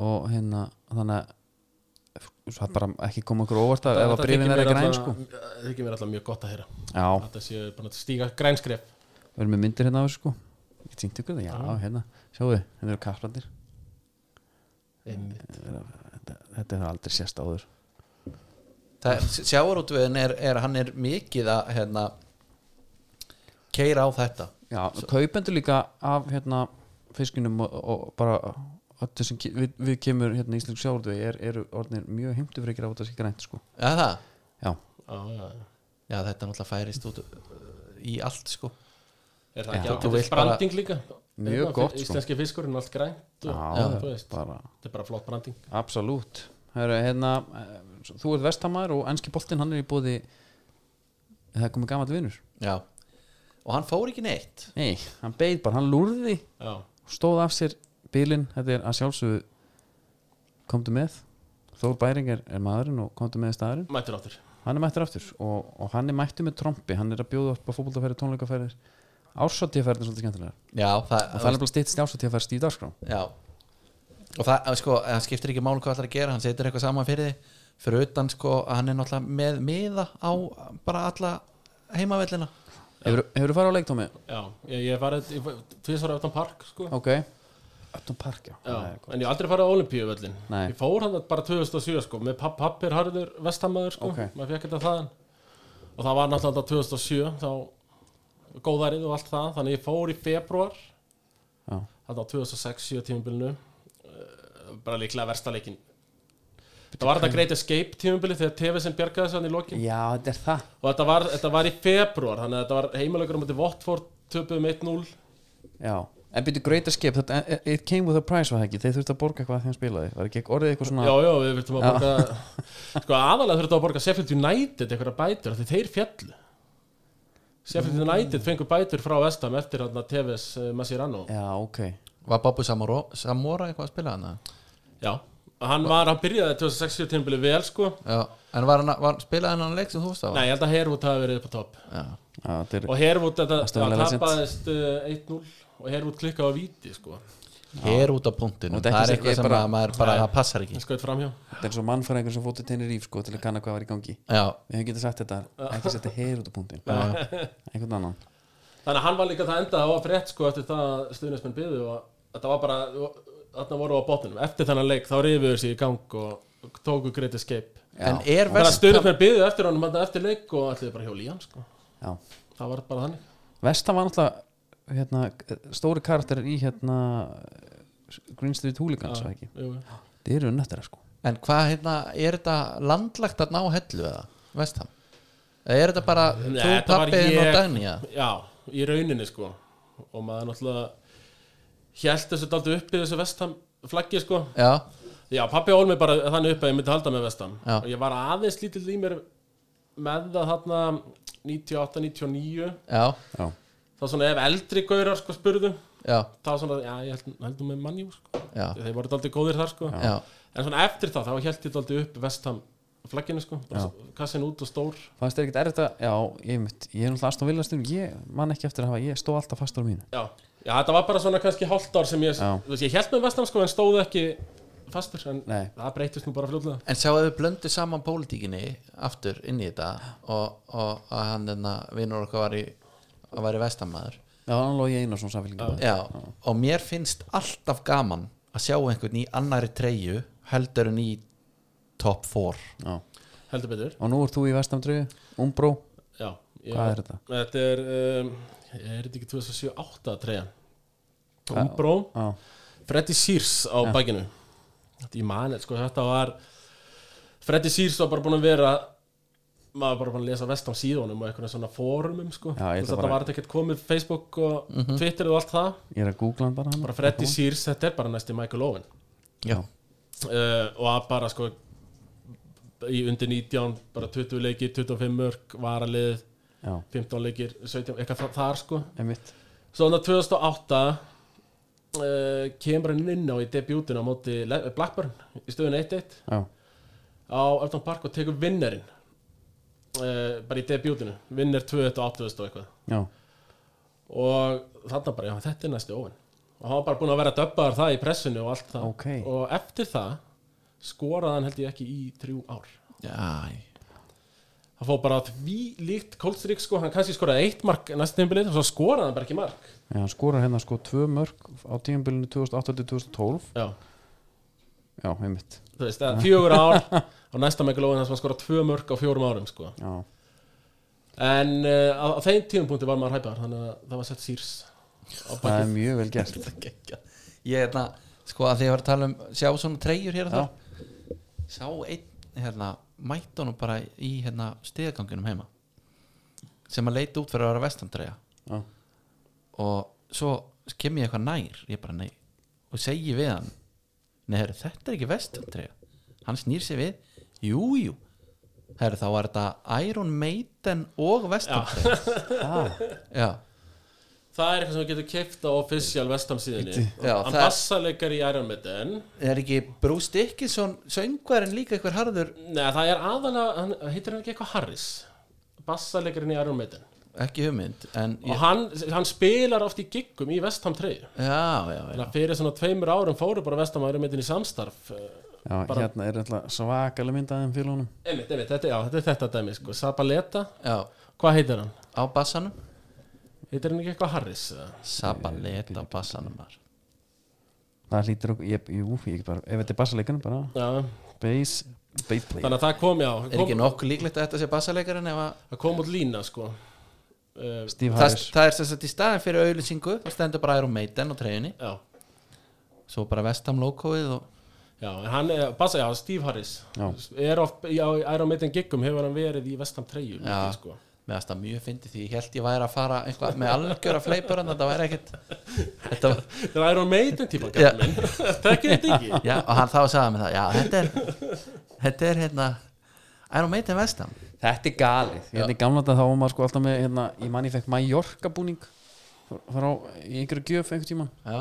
A: og hérna þannig að það er bara ekki koma okkur á óvart að ef að
B: Þetta
A: brifin
B: þykir
A: verða
B: mér
A: græn
B: alla-
A: sko
B: það þykir mér alltaf mjög gott að heyra
A: já,
B: þetta séu bara að stíga grænskref
A: Við erum með myndir hérna á þessu sko Ég týndi ykkur það, já, hérna Sjáðu, hérna eru kaplandir
B: einmitt
A: Þetta, þetta hefur aldrei sérst áður
C: það er, sjávarútvegin er, er, hann er mikið að, hérna keira á þetta
A: Já, kaupendur líka af hérna fiskinum og, og bara öllu sem ke- við, við kemur hérna í Íslensk sjáurðvegi er, eru orðinir mjög heimtufreikir á þetta sé grænt sko
C: Já, það
A: Já,
B: já, já, já
C: Já, þetta náttúrulega færist út uh, í allt, sko
B: Er það
A: Já.
B: ekki
A: Þú-
C: þú
B: ákveðið
C: vilt bara-
B: branding líka?
A: Mjög
B: Hérna,
A: gott, sko.
B: Íslenski fiskurinn, allt grænt
A: já,
B: og, þú
A: já
B: veist,
A: bara
B: Þetta er bara flott branding
A: Absolutt Heru, hérna, eh, svo- Þú ert vestamæður og enski boltinn hann er í bóði Það er komið gamall vinur
C: Já Og hann fór ekki neitt
A: Nei, hann beið bara, hann lúrði
B: Já,
A: stóð af sér bílinn þetta er að sjálfsögðu komdu með Þór Bæring er, er maðurinn og komdu með staðurinn
B: mættur áttur
A: hann er mættur aftur og, og hann er mættur með trompi hann er að bjóða upp á fótboltafæri, tónleikaferðir ársatíðaferðin er svolítið skemmtilegar
C: Já, það,
A: og það er nefnilega stýttst ársatíðaferð stíð dagskrá
C: Já Og það, að sko, það skiptir ekki máli hvað allar að gera Hann setur eitthvað saman fyrir þig Fyrir utan, sko, að hann er náttúrulega með miða á bara alla heimavellina
A: hefur þú farið á leiktómi?
B: Já, ég, ég hef farið tvisvar aftan park sko.
A: ok Öttum park, já,
B: Já,
A: Það er gott.
B: en ég hef aldrei farið á olimpíuvöllin
A: Nei.
B: Ég fór hann bara 2007 sko, með papp, pappir harður vestamæður sko.
A: Ok.
B: maður fekk þetta þaðan og það var náttúrulega 2007 þá góðærið og allt það þannig ég fór í februar
A: Já.
B: þetta á 2006-7 tímubilinu Eh, bara líklega versta leikin það var þetta Great Escape tímubili þegar TV sem bjargaði þessu hann í lokin
A: já, þetta er það
B: og þetta var, þetta var í februar þannig að þetta var heimalegur á móti Votford töpuðum 1-0
A: já. en byrju Great Escape, þetta, e, it came with a price var það ekki, þeir þurftu að borga eitthvað að þeim spilaði var ekki orðið eitthvað svona
B: já, já, við þurftum að borga sko aðalega þurftum að borga Sheffield United eitthvað bætur, af því þeir fjallu
A: Mm.
B: Sheffield United fengur bætur frá Vestam eftir eh, hann að TVS Masirano
A: já ok,
C: Var Babu Samora, Samora eitthvað að spila hana?
B: já, hann var, hann byrjaði 2060 tímabili vel sko
C: Já, en var hann, að- var, spilaði hann hann leik sem þú veist á?
B: nei, ég held að Herwood hafi verið upp á topp
C: Já,
A: já, þetta er
B: og Herwood, þetta,
A: Aston
B: það
A: Villa legend.
B: tapaðist uh, 1-0 og Herwood klikkaði á víti sko
C: hér út af punktinu
A: Og þetta
C: Það er
A: er
C: eitthvað sem
A: bara-
C: að maður bara,
B: Nei.
C: það passar ekki
B: hann skoði framhjá
A: Þetta er svo mannfæringur sem fótið tennir íf sko til að kanna hvað var í gangi
C: Já,
A: Við höfum getið sagt þetta, ekki setja heyr út á punktin Einhvern annan
B: Þannig að hann var líka það endað á að frétt sko eftir það að stuðnismenn byðu og þetta var bara, þarna voru á botnum eftir þennan leik þá rifiður sér í gang og tóku Great Escape
C: en
B: Þannig
C: er
B: að
C: vest
B: stuðnismenn byðu eftir honum þarna eftir leik og allir bara hjóli í hann sko
A: Já.
B: það var bara þannig
A: Vestam var náttúrulega hérna, stóri karakter í hérna Green Street Hooligans ja.
B: jú, jú.
A: Það eru unnættir sko
C: En hvað, hérna, er þetta landlagt að ná hellu eða? Veist hann? Eða er þetta bara,
B: Nei,
C: þú,
B: þetta var
C: pappiðin og
B: ég-
C: Dagný, já?
B: Já, í rauninni sko og maður náttúrulega hjælt þessu daldi upp í þessu vestam flaggi sko
C: já,
B: Já, pappi ól mig bara þannig upp að ég myndi halda með vestan
C: Já.
B: og ég var aðeins lítill í mér með það þarna 98, 99
C: já,
A: já,
B: þá svona ef eldri gaurar sko spurðu
C: já,
B: þá svona, já, ég held, heldum með mannjú sko.
C: já,
B: þeir voru daldið góðir þar sko
C: já.
B: en svona eftir það, þá held ég daldið upp vestam flagginu sko, bara s- kassin út og stór
A: fannst þér ekkert erfitt að já, ég, mitt, ég er náttúrulega aðstofn viljastum ég man ekki eftir að hafa, ég stóð alltaf fastur á mínu
B: Já, já þetta var bara svona kannski hálft ár sem ég,
A: Já.
B: þú veist, ég held með vestam sko en stóð ekki fastur en
A: Nei.
B: það breytist nú bara fljóðlega
C: En sjáu að við blöndu saman pólitíkinni aftur inn í þetta og, og að hann þarna vinnur okkar var í að væri vestamæður
A: já, hann logi einu og svona samfélgjum
C: já, og mér finnst alltaf gaman að sjá einhvern í annari treyju heldur en í top 4
B: heldur betur,
A: og nú ert þú í vestamdrögu, umbró
B: já ég,
A: hvað er þetta?
B: Þetta er, um, er þetta ekki 2007-8 treyjan Umbro,
A: já,
B: Freddy Sears á bakinu Þetta ég mani, sko, þetta var Freddy Sears var bara búin að vera maður var bara búin að lesa vestam síðunum og einhvern svona fórumum, sko
A: Já, ég ætla
B: Þú veist, þetta
A: bara-
B: var ekkert komið Facebook og Twitter og allt það
A: ég er að googla hann bara hann
B: bara Freddy Sears, þetta er bara næsti Michael Owen
C: já,
B: uh, og að bara, sko í undir 19, bara 20 leikir 25 mörg, varalið
A: já,
B: 15 leikir, 17, eitthvað þa- þar, sko
A: einmitt
B: Svo þannig 2008 uh, kemur hann inn á í debutinu á móti Le- Blackburn í stöðun 1-1
A: já,
B: á Elton Park og tekur vinnerinn uh, bara í debutinu vinner 2-1 og 8-0 og eitthvað
A: já,
B: og þarna bara, já þetta er næstu óvinn og hann var bara búin að vera döbbaðar það í pressinu og allt það
A: Ok.
B: og eftir það skoraði hann held ég ekki í þrjú ár
C: já,
B: hann fór bara því líkt Kolstrík sko, hann kannski skoraði eitt mark næstu tímbilið og svo skoraði hann bara ekki mark
A: já, hann skorar hérna sko tvö mörg á tímabilinu 2008-2012
B: já
A: já, einmitt
B: þú veist, eða fjögur ár á næsta megalóin þess að skora tvö mörg á fjórum árum sko.
A: já,
B: en uh, á, á þeim tíðumpunkti var maður hæpaðar þannig að það var sett sýrs á
A: það er
B: bakið
A: mjög vel gert
C: Þetta gekkja Ég er það, sko að því að vera að tala um sjá svona treyjur hér og þar Sá einn, hérna, mætti honum bara í hérna stigaganginum heima sem að leita út fyrir að vera vestamtreyja
A: Já.
C: og svo kem ég eitthvað nær ég bara nei, og segi við hann nei, heru, þetta er ekki vestamtreyja hann snýr sér við, jú, jú heru, þá var þetta Iron Maiden og vestamtreyja já,
B: það er eitthvað sem við getum keift á official vestam síðinni
C: Já,
B: hann
C: það-
B: bassalegar í Iron Maiden
C: er ekki Bruce Dickinson söngvarinn líka eitthvað harður
B: neða það er aðalega, hann, heitir hann ekki eitthvað Harris bassalegarinn í Iron Maiden
C: ekki hugmynd en ég,
B: og hann, hann spilar oft í giggum í vestam 3
C: já, já, já,
B: Þannig að fyrir svona tveimur árum fóru bara vestam Iron Maiden í samstarf eh,
A: já,
B: Bara-
A: hérna er alltaf svakalega myndaðum fyrir honum
B: einmitt, einmitt, þetta, já, þetta er þetta dæmi sko. Sabaleta,
C: já
B: hvað heitir hann?
C: á bassanum
B: Heitir hann ekki eitthvað Harris? eða?
C: Sabaleta á bassanum var
A: það hlýtur okkur, ég, jú, ég bara ef þetta er bassaleikinu bara,
B: Já,
A: bass bass player,
B: þannig að það kom já
C: er
B: kom,
C: ekki nokkuð líklegt að þetta sé bassalegarinn ef að
B: það kom út lína sko uh,
A: Steve
C: það,
A: Harris
C: það er sem sagt í staðin fyrir auðlýsingu þá stendur bara Iron Maiden á treyjunni
B: já,
C: svo bara vestam logoið og
B: já, en hann er, passa, já, Steve Harris
A: Já.
B: er of, já, í Iron Maiden giggum hefur hann verið í vestam treyju
C: Já.
B: sko.
C: með aðstæða mjög fyndi því ég held ég væri að fara einhvað með algjöra fleipur en þetta væri ekkit þetta var
B: það er Iron Maiden tíma
C: Já.
B: gæta minn þekkir þetta ekki
C: já, og hann þá sagði mig það já, þetta er, þetta er hérna Iron Maiden vestam
A: Þetta er galið Hérna í gamla þetta þá var maður sko alltaf með hérna, Ég manni fekk Mallorca búning Það á í einhverju gjöf einhver tíma
C: já,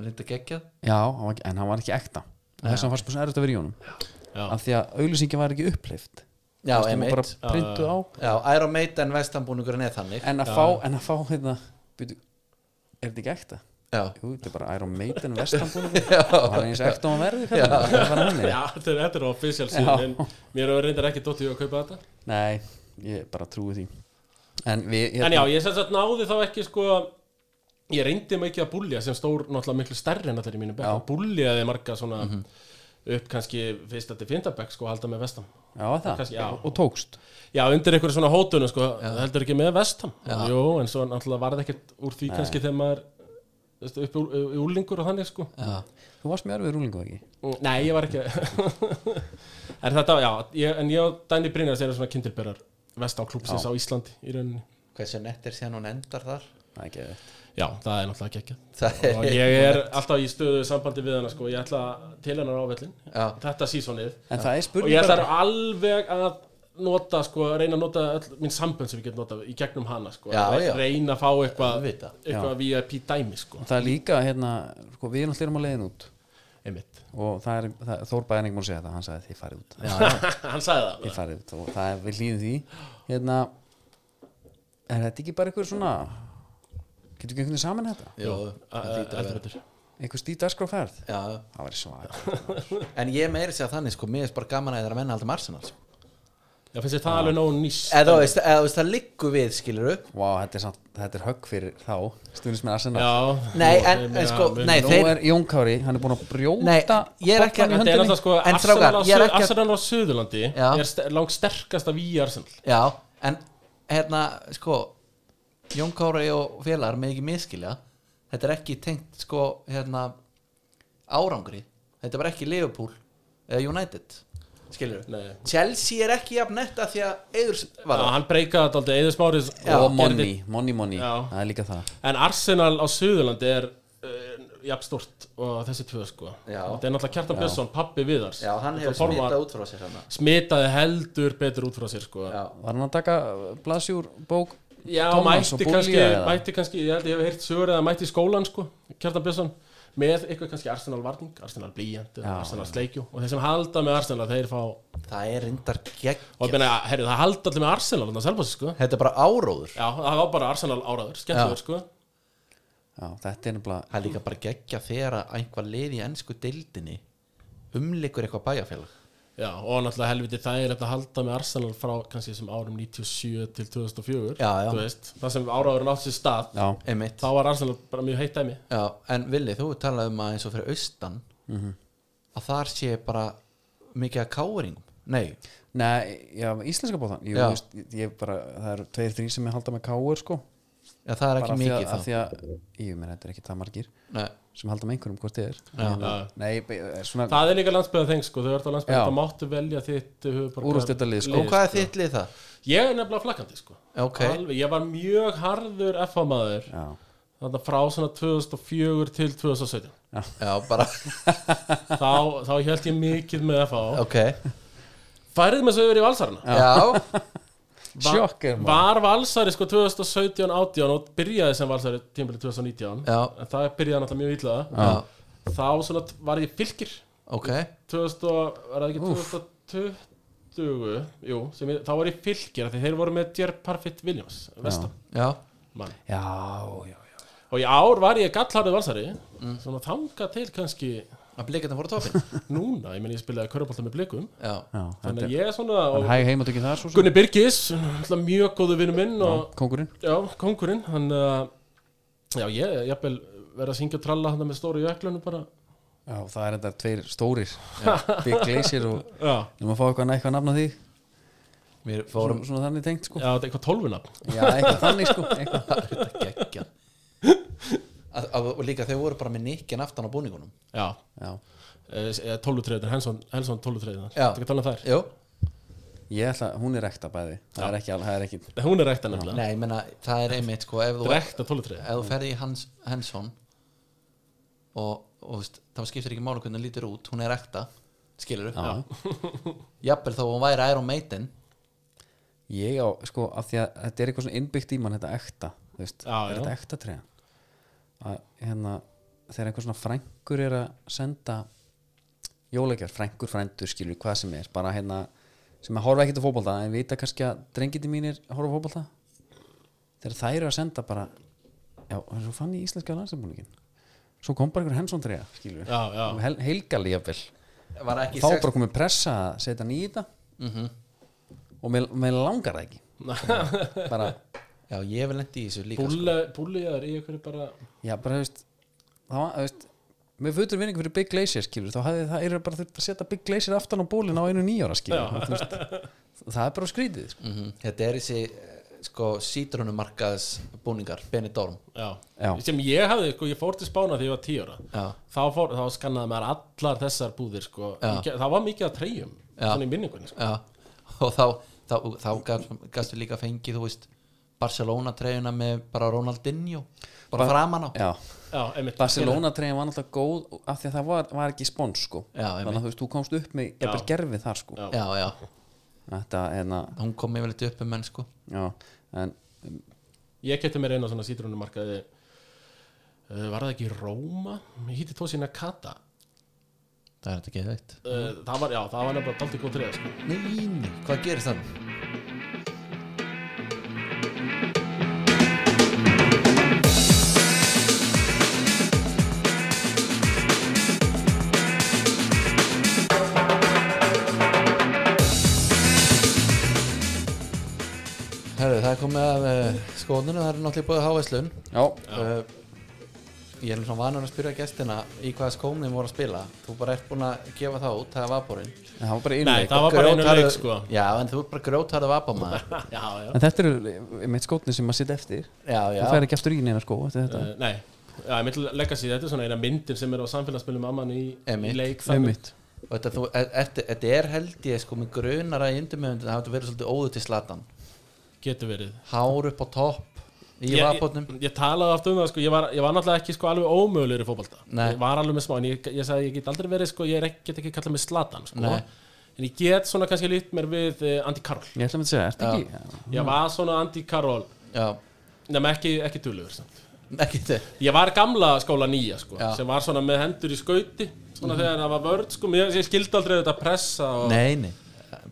C: en þetta geggjað
A: Já, hann var, ekki- en hann var ekki ekta Og Þess að hann fannst mjög erfitt að vera í honum
B: Já.
A: Af því að auðlýsingin var ekki uppleift
C: já,
A: var bara
C: einmitt
A: printuð á
C: já, Iron Maiden vestam er þannig
A: En að fá, en að fá hérna byrju, Er þetta ekki ekta?
C: já,
A: Jú, þetta er bara Iron Maiden vestanbúningur Og hann er eins ekta og hann verður kallar. Það var þannig.
B: já, þetta er, þetta er official síðan en mér hefur reyndar ekki dottið í að kaupa þetta
C: Hérna.
A: Nei, ég bara trúi því En við hérna-
B: en já, ég sem sagt náði þá ekki sko ég reyndi mig ekki að búlja sem stór náttúrulega miklu stærri en allir í mínu bekk búljaði marga svona
C: Mhm.
B: upp kannski fyrst að þetta finta bekk sko að halda með vestam
A: já, það,
B: Kannski, já.
A: og tókst
B: Já, undir einhverju svona hótunum sko, heldur ekki með vestam Jú, en svo náttúrulega varð ekkert úr því kannski þegar maður þú veist, upp úr, í úrlingur og þannig sko Mm.
A: Þú varst mjög erfið rúlingu ekki
B: Nei, ég var ekki En þetta, já, ég, en ég og Dæni Brynjar erum svona kindilberar vestam klúpsins á Íslandi í rauninni
C: hversu nett er síðan hún endar þar
A: Það er ekki þetta
B: Já, það er náttúrulega geggjað
D: Það er-
B: og ég er alltaf í stöðu sambandi við hana sko, ég ætla til hennar ávellin
D: Já.
B: þetta sísonið
A: en það er
B: og ég
A: spurning
B: ætla
A: bara
B: alveg að nota sko, reyna að nota öll mín sambönd sem ég get notað í gegnum hana sko,
D: Já, já.
B: reyna að fá eitthvað
C: Auðvitað.
B: eitthvað VIP dæmi sko,
A: það er líka hérna, sko, við erum allir um að leiðin út
B: einmitt
A: og það er, það, Þór Bæring múr segja þetta hann sagði þið farið út já,
B: hann sagði það
A: ég farið út og það er við hlýðum því hérna er þetta ekki bara einhver svona getur ekki einhvern veginn saman þetta
C: Jó,
B: Eh, heldur betur.
A: einhver stíð dagskráferð
C: já,
A: það var svag
C: en ég meiri segja þannig sko, mér er bara gaman að það er að menna alltaf Arsenal sko.
B: Já, finnst þér það alveg nóg nýs
D: eða þú veist, eða þú veist, það liggur við skilur upp
A: wow, þetta, er samt, þetta er högg fyrir þá stundins með Arsenal
B: Já
D: Nei, en-
B: Nú, ég
D: en
B: meina,
D: sko,
B: við-
D: nei,
A: nú
D: þeir-
A: er Jón Kári, hann er búin að brjóta
D: Nei, ég er ekki-
A: boltann í
B: Þetta er
A: höndinni.
B: alltaf sko
D: En strákar,
B: Arsenal á
D: ég er
B: Suð-
D: ekki að-
B: Arsenal á Suðurlandi
C: Já.
B: er st- langt sterkasta við Arsenal
C: já, en hérna sko, Jón Kári og félagar með ekki miskilja þetta er ekki tengt sko hérna, árangri, þetta er bara ekki Liverpool eða United skilur við,
B: Nei
D: Chelsea er ekki jafn netta því að Eður var
B: Já,
D: það
B: hann breykaði þetta aldrei eða smárið
A: og Monni, Monni Monni
B: Já.
A: það er líka það
B: En Arsenal á Suðurlandi er uh, jafn stort og þessi tvö sko
D: Já.
B: Þetta er náttúrulega Kjartan Björnsson, pappi Viðars
D: Já, hann hefur
B: Formar-
D: smitað út frá sér hann
B: Smitaði heldur betur út frá sér sko
D: Já.
A: var hann að taka blaðsjúr bók
B: Já,
A: Thomas og
B: mætti
A: Búlía
B: kannski,
A: eða?
B: mætti kannski, ég held ég hef heyrt sögur eða mætti í skólan sko, Kjartan Björnsson með eitthvað kannski Arsenal varning, Arsenal blíjant eða
A: Já.
B: Arsenal sleikjú og þeir sem halda með Arsenal þeir fá
D: það er reyndar gegn
B: og ég meina, herri, það haldi allir með Arsenal þannig að selfbósi, sko
C: þetta er bara áróður
B: Já, það var bara Arsenal áraður, skemmtilegur, sko
A: já, þetta er nefnilega
C: það er líka bara geggja þegar að einhver lið í ennsku deildinni umleikur eitthvað bæjarfélag
B: Já, og náttúrulega helviti þægilegt að halda með Arsenal frá kannski þessum árum 97 til 2004
C: Já, já.
B: þú veist, það sem áraðurinn átt sér stað
A: já,
C: einmitt
B: þá var Arsenal bara mjög heitt dæmi
C: Já, en Vili, þú talaði um að eins og fyrir austan að þar sé bara mikið að káringum Nei,
A: nei, já, íslenska bóðan Jú,
C: Já.
A: þú veist, ég bara, það eru tveir, þrý sem ég halda með káur sko
C: já, það er
A: bara
C: ekki
A: af því að, af
C: mikið þá
A: því að, ég meina, þetta er ekki það margir
C: Nei,
A: sem halda með einhverjum hvort þið er
B: Já.
A: nei, be- er svona
B: Það er líka landsbyða þeng, sko, þau verður á landsbyða
A: Já.
B: þá máttu velja þitt höfuborgar-
A: Úrvalsdeildarlið, sko.
C: og hvað er þitt lið það?
B: Ég er nefnilega flakkandi, sko
C: Ok.
B: Alveg, ég var mjög harður FH maður
A: já,
B: þannig frá svona 2004 til 2017
C: Já, bara,
B: þá, þá held ég mikið með FH
C: ok
B: Færið með svo yfir í valsarana
C: Já,
B: Va-
A: Sjokk er maður.
B: Var valsari sko 2017-18 og byrjaði sem valsari tímabilið 2019
C: Já.
B: en það byrjaði náttúrulega mjög illa
C: Já.
B: þá svona t- var ég fylgir
C: ok
B: 2000, og- var það ekki 2020 jú, sem ég, þá var ég fylgir af því þeir voru með Djerr Parfit Williams vestan,
C: Já,
B: mann
A: já, já, já.
B: og í ár var ég gallharðið valsari svona þanga til kannski
C: að blíkandi voru topin
B: núna, ég meni ég spilaði körubólta með blikum
C: Já,
A: já
B: þannig
A: þetta
B: að
A: er,
B: ég er svona
A: en
B: og
A: hæg heimatöki þar svo sem
B: Gunni Birgis, náttúrulega mjög góðu vinnu minn og
A: kongurinn
B: Já, kongurinn hann, uh, Já, ég ég jafnvel verið að syngja og tralla hann með stóru jöklunum bara
A: já, það er þetta tveir stórir Big Glacier og
B: Já,
A: Nefnum að fá eitthvað eitthvað nafn á því
C: mér fórum
A: svona, svona þannig tengt sko
B: já þetta er eitthvað tólfuna
A: Já, eitthvað þannig sko eitthvað.
C: geggja Og líka þau voru bara með nikkin aftan á búningunum
B: Já, eh,
A: Já.
B: tólfutreiðin, Henson, Henson tólfutreiðin
C: Já.
B: Þetta er talað um þær
C: Jú,
A: Ég ætla, hún er ekta bæði Það er ekki, al- það er ekki
B: Hún er rekta nefnilega
C: nei, ég meina, það er einmitt sko ef þú
B: Rekta tólfutreiðin
C: ef þú ferði í hans, Henson og, og veist, þá skiptir ekki máli hvernig hún lítur út, hún er ekta skilur upp jafnvel þó hún væri Iron Maiden
A: Ég á, sko, af því að þetta er eitthvað svona innbyggt í mann þetta ekta, þú veist,
B: Já,
A: er
B: já.
A: þetta ekta treyjan að hérna þegar einhver svona frængur er að senda jólækjar, frængur, frændur skilur hvað sem er, bara hérna sem að horfa ekkert á fótbolta, en vita kannski að drengiti mínir horfa á fótbolta þegar þær eru að senda bara já, það er svo fann í íslenska landsinbúningin svo kom bara einhver hensson treyja, skilur
B: Já, já.
A: hel, helgali jafnvel
C: var
A: þá
C: ekki Mhm.
A: er bara komið pressa að setja hann í þetta -hmm. og mér, mér langar það ekki bara,
C: já, ég vil lendi í þessu líka sko.
B: Búljaður í einhverju bara
A: já bara þú veist þá, þú veist, með fullur vinningu fyrir Big Glacier skilur, þá hefði það, eru bara þurft að setja Big Glacier aftan á bólin á einu nýjóra skilur þú veist, það er bara skrítið sko.
C: Mhm. þetta er þessi eh, sko, sítrunumarkaðs búningar Benidorm
B: Já.
A: Já.
B: Sem ég hafði, sko, ég fór til Spána þegar ég var tíu ára
C: Já.
B: þá, fór, þá skannaði maður allar þessar búðir sko.
C: Já.
B: Ég- Það var mikið að treyjum Svona í minningunni sko.
C: já. og þá, þá, þá gaf- gastu líka fengið þú veist Barcelona treyjuna með bara Ronaldinho bara
A: Ba-
C: framan á
A: Já,
B: já, einmitt
A: Barcelona treyðin var náttúrulega góð af því að það var, var ekki spons sko
C: Já, einmitt.
A: þannig að þú veist, þú komst upp með jafnvel gerfið þar sko
B: Já.
C: já, já,
A: þetta en að,
C: hún kom yfir liti upp um menn sko
A: já en,
B: ég kefti mér eina svona sítrunumarkaði uh, var það ekki í Róma ég hýtti tóð sína Kata
C: það er þetta ekki veikt
B: uh, það var, já, það var nefnilega daldið góð treða sko.
C: Nei, nei, hvað gerist þannig? Herru, það er komið af uh, skónunum, það er náttúrulega búið að háa slun
A: já,
C: uh, Ég er nú svona vanur að spyrja gestina í hvaða skóm þeim voru að spila Þú bara ert búinn að gefa það út, það er vaporinn
A: það var bara
B: nei,
A: innleik
B: það var bara einu
C: Grjótharður-
B: leik sko.
C: Já, en þú er bara grjótarðu vapamaður
B: já, já,
A: en þetta eru meitt skótni sem maður sitt eftir
C: Já, já
A: það fær ekki aftur í neina sko eftir þetta
B: uh, nei já, ég myndi leggja sér, þetta er svona eina myndir sem er á samfélagsmiðlum amman í, í
C: Einmitt.
B: leik
A: einmitt,
C: Og þetta, þú, er, er, þetta er held ég sko með grunar að yndumöfundin það hafði verið svolítið óður til slatan
B: getur verið
C: Hár upp á topp í
B: ég,
C: vapotnum
B: ég, ég talaði aftur um það sko, ég var, ég var náttúrulega ekki sko alveg ómögulegur í fótbolta
C: Nei.
B: ég var alveg með smá en ég, ég sagði ég get aldrei verið sko ég er ekki, get ekki kallað mig Zlatan sko
C: Nei.
B: en ég get svona kannski lít mér við uh, Andy Karol
A: ég ætla að segja, ertu ekki
C: Mm.
B: ég var svona Andy Karol
C: Já,
B: nema ekki, ekki dulugur samt
C: ekki þetta
B: ég var gamla skóla nýja sko
C: Já. Mhm.
B: sem var svona með hendur í skauti svona þegar það var vörd sko ég, ég skildi aldrei þetta pressa og
C: Nei, nei,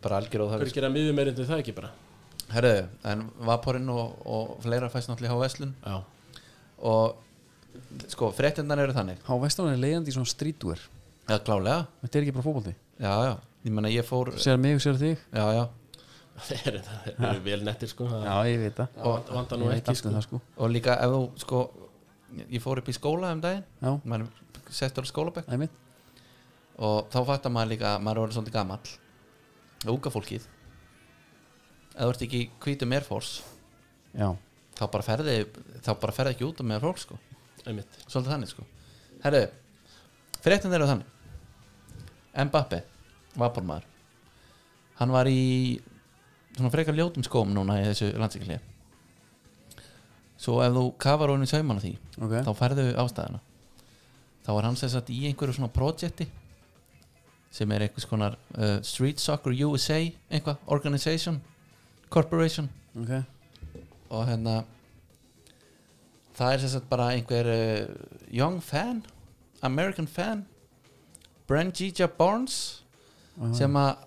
C: bara algjör óður
B: hver gera miður meir en það ekki bara
C: Herru, en vaporinn og, og fleira fæst náttúrulega í HSlun
B: já
C: og sko, fréttindan eru þannig
A: há vestlun er leiðandi í svona streetwear
C: Já, klálega,
A: þetta er ekki bara fótbolti,
C: já, já Ég meina ég fór,
A: segir mig og segir þig
C: já, já
B: þeir eru, þeir eru vel nettir sko það
A: já, ég veit það,
B: vant- vantar nú
A: ég veit
B: ekki
A: allt um það sko
C: Og líka ef þú, sko Ég fór upp í skóla um daginn
A: já,
C: Man settur á skólabekk
A: einmitt,
C: og þá fattar maður líka að maður er orðinn svolítið gamall unga fólkið ef þú ert ekki í hvítum Air Force
A: já
C: þá bara ferði þá bara ferði ekki út um Air Force sko
B: einmitt
C: svolítið þannig sko herru, fréttin eru þannig Mbappe, vapormaður hann var í svona frekar ljótum skóm núna í þessu landsíkli svo ef þú kafar honum í sauman á því
A: Ok.
C: þá færðu ástæðuna þá var hann sem sagt í einhverju svona projekti sem er einhvers konar uh, Street Soccer USA einhvað, Organization Corporation
A: ok,
C: og hérna það er sem sagt bara einhver uh, young fan American fan Brangija Barnes sem að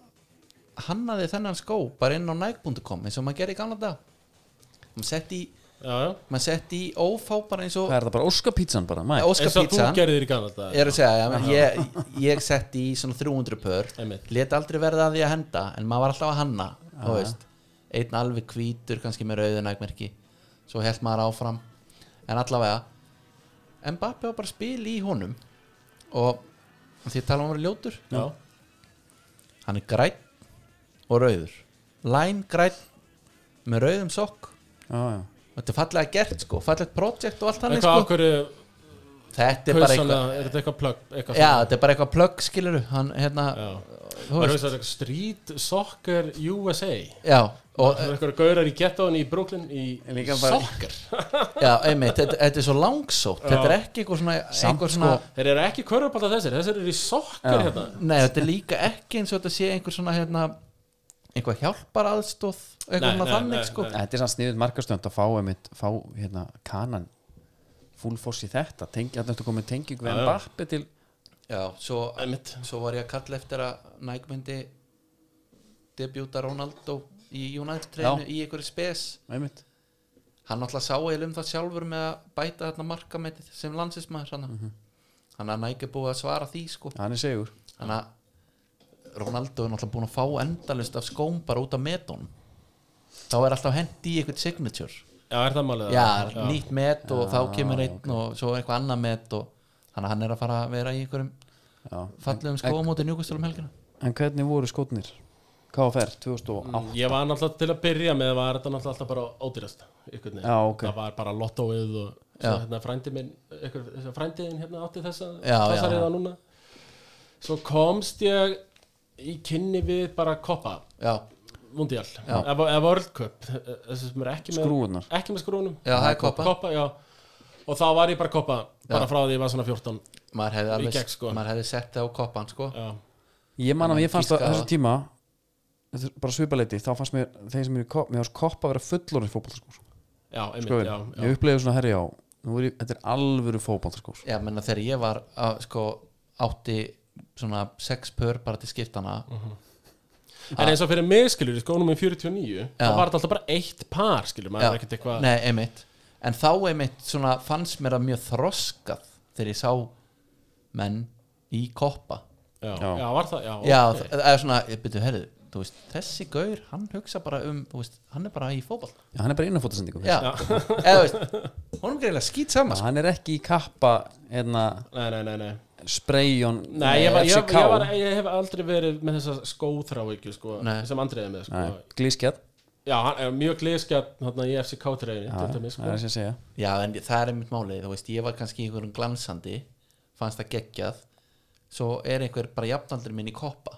C: hannaði þennan skó bara inn á nike.com eins og maður gerir í gamla dag maður setti í,
B: já, já
C: mað setti í ófá bara eins og
A: hvað er það bara, óskapítsan bara, mæ
B: eins og þú
C: óskapítsan ég
B: gerðir í Kanada
C: er að segja, já, ég, ég setti í svona 300 pör
B: Einmitt.
C: let aldrei verða að því að henda en maður var alltaf að hanna þú veist, einn alveg hvítur kannski með rauðu nægmerki svo held maður áfram en allavega Mbappi var bara að spila í honum og því að tala um að vera ljótur
B: já,
C: hann er græn og rauður læn græn með rauðum sokk
A: já, já,
C: þetta er fallega gert sko, fallegt projekt og allt
B: en
C: hann
B: hvað
C: sko.
B: okkur
C: þetta er bara
B: kausana,
C: eitthvað
B: er þetta eitthvað plögg eitthvað
C: Já, þetta er bara eitthvað plögg, skilur hann, hérna, þú
B: Það er
C: veist,
B: eitthvað Street Soccer USA
C: já, og
B: Það er eitthvað gaurar í gettóðan í Brooklyn í
A: Líka bara-
B: soccer
C: Já, einmitt, þetta, þetta er svo langsótt Þetta er ekki eitthvað svona, einhver svona
B: Þeir eru ekki körfubálta þessir, þessir eru í soccer hérna
C: Nei, þetta er líka ekki eins og þetta sé einhver svona hérna, einhver hjálparaðstóð eitthvað
B: Nei,
C: svona
B: nei,
C: þannig
B: nei,
C: sko
B: nei.
A: Þetta er sann sniðið markastönd að fá, einmitt, fá hérna, kanan full foss í þetta Tengi, Þannig að þetta komið tenging við
B: Já, já.
A: Mbappi til
C: Já, svo,
B: Einmitt.
C: svo var ég að kalla eftir að Nike myndi debjúta Ronaldo í United treynu í einhverju spes
A: einmitt.
C: Hann alltaf sá eil um það sjálfur með að bæta þarna markametið sem landsismæður hann Þannig að Nike er búið að svara því sko
A: Hann er segur
C: Þannig að Ronaldo er náttúrulega búin að fá endalist af skóm bara út af metónum þá er alltaf hent í eitthvað signature
B: Já, er það málið
C: já, nýtt met og þá kemur einn og svo eitthvað annað met og þannig að hann er að fara að vera í einhverjum
A: Já.
C: fallegum skóm út í njúkastölum helgina
A: En hvernig voru skotnir? KFR 2008
B: Ég var náttúrulega til að byrja með var þetta náttúrulega alltaf bara ódýrast einhvern veginn.
A: Já, ok.
B: Það var bara lottóið og svo hérna frændi minn einhver, þessi frændiðin hérna átti þessa
C: Já, já,
B: þessariða
C: já.
B: núna Svo komst ég í kynni við bara koppa
C: já,
B: Mundial,
C: Já.
B: eða eða World Cup þessi sem er ekki með,
A: Skrúfurnar.
B: ekki með skrúnum
C: Já, það er koppa.
B: já. og þá var ég bara koppa bara frá því ég var svona 14
C: maður hefði, alveg,
B: gegn, sko.
C: maður hefði sett það á koppan sko.
B: já.
A: Ég man að
C: Þannig
A: mér fannst að
C: tíska-
A: þessu tíma þetta er bara svipaleiti, þá fannst mér þeir sem eru í kopp, mér fannst kopp að vera fullorinn fótballskór
B: já, einmitt,
A: sko,
B: já, já.
A: ég uppleiði svona herri á nú er ég, þetta er alvöru fótballskór
C: Já, menna þegar ég var að, sko, átti svona sex pör bara til skiptana
B: en eins og fyrir mig skilur, sko, númer 49 þá
C: Já.
B: var þetta alltaf bara eitt par skilur, maður
C: Já.
B: er ekkert eitthvað
C: Nei, einmitt En þá einmitt svona fannst mér það mjög þroskað þegar ég sá menn í koppa
B: já,
A: Já.
B: já, var það, já,
C: Já,
B: ok.
C: það er svona, ég byrju, herðu þú veist, þessi gaur, hann hugsa bara um þú veist, hann er bara í fótball
A: Já, hann er bara innanfótasendingum
C: Já, eða þú veist honum greiðlega skýt sama sko.
A: hann er ekki í kappa hérna,
B: nei, nei, nei, nei
A: sprayjón eh,
B: Nei, ég, var, ég, ég,
A: FCK
B: var, ég hef aldrei verið með þessa skóþráhyggju sko,
C: Nei.
B: sem andriði með sko.
A: Nei, glískjað,
B: Já, hann er mjög glískja þarna í FCK treyðinni til dæmis
A: það er
B: sko.
A: þess að segja
C: Já, en það er einmitt málið, þú veist, ég var kannski í einhverjum glansandi, fannst það geggjað svo er einhver bara jafnaldri minn í koppa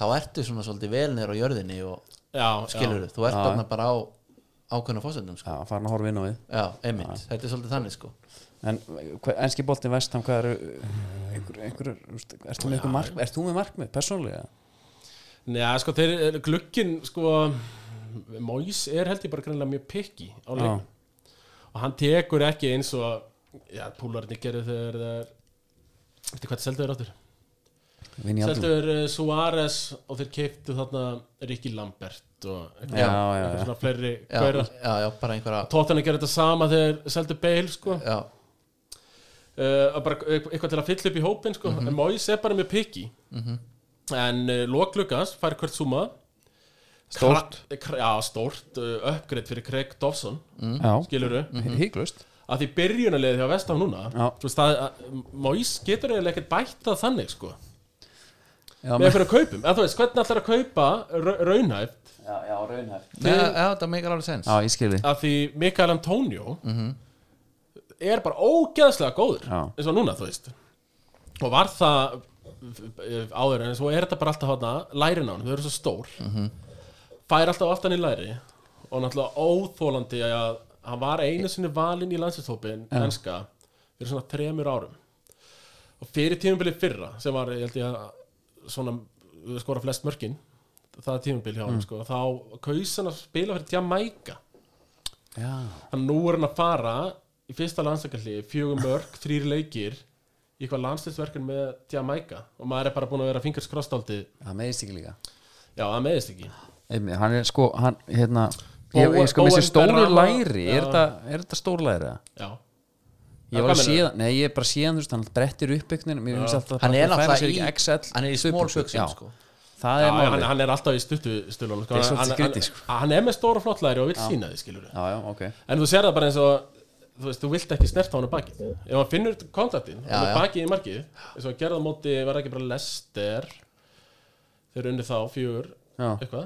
C: þá ertu svona svolítið vel niður á jörðinni og
B: Já,
C: skilur þú, þú ert þarna bara á ákveðna fósendum sko.
A: Já, farin að horfa inn á við
C: já, einmitt, þetta er svolítið þannig sko
A: En hver, enski boltin vestam, hvað eru einhver, einhver, einhver, ert þú með einhver markmið ert þú með markmið, persónulega
B: já Nei, sko, þeir, glukkin sko, Móis er held ég bara greinlega mjög pikki á
A: Já.
B: leikum og hann tekur ekki eins og já, púlarni gerðu þegar það er Veitir hvað seldu þeir áttur?
A: Vinn í
B: Seldu
A: aldrei
B: þeir eh, Suárez og þeir keiptu þarna Rikki Lambert og eitthvað,
A: Já, já,
B: eitthvað
A: já.
B: svona fleiri
C: já,
B: gaurar
C: já, já, bara einhverja
B: Tóttan að gera þetta sama þegar seldu Bale sko
C: já,
B: uh, bara eitthvað til að fylla upp í hópin sko. en Mois er bara með piki en uh, Lóklugas fær hvert suma
A: Stórt.
B: Kra- kra- já, stórt, uh, uppgreitt fyrir Craig Dawson
A: Já,
B: skiluru,
A: híklust
B: að því byrjunarlega því að vestá núna
A: Já.
B: þú veist að, að Mois getur eiginlega ekkert bætt það þannig sko,
A: Já,
B: með einhverjum kaupum en þú veist, hvernig ætlar að kaupa ra- raunhæft
A: já, raunhæft
C: Nei, já, já, það meikar alveg sens
A: Já, ég skilði
B: að því Mikael Antonio er bara ógeðslega góður
A: Já.
B: eins og núna, þú veist og var það eh, áður en svo er þetta bara alltaf hana, lærin á hann, þau eru svo stór fær alltaf aftan í læri og náttúrulega óþólandi að hann var einu sinni valinn í landslýstópin enska fyrir svona þremur árum og fyrir tímubilið fyrra sem var, ég held ég að svona skora flest mörkin það er tímubil hjá hann, sko, þá kaus hann að spila fyrir Jamaica
A: Já,
B: Þannig nú er hann að fara í fyrsta landsleikarli, fjögur mörg, þrýr leikir í eitthvað landsleiksverkun með Jamaica og maður er bara búin að vera fingarskrossdáldi
A: það meðist ekki líka
B: já, það meðist ekki
A: Einmi, hann er sko, hann, hérna
B: Bóa-
A: ég, ég sko með
B: Bóen
A: þessi stóru
B: Berama,
A: læri
B: já.
A: er þetta, er þetta stóru læri eða? ég
B: já, Já,
A: var
B: hvað
A: að
B: meinarðu?
A: séð, nei ég er bara séðan þú veist, hann brettir upp ykkur mér finnst alltaf
C: hann er
A: bara færa
C: náttúrulega
A: sér
C: í
A: ekki XL
C: hann er í
A: stuttbuxur.
C: smólbuxum
A: Já,
C: sko.
A: það er
B: já hann,
A: málið
B: hann er alltaf í stuttu stulunum sko.
A: Það er svolítið
B: hann,
A: skrítið,
B: hann,
A: sko.
B: hann er með stóra flott læri og vil sína því skilur
A: já, já, ok
B: en þú sér það bara eins og þú veist, þú vilt ekki snerta hann á baki ef hann finnur kontaktinn, hann
C: Já,
B: er
C: já.
B: bakið í markið eins og hann gerði á móti, var það ekki bara lester þeir unni þá fjögur
A: Já.
B: eitthvað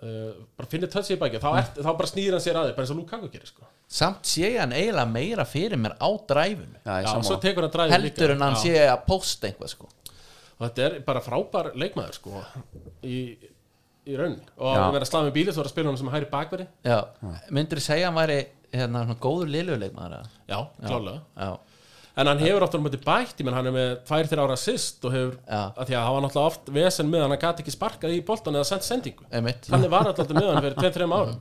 B: uh, bara finnir tötsi í bakið, þá, ert, þá bara snýr hann sér aðeins bara eins og Lukaku gerir sko já,
C: samt sé ég hann eiginlega meira fyrir mér á dræfunu
A: já, ég
B: svo
A: sammála
B: tekur hann dræði
C: heldur en hann sé að posta einhvað sko.
B: og þetta er bara frábær leikmaður sko í, í raun og
A: Já.
B: að vera að slá með bíli svo er að spila hann sem hæri bakveri
C: já, myndur þú segja að hann væri hérna, svona góður liðluleikmaður eða?
B: já, klálega
C: já,
B: En hann hefur aftur á móti bætt, ég menn hann er með tvær þeirra ára sýst og hefur,
C: Já.
B: að því að hann var náttúrulega oft vesen með hann, hann gæti ekki sparkað í boltan eða sendt sendingu.
C: einmitt
B: Þannig var alltaf með hann fyrir 2-3 árum.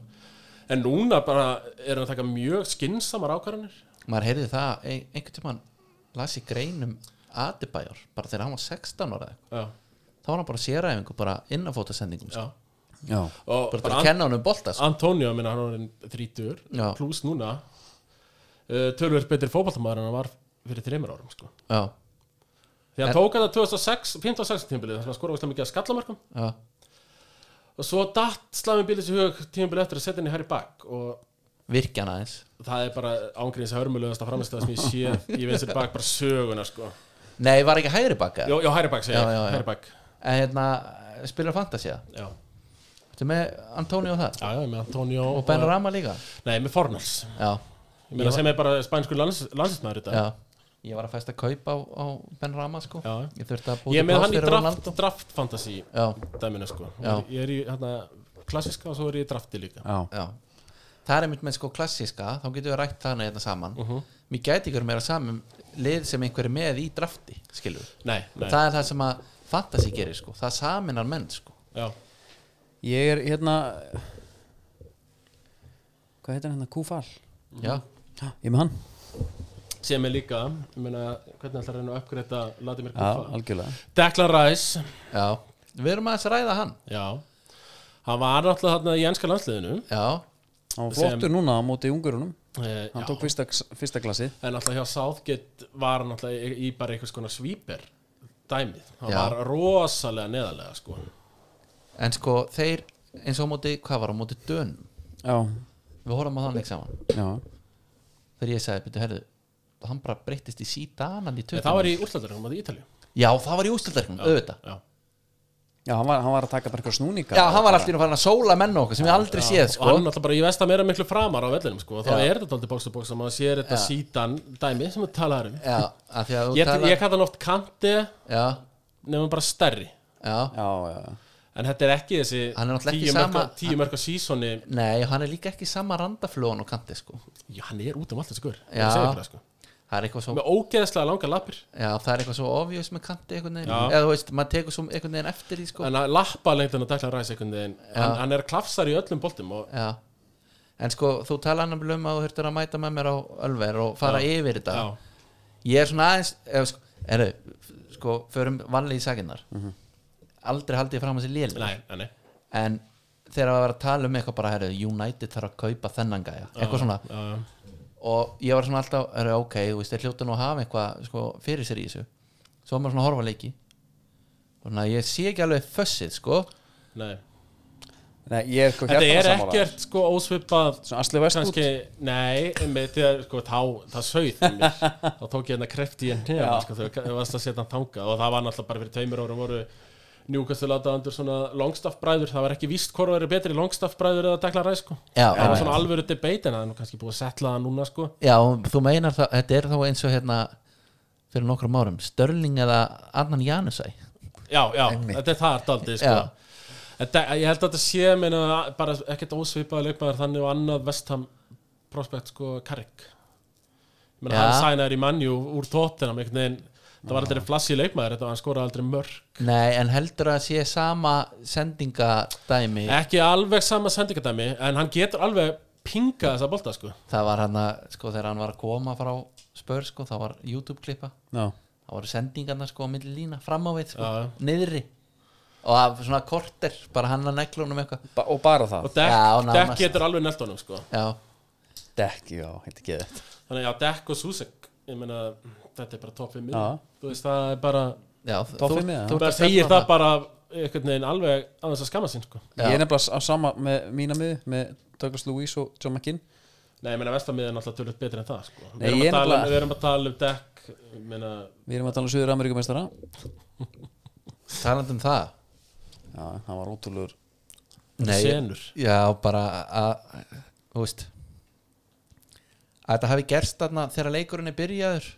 B: En núna bara er hann að taka mjög skynnsamar ákvarðanir.
C: maður heyrði það, ein, einhvern tímann las ég greinum Adibajor bara þegar hann var 16 ára eða eitthvað.
B: Já,
C: þá var hann bara á séræfingu bara inn á
B: já.
C: fótasendingum sko.
A: já,
B: Og
C: bara
B: bara,
C: til
B: bara
C: að kenna hann um bolta sko.
B: Antonio, minna, hann var enn 30,
C: Já.
B: pluss núna, uh, tölverð betri fótballtamaður en hann var fyrir 3 árum, sko.
C: já,
B: Því hann tók þetta 2006, 15-16 tímbilið, þannig að skora ógeðslega mikið af skallamarkum.
C: já,
B: Og svo datt Slavin Bílis í hug tímbilið eftir að setja henni hæri bakk og
C: virkja hann aðeins
B: það er bara ángriðins hörmulegast að framistöða sem ég sé í vinstir bak bara söguna sko
C: nei, var ekki hægri bakka
B: Jó, já, hæri bak segja,
C: Já, já, já.
B: hæri bak
C: en hérna, spilar fantasia
B: Já,
C: Þetta með Antonio þar
B: já, já, með Antonio
C: og Ben Rama líka
B: Nei, með Fornals
C: já,
B: Ég meina sem er bara spænskur lands, landsismæður þetta
C: já ég var að fæsta kaup á, á Ben Rama sko
B: Já.
C: ég þurfti að
B: Ég
C: búið
B: er með hann í draft, draft fantasy
C: já,
B: dæminu sko
C: Já.
B: Ég er í hérna klassiska og svo er ég í drafti líka
A: já,
C: Já. Það er einmitt með sko klassíska þá getum við rætt þannig hérna saman Mér gæti ykkur meira saman lið sem einhver er með í drafti, skilur
B: Nei, nei,
C: Það er það sem að fantasy gerir sko Það saminar menn sko
B: já
A: ég er hérna hvað heitir hann hérna, Kúfal
C: Já,
A: Ha, ég er með hann,
B: sem er líka, ég meina, hvernig ætlar hann að uppgreita Vladimir
A: já,
B: Kufa?
A: algjörlega
B: Declan Rice,
C: já Við erum aðeins að ræða hann
B: já Hann var náttúrulega þarna í jænska landsliðinu
C: Já,
A: hann var
B: Sem-
A: flottur núna á móti ungurunum
B: eh,
A: hann
B: já.
A: tók fyrsta, fyrsta glassið
B: En náttúrulega hjá Southgate var hann náttúrulega í- í bara einhvers konar svíper dæmið, hann
C: Já. Mm.
B: var rosalega neðarlega sko
C: en sko þeir eins og á móti, hvað var á móti dönum
A: já,
C: Við horfum á þann leik saman
A: já,
C: Þegar ég sagði, betur, herðu Hann bara breyttist í sídanan í
B: En
C: 20
B: það var í úrslatarinn á Ítali
C: Já, það var í ústildarkum, auðvitað
B: Já.
A: já hann, var, hann var að taka bara eitthvað snúninga
C: Já, hann var alltaf farin að sóla menn okkar sem ég aldrei séð
B: og
C: sko
B: hann náttúrulega bara í vestam er að miklu framar á vellinum sko. þá er þetta aldrei box to box að maður sér þetta
C: Já.
B: sítan dæmi sem við talaðum um
C: Já, af því að þú
B: ég,
C: talar-
B: ég kalla hann oft kanti
C: Já,
B: nefnum bara stærri
C: já
A: já, já,
B: en þetta er ekki þessi
C: Hann er náttúrulega ekki
B: tíu mörka,
C: sama-
B: tíu mörka sísoni
C: Nei, og hann er líka ekki sama randaflóan og kanti sko
B: já, hann er út um allt þessi gaur Ég
C: Já.
B: segi ykkur það, sko.
C: Það er eitthvað svo
B: með ógeðslega langa lappir
C: Já, það er eitthvað svo obvious með kanti einhvern veginn
B: Já.
C: Eða þú veist, maður tekur svo einhvern veginn eftir því sko
B: en að lappa lengt en að dekla ræs einhvern veginn hann, hann er klafsar í öllum boltum og
C: Já En sko, þú tala annar um að þú þurftir að mæta með mér á Ölver og fara yfir þetta
B: já,
C: Ég er svona aðeins ef, sko, Eru, f- sko, förum vanlega í sakinnar Aldrei haldið ég fram að sér lélega
B: Mhm. nei, nei, nei
C: en þegar að vera að tala um eitthvað bara herri, United þarf að kaupa þennan gæja eitthvað svona
B: já,
C: og ég var svona alltaf, herri, ok, þú veist þeir hljóta nú að hafa eitthvað sko, fyrir sér í þessu svo var maður svona að horfa á leiki og svona, ég sé ekki alveg fössið sko.
B: nei
A: Nei, ég er sko
B: Þetta
A: hjartanlega
B: er
A: sammála.
B: ekkert sko ósvipað
A: Svona Asli Westwood?
B: Kannski, nei, með því að sko þá, það sauð í mér Þá tók ég hérna kreft í enn hérna sko þegar ég varst að setja hann þangað og það var náttúrulega bara fyrir tveimur árum voru Newcastle aðdaðandur svona longstaff bræður það var ekki víst hvort það eru betri longstaff bræður eða dekla ræð sko
C: Já,
B: Það var
C: já,
B: svona alvöru debate en það er nú kannski búið að setla það núna sko
C: já, þú meinar það þetta er þá eins og hérna fyrir nokkrum árum, Störling eða Annan Janusæ
B: Já, já, þetta er það daldi sko.
C: Já.
B: þetta, Ég held að þetta sé meina, bara ekkert ósvipaði leikmaður þannig og annað vestam prospekt sko Karrik menna,
C: Já.
B: hann sænaður í mannjú úr tóttina einhvern veginn, það var aldrei flassi leikmaður þetta var hann skoraði aldrei mörg
C: Nei, en heldur að sé sama sendingadæmi
B: ekki alveg sama sendingadæmi en hann getur alveg pingað þessa bolta sko
C: það var hann að, sko, þegar hann var að koma frá spör, sko, það var YouTube klippa
A: Já,
C: það voru sendingarna sko á milli lína fram á við sko,
B: Já, já.
C: niðri og af svona korter, bara hann að neglunum eitthvað
A: ba og bara það
B: og Dekk,
C: Já, nánast.
B: dekk getur alveg nelt honum sko
C: já,
A: Dekk, já, þetta er geðið
B: þannig að já, Dekk og Susek ég meina, þetta er bara topp 5
A: Já.
B: þú veist, það er bara
C: já
A: Topp fimm, eða?
B: þú
C: ert að
B: segir
C: stefna
B: það bara einhvern veginn alveg að þess að skamma sín sko
A: Ég er nefnilega á sama með mína miði með Douglas Lewis og John McKinn
B: Nei, ég meina vestamið er náttúrulega tölvöld betri en það sko.
A: Nei,
B: við, erum
A: ég
B: að tala,
A: nefnilega-
B: við erum að tala um dekk ég meina,
A: Við erum að tala um Suður Ameríkumeistara
C: talandi um það
A: Já, hann var ótrúlegur
B: Senur.
C: já, bara að, þú veist að þetta hafi gerst þarna þegar leikurinn er byrjaður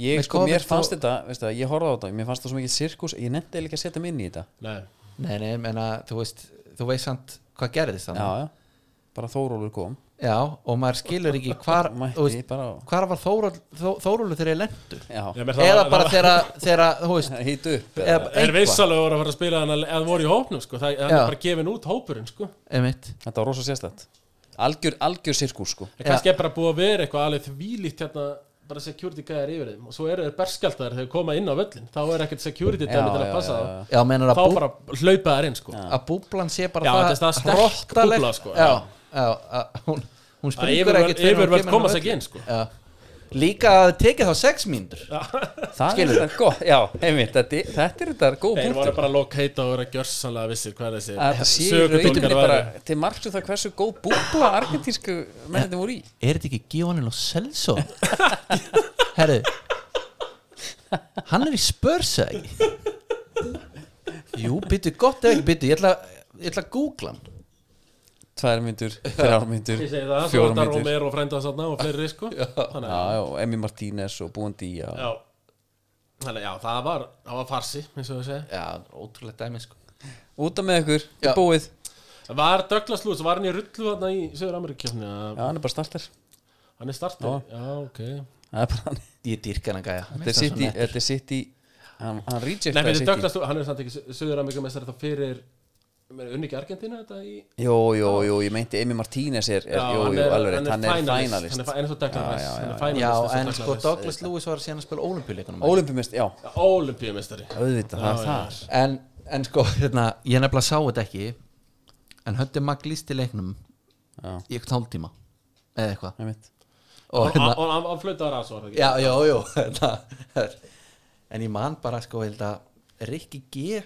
A: Ég,
C: Með
A: sko,
C: COVID
A: mér
C: þá-
A: fannst þetta, veistu það, ég horfði á þetta Mér fannst það svo mikið sirkus, ég nefndi eiginlega ekki að setja mig inn í þetta
B: nei,
C: nei, nei, menna, þú veist, þú veist samt hvað gerðist
A: Já,
C: þannig
A: já, bara Þórólfur kom
C: já, og maður skilur ekki hvar,
A: Mætti
C: þú veist,
A: bara á-
C: hvar var Þórólu Þó, Þórólu þegar ég lendu
A: Já,
B: ég meina,
C: eða
B: var-
C: bara þegar, að- þegar að, þú veist
A: hýtu upp
C: eða
A: eða-
B: er
C: eitthvað.
B: vissalega voru að fara að spila þannig að það voru í hópnum sko. það það
C: Já.
B: er bara gefin út hópurinn sko.
C: Einmitt.
A: Þetta var rosa sérstætt Algjör, algjör sirkus, sko
B: en kannski er bara búið að vera eitthvað alveg þvílíkt hérna, bara security gæðar yfir þeim og svo eru þeir berskjaldar þegar þeir koma inn á völlin þá er ekkert security dæmi til að passa þá
C: já, menur að
B: þá
C: bú,
B: bara hlaupa þær inn sko.
C: að búblan sé bara
B: Já, þetta er það sterk
C: hrottaleg-
B: búbla, sko,
C: já,
B: já.
C: já, að, hún, hún
B: að
C: springur
B: yfirvöld,
C: ekkert fyrr en hún
B: yfirvöld
C: kemur
B: komast
C: inn á
B: ekki inn sko.
C: völlinn. Já. líka að þið tekið þá sex mínútur
A: Það er þetta gott, já, einmitt Þetta, er- þetta er þetta góð
B: þeir
A: punktur
B: voru bara lokata og voru að gjörsanlega vissir hvað þessi
A: að þetta sé í
B: sögudólgar
A: rauninni
B: væru.
A: bara til margsu það hversu góð búbla argentísku mennandi voru í
C: er þetta ekki Gjónin og Selso herru hann er í spörsa ekki jú, byttu gott eða ekki byttu ég ætla, ég ætla að googla hann
A: tvær myndur, þrjár myndur,
B: Ég segi það, svo
A: fjórar
B: þetta
A: myndur
B: Romero frænda þarna og fleiri sko Þannig að-
A: já, og Emi Martínez og Búandi já.
B: Já Þannig að já, það var, það var farsi eins og þú segir
C: já, ótrúlega dæmi sko
A: út af með ykkur,
C: Já.
A: búið
B: En Var Douglas Lewis, var hann í rullu þarna í Söður Ameríkjöfni?
A: Já, hann er bara starter
B: Hann er startið? Já, ok.
A: Það er bara hann
C: Ég dýrka hann gæja
A: Þetta er City, þetta er City Hann, hann
B: Nei,
A: rejectaði
B: fyrir
A: City
B: Douglas Lewis, hann er samt ekki Söður Ameríkjöfmestari þá fyrir með unni ekki Argentínu þetta í
A: Jú, jú, jú, ég meinti Emi Martínez er, er Jú, jú, alveg rétt, hann er finalist
B: Hann er eins og Douglas Lewis, hann er finalist
C: Já, en sko Douglas Lewis var síðan að spila ólimpíuleikunum
A: Ólympumist, já,
B: Ólympíumestari
A: auðvitað, það er þar
C: en, en sko, hérna, ég nefnilega sá þetta ekki En höndi Mag lísti leiknum
A: Já.
C: Í eitthvað hálftíma Eða eitthvað
A: einmitt.
C: Og
B: Og
C: hérna,
B: hann- hann flötaði ræðs var það ekki?
C: já, já, já hérna, En ég man bara sko, ég held að Rikki G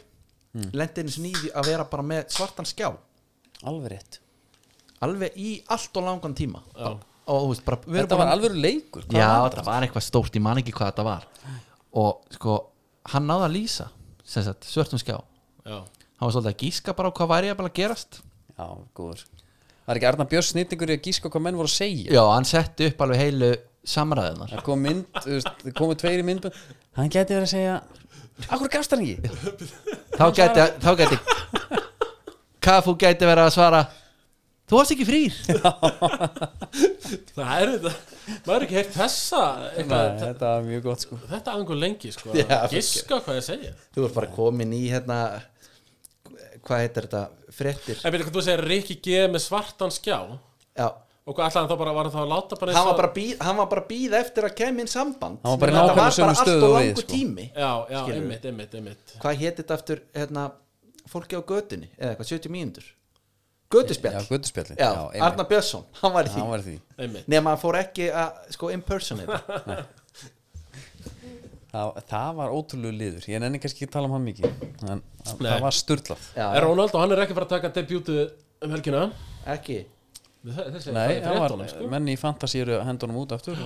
A: Hmm.
C: mm. Lendi einu sinni í því að vera bara með svartan skjá
A: Alveg rétt
C: Alveg í allt og langan tíma
B: Já.
C: Og þú veist, bara, við erum
A: Þetta
C: bara-
A: var alveg leikur hvað
C: Já,
A: var
C: þetta var eitthvað stórt, ég man ekki hvað þetta var Og sko, hann náði að lýsa sem sagt, svörtum skjá Hann
B: Já,
C: var svolítið að gíska bara á hvað væri að bara að gerast
A: það? Já, góður Það er ekki Arna Björns snýtingur í að gíska hvað menn voru að segja
C: Já, hann setti upp alveg heilu samræðunar
A: Það kom mynd, þú veist, það komu tveir í myndbönd Hann geti verið að segja Akkur gafst hann ekki?
C: Þá gæti, þá gæti Kafu gæti verið að svara Þú varst ekki frýr
B: það er þetta Maður er ekki heyrt þessa
A: Nei,
B: eitthvað,
A: þetta var mjög gott sko
B: Þetta angur lengi, sko
C: Já,
B: Giska hvað ég segja
C: Þú varst bara komin í hérna Hvað heitir þetta? Frettir
B: En veitir hvað þú segir Rikki G með svartan skjá Og
C: Já
B: hvað ætlaði hann þá bara Var hann þá að láta bara eins
C: Hann var
B: og-
C: bara að bíð- hann var bara að býða eftir að kemja inn samband
A: Hann var bara í
C: Þetta
A: nákvæmlega sömu
C: allt
A: stöðu
C: og
A: og við,
C: langur
A: sko.
C: tími
B: Já, já,
C: Skilurðu?
B: einmitt, einmitt, einmitt
C: hvað héti þetta aftur hérna, fólki á götunni eða eitthvað 70 mínútur
A: Já,
C: götuspjall já,
A: guttuspjallin einmitt.
C: Arnar Björnsson, hann var í
A: Hann
C: því
A: var í því
B: Einmitt
C: nema hann fór ekki að sko impersonate
A: Það, það var ótrúlegu liður Ég nenni kannski ekki að tala um hann mikið En það,
B: Nei.
A: það var sturlað
C: já,
B: Er Ronald og hann er ekki fara að taka debutið um helgina
C: ekki
B: Þe- Þessi, það
A: Nei,
B: er
A: það var,
B: 13, sko
A: menn í Fantasí eru að henda honum út aftur
C: já,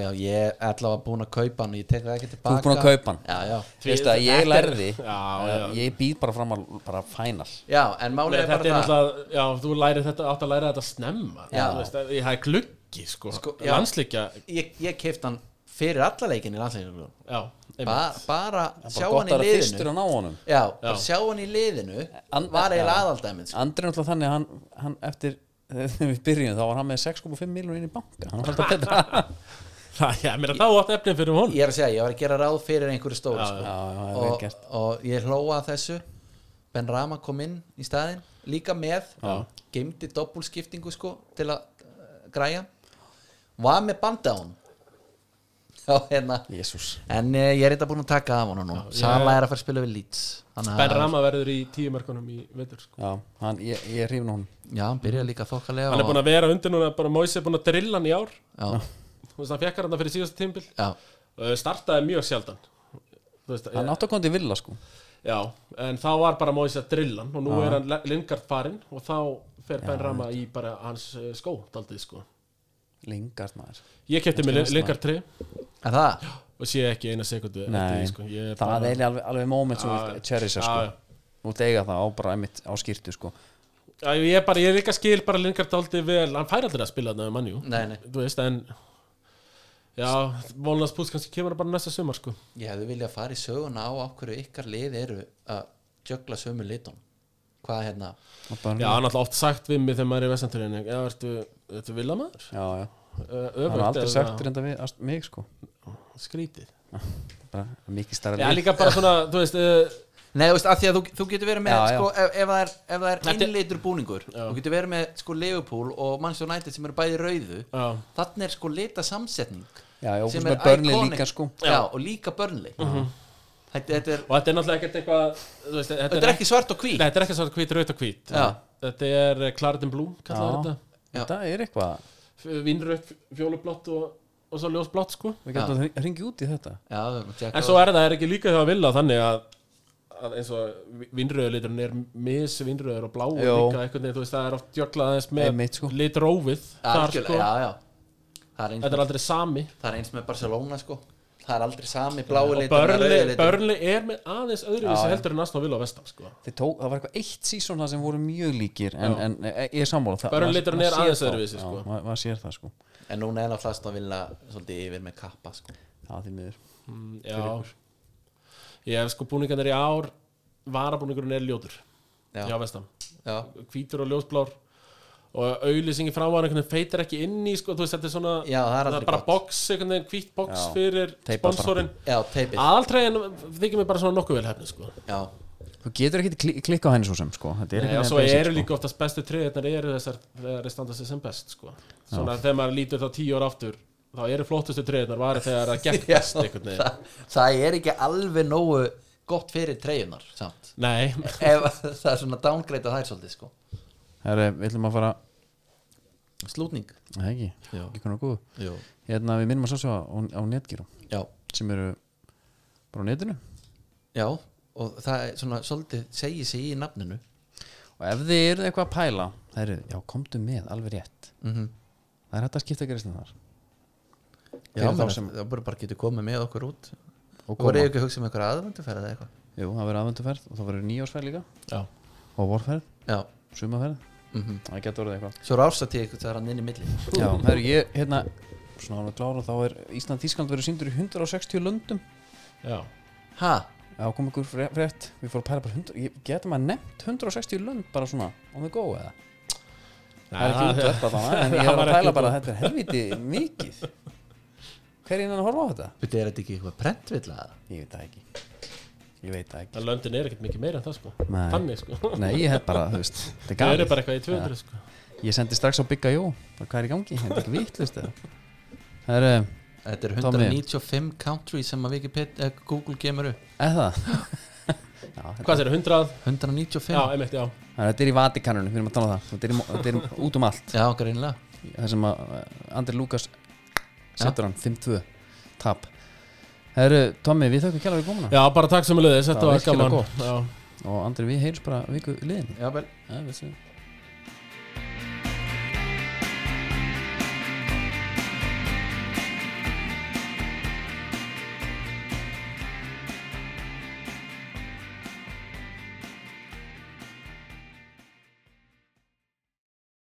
C: já, ég er allavega búin að kaupa hann og ég tek það ekki
A: Þú
C: tilbaka
A: ert búin að kaupa hann
C: já, já,
A: Þú veist að ég lærði eh,
B: Já, já.
A: Ég býð bara fram að bara final
C: já en málið
B: Nei,
C: er
B: þetta er
C: bara það
B: náttúrulega, já, þú læri þetta, átt að læra þetta snemma
C: Já.
B: Þú veist, að- Það er gluggi, sko, sko
C: Sko, já. ég, ég keift hann fyrir alla leikin í landsleikinu
B: já, einmitt
C: bara, bara
A: Bara
C: sjá hann
A: gott
C: í
A: að vera fyrstur að
C: liðinu
A: ná honum
C: já, bara
B: Já.
C: sjá hann í liðinu
A: And-
C: var eiginlega
A: Já.
C: aðaldæmið sko.
A: Andri er náttúrulega þannig að hann, hann eftir þegar við byrjum þá var hann með 6,5 miljonir inn í banka hann var alltaf betra
B: Það, já, mér að þá átt efnin fyrir hún
C: ég er að segja, ég var að gera ráð fyrir einhverju stóru sko.
A: Já, já, það er vel
C: og,
A: gert
C: og ég hlóa að þessu Ben Rama kom inn í staðinn líka með, geimdi doppulskiptingu sko til að uh, græja var með banda á hún já, hérna
A: Jésús
C: en uh, ég er eitthvað búin að taka af hún núna
B: ég-
C: Sala er að fara að spila við Leeds Þannig að-
B: Ben Rama verður í tíu markunum í vetur, sko
A: Já, hann, ég, ég hrifna hún
C: já, hann byrjaði líka þokkalega
B: Hann er búin að vera undir núna, bara Moise er búin að drilla hann í ár
C: já,
B: Þú veist, hann fekkar hann fyrir síðasta tímbil
C: já,
B: Startaði mjög sjaldan Þú veist, eh,
A: Hann átti að koma til villa sko
B: já, en þá var bara Moise að drilla hann Og nú er hann Lingard farinn Og þá fer Ben Rama í bara hans eh, skó, daldið, sko
A: Lingard maður
B: Ég kefti mig Lingard 3
C: en það
B: og sé ekki eina sekundu sko.
A: Nei, það er alveg, alveg moment sem þú vilt cherisa sko
B: Já, já.
A: Þú vilt eiga það á bara einmitt á skýrtu sko
B: Já, ég er bara, ég líka skil bara Lingard aldrei vel, hann fær aldrei að spila þarna með mannjú,
C: Nei, nei.
B: þú veist, en já, Volnas Pús kannski kemur bara næsta sumar, sko,
C: ég hefði viljað fara í söguna á af hverju ykkar lið eru að jökla sömu litum hvað hérna,
A: Og bara-
B: já, hann alltaf oft sagt við mig þegar maður er í vestanturinn, já, ertu ertu villamæður,
A: Já, já
B: öfugt
A: Hann er aldrei
B: eða
A: sagt reynda við ast- mig sko
B: skrítið,
A: bara mikið starra
B: já, líka bara svona þú veist, uh,
C: Nei, þú veist, af því að þú, þú getur verið með
A: Já, já.
C: Sko, ef, ef það er, ef það er
B: Þetta-
C: innleitur búningur þú getur verið með sko Liverpool og Manchester United sem eru bæði rauðu
B: já,
C: þannig er sko lita samsetning
A: Já, já, og
C: sem
A: svo
C: er
A: með Burnley
C: iconic.
A: líka, sko. Mhm.
C: já, og líka börnli þetta, þetta, er,
B: og Mhm. þetta er náttúrulega ekkert eitthvað, þú veist,
C: þetta er ekki svart og hví
B: nei, þetta er ekki svona hvít, raut og hvít,
C: Já.
B: þetta er eh, Claret and Blue, kallar
A: Já.
B: þetta,
A: Þetta er eitthvað
B: F- vínrautt, fjólublátt og, og svo ljósblátt, sko,
A: Við getum að ringi út í þetta
C: já,
B: En svo er það er ekki líka þegar að vilja þannig að, að eins og vinnröðuliturinn er misvinnröður og bláur
A: Jó.
B: líka einhvern veginn, þú veist, það er oft jöklað aðeins með
A: Einmitt, sko.
B: litrófið þar
C: sko,
B: sko,
C: já, já. Það, er eins,
B: þetta
C: með,
B: er aldrei sami
C: það er eins með Barcelona sko. það er aldrei sami blái
B: og
C: litur
B: börnli, börnli er með aðeins öðruvísi heldur en aðsná vilja á vestam sko.
A: Þeir tók, það var eitthvað eitt sísón það sem voru mjög líkir en, en e- ég er sammála það-
B: Burnley
A: maður-
B: liturinn
A: maður
B: er
A: sér
B: aðeins
A: það.
B: öðruvísi,
A: Já,
B: sko.
A: ma- maður sér það sko
C: en núna er náttúrulega að vilja svolítið yfir með kappa sko.
A: það því miður
B: já ég hef sko búningarnir í ár varabúningurinn er ljótur
C: Já.
B: já, vestam
C: Já.
B: hvítur og ljósblár og auðlýsingi framar einhvern veginn feitir ekki inn í sko, þú veist þetta er svona
C: Já, það er aldrei
B: bara
C: gott.
B: box, einhvern veginn hvít box
A: Já.
B: fyrir
A: Teipa bara.
B: sponsorinn
C: já,
B: Ah.
C: teipið
B: aðaltræðin þykir mér bara svona nokkuð vel hefni sko.
C: já,
A: Þú getur ekki kli klikka á henni svo sem sko Þetta er
B: Nei,
A: ekki
B: og svo eru líka oftast bestu treyðirnar eru þessar þegar þeir standa sig sem best sko. svona þegar maður lítur þá tíu ára aftur þá eru flottustu treyðirnar varir þegar það gekk best einhvern veginn
C: það, það er ekki alveg nógu gott fyrir treyjunar samt
B: Nei,
C: ef það er svona downgreita þær svolítið sko
A: Herre, við ætlum að fara
C: slútning
A: Nei ekki,
C: Já.
A: ekki konar góð
C: já,
A: Hérna við minnum að sá svo á, á netgírum
C: já,
A: Sem eru bara á netinu
C: já og það er svona svolítið segið sig í nafninu
A: Og ef þið eruð eitthvað að pæla Það eru, já komdu með, alveg rétt
C: Mhm.
A: Það er hægt að skipta greiðslega þar
C: já,
A: Fyrir þá
C: menn,
A: sem-
C: það voru bara getur komið með okkur út
A: Og
C: og
A: koma,
C: voru ekki að hugsa um eitthvað aðvenduferð eða eitthvað
A: jú, það verður aðvenduferð Og það verður nýjórsferð líka
B: já,
A: Og vorferð,
C: já,
A: sumaferð
C: Mhm.
A: Það getur orðið eitthvað
C: svo rásatíð eitthvað það er hann inn í milli
A: Já, það eru ég, hérna Svona alveg klára, þá er Ísland-Þískland verður síndur í 160 löndum
B: já
C: ha,
A: Já, kom ykkur fre- frétt, við fórum að pæla bara 100, ég- getur maður nefnt 160 lönd bara svona, on the go eða? það er ekki útverð bara þannig, en ég
B: það
A: er að
B: var ekki
A: pæla bara að þetta er helviti mikið. Hver er innan að horfa á þetta?
C: betur er þetta ekki eitthvað prentvilla eða?
A: Ég veit það ekki. Ég veit það ekki.
B: En löndin er ekkert mikið meira en það sko
A: Nei.
B: Þannig sko
A: Nei, ég hef bara, þú veist, þetta er
B: Það eru
A: galið.
B: bara eitthvað í 200 sko
A: Ég sendi strax á Bigga Jó, bara hvað er í gangi, þetta er ekki vitt, þú veist það. Það eru,
C: þetta er
A: Tommy.
C: 195 countries sem að Wikipedia, eh, Google gemur upp
A: eða það? Já, þetta-
B: Hvað er 100?
C: 195
B: Já, einmitt, já
A: það er- þetta er í Vatikanunum, við erum að tala um það, þetta er, í, mo- þetta er út um allt.
C: já greinilega
A: það sem að uh, Andri Lukas setur hann 5-2 tap Herru, Tommi, við þökkum kjæla við komuna
B: Já, bara takk sem að liðis,
A: Það
B: þetta
A: var
B: var
A: virkilega
B: gaman
A: gott.
B: Já
A: og Andri, við heyrjum bara viku liðin
C: já, vel
A: ja, við séum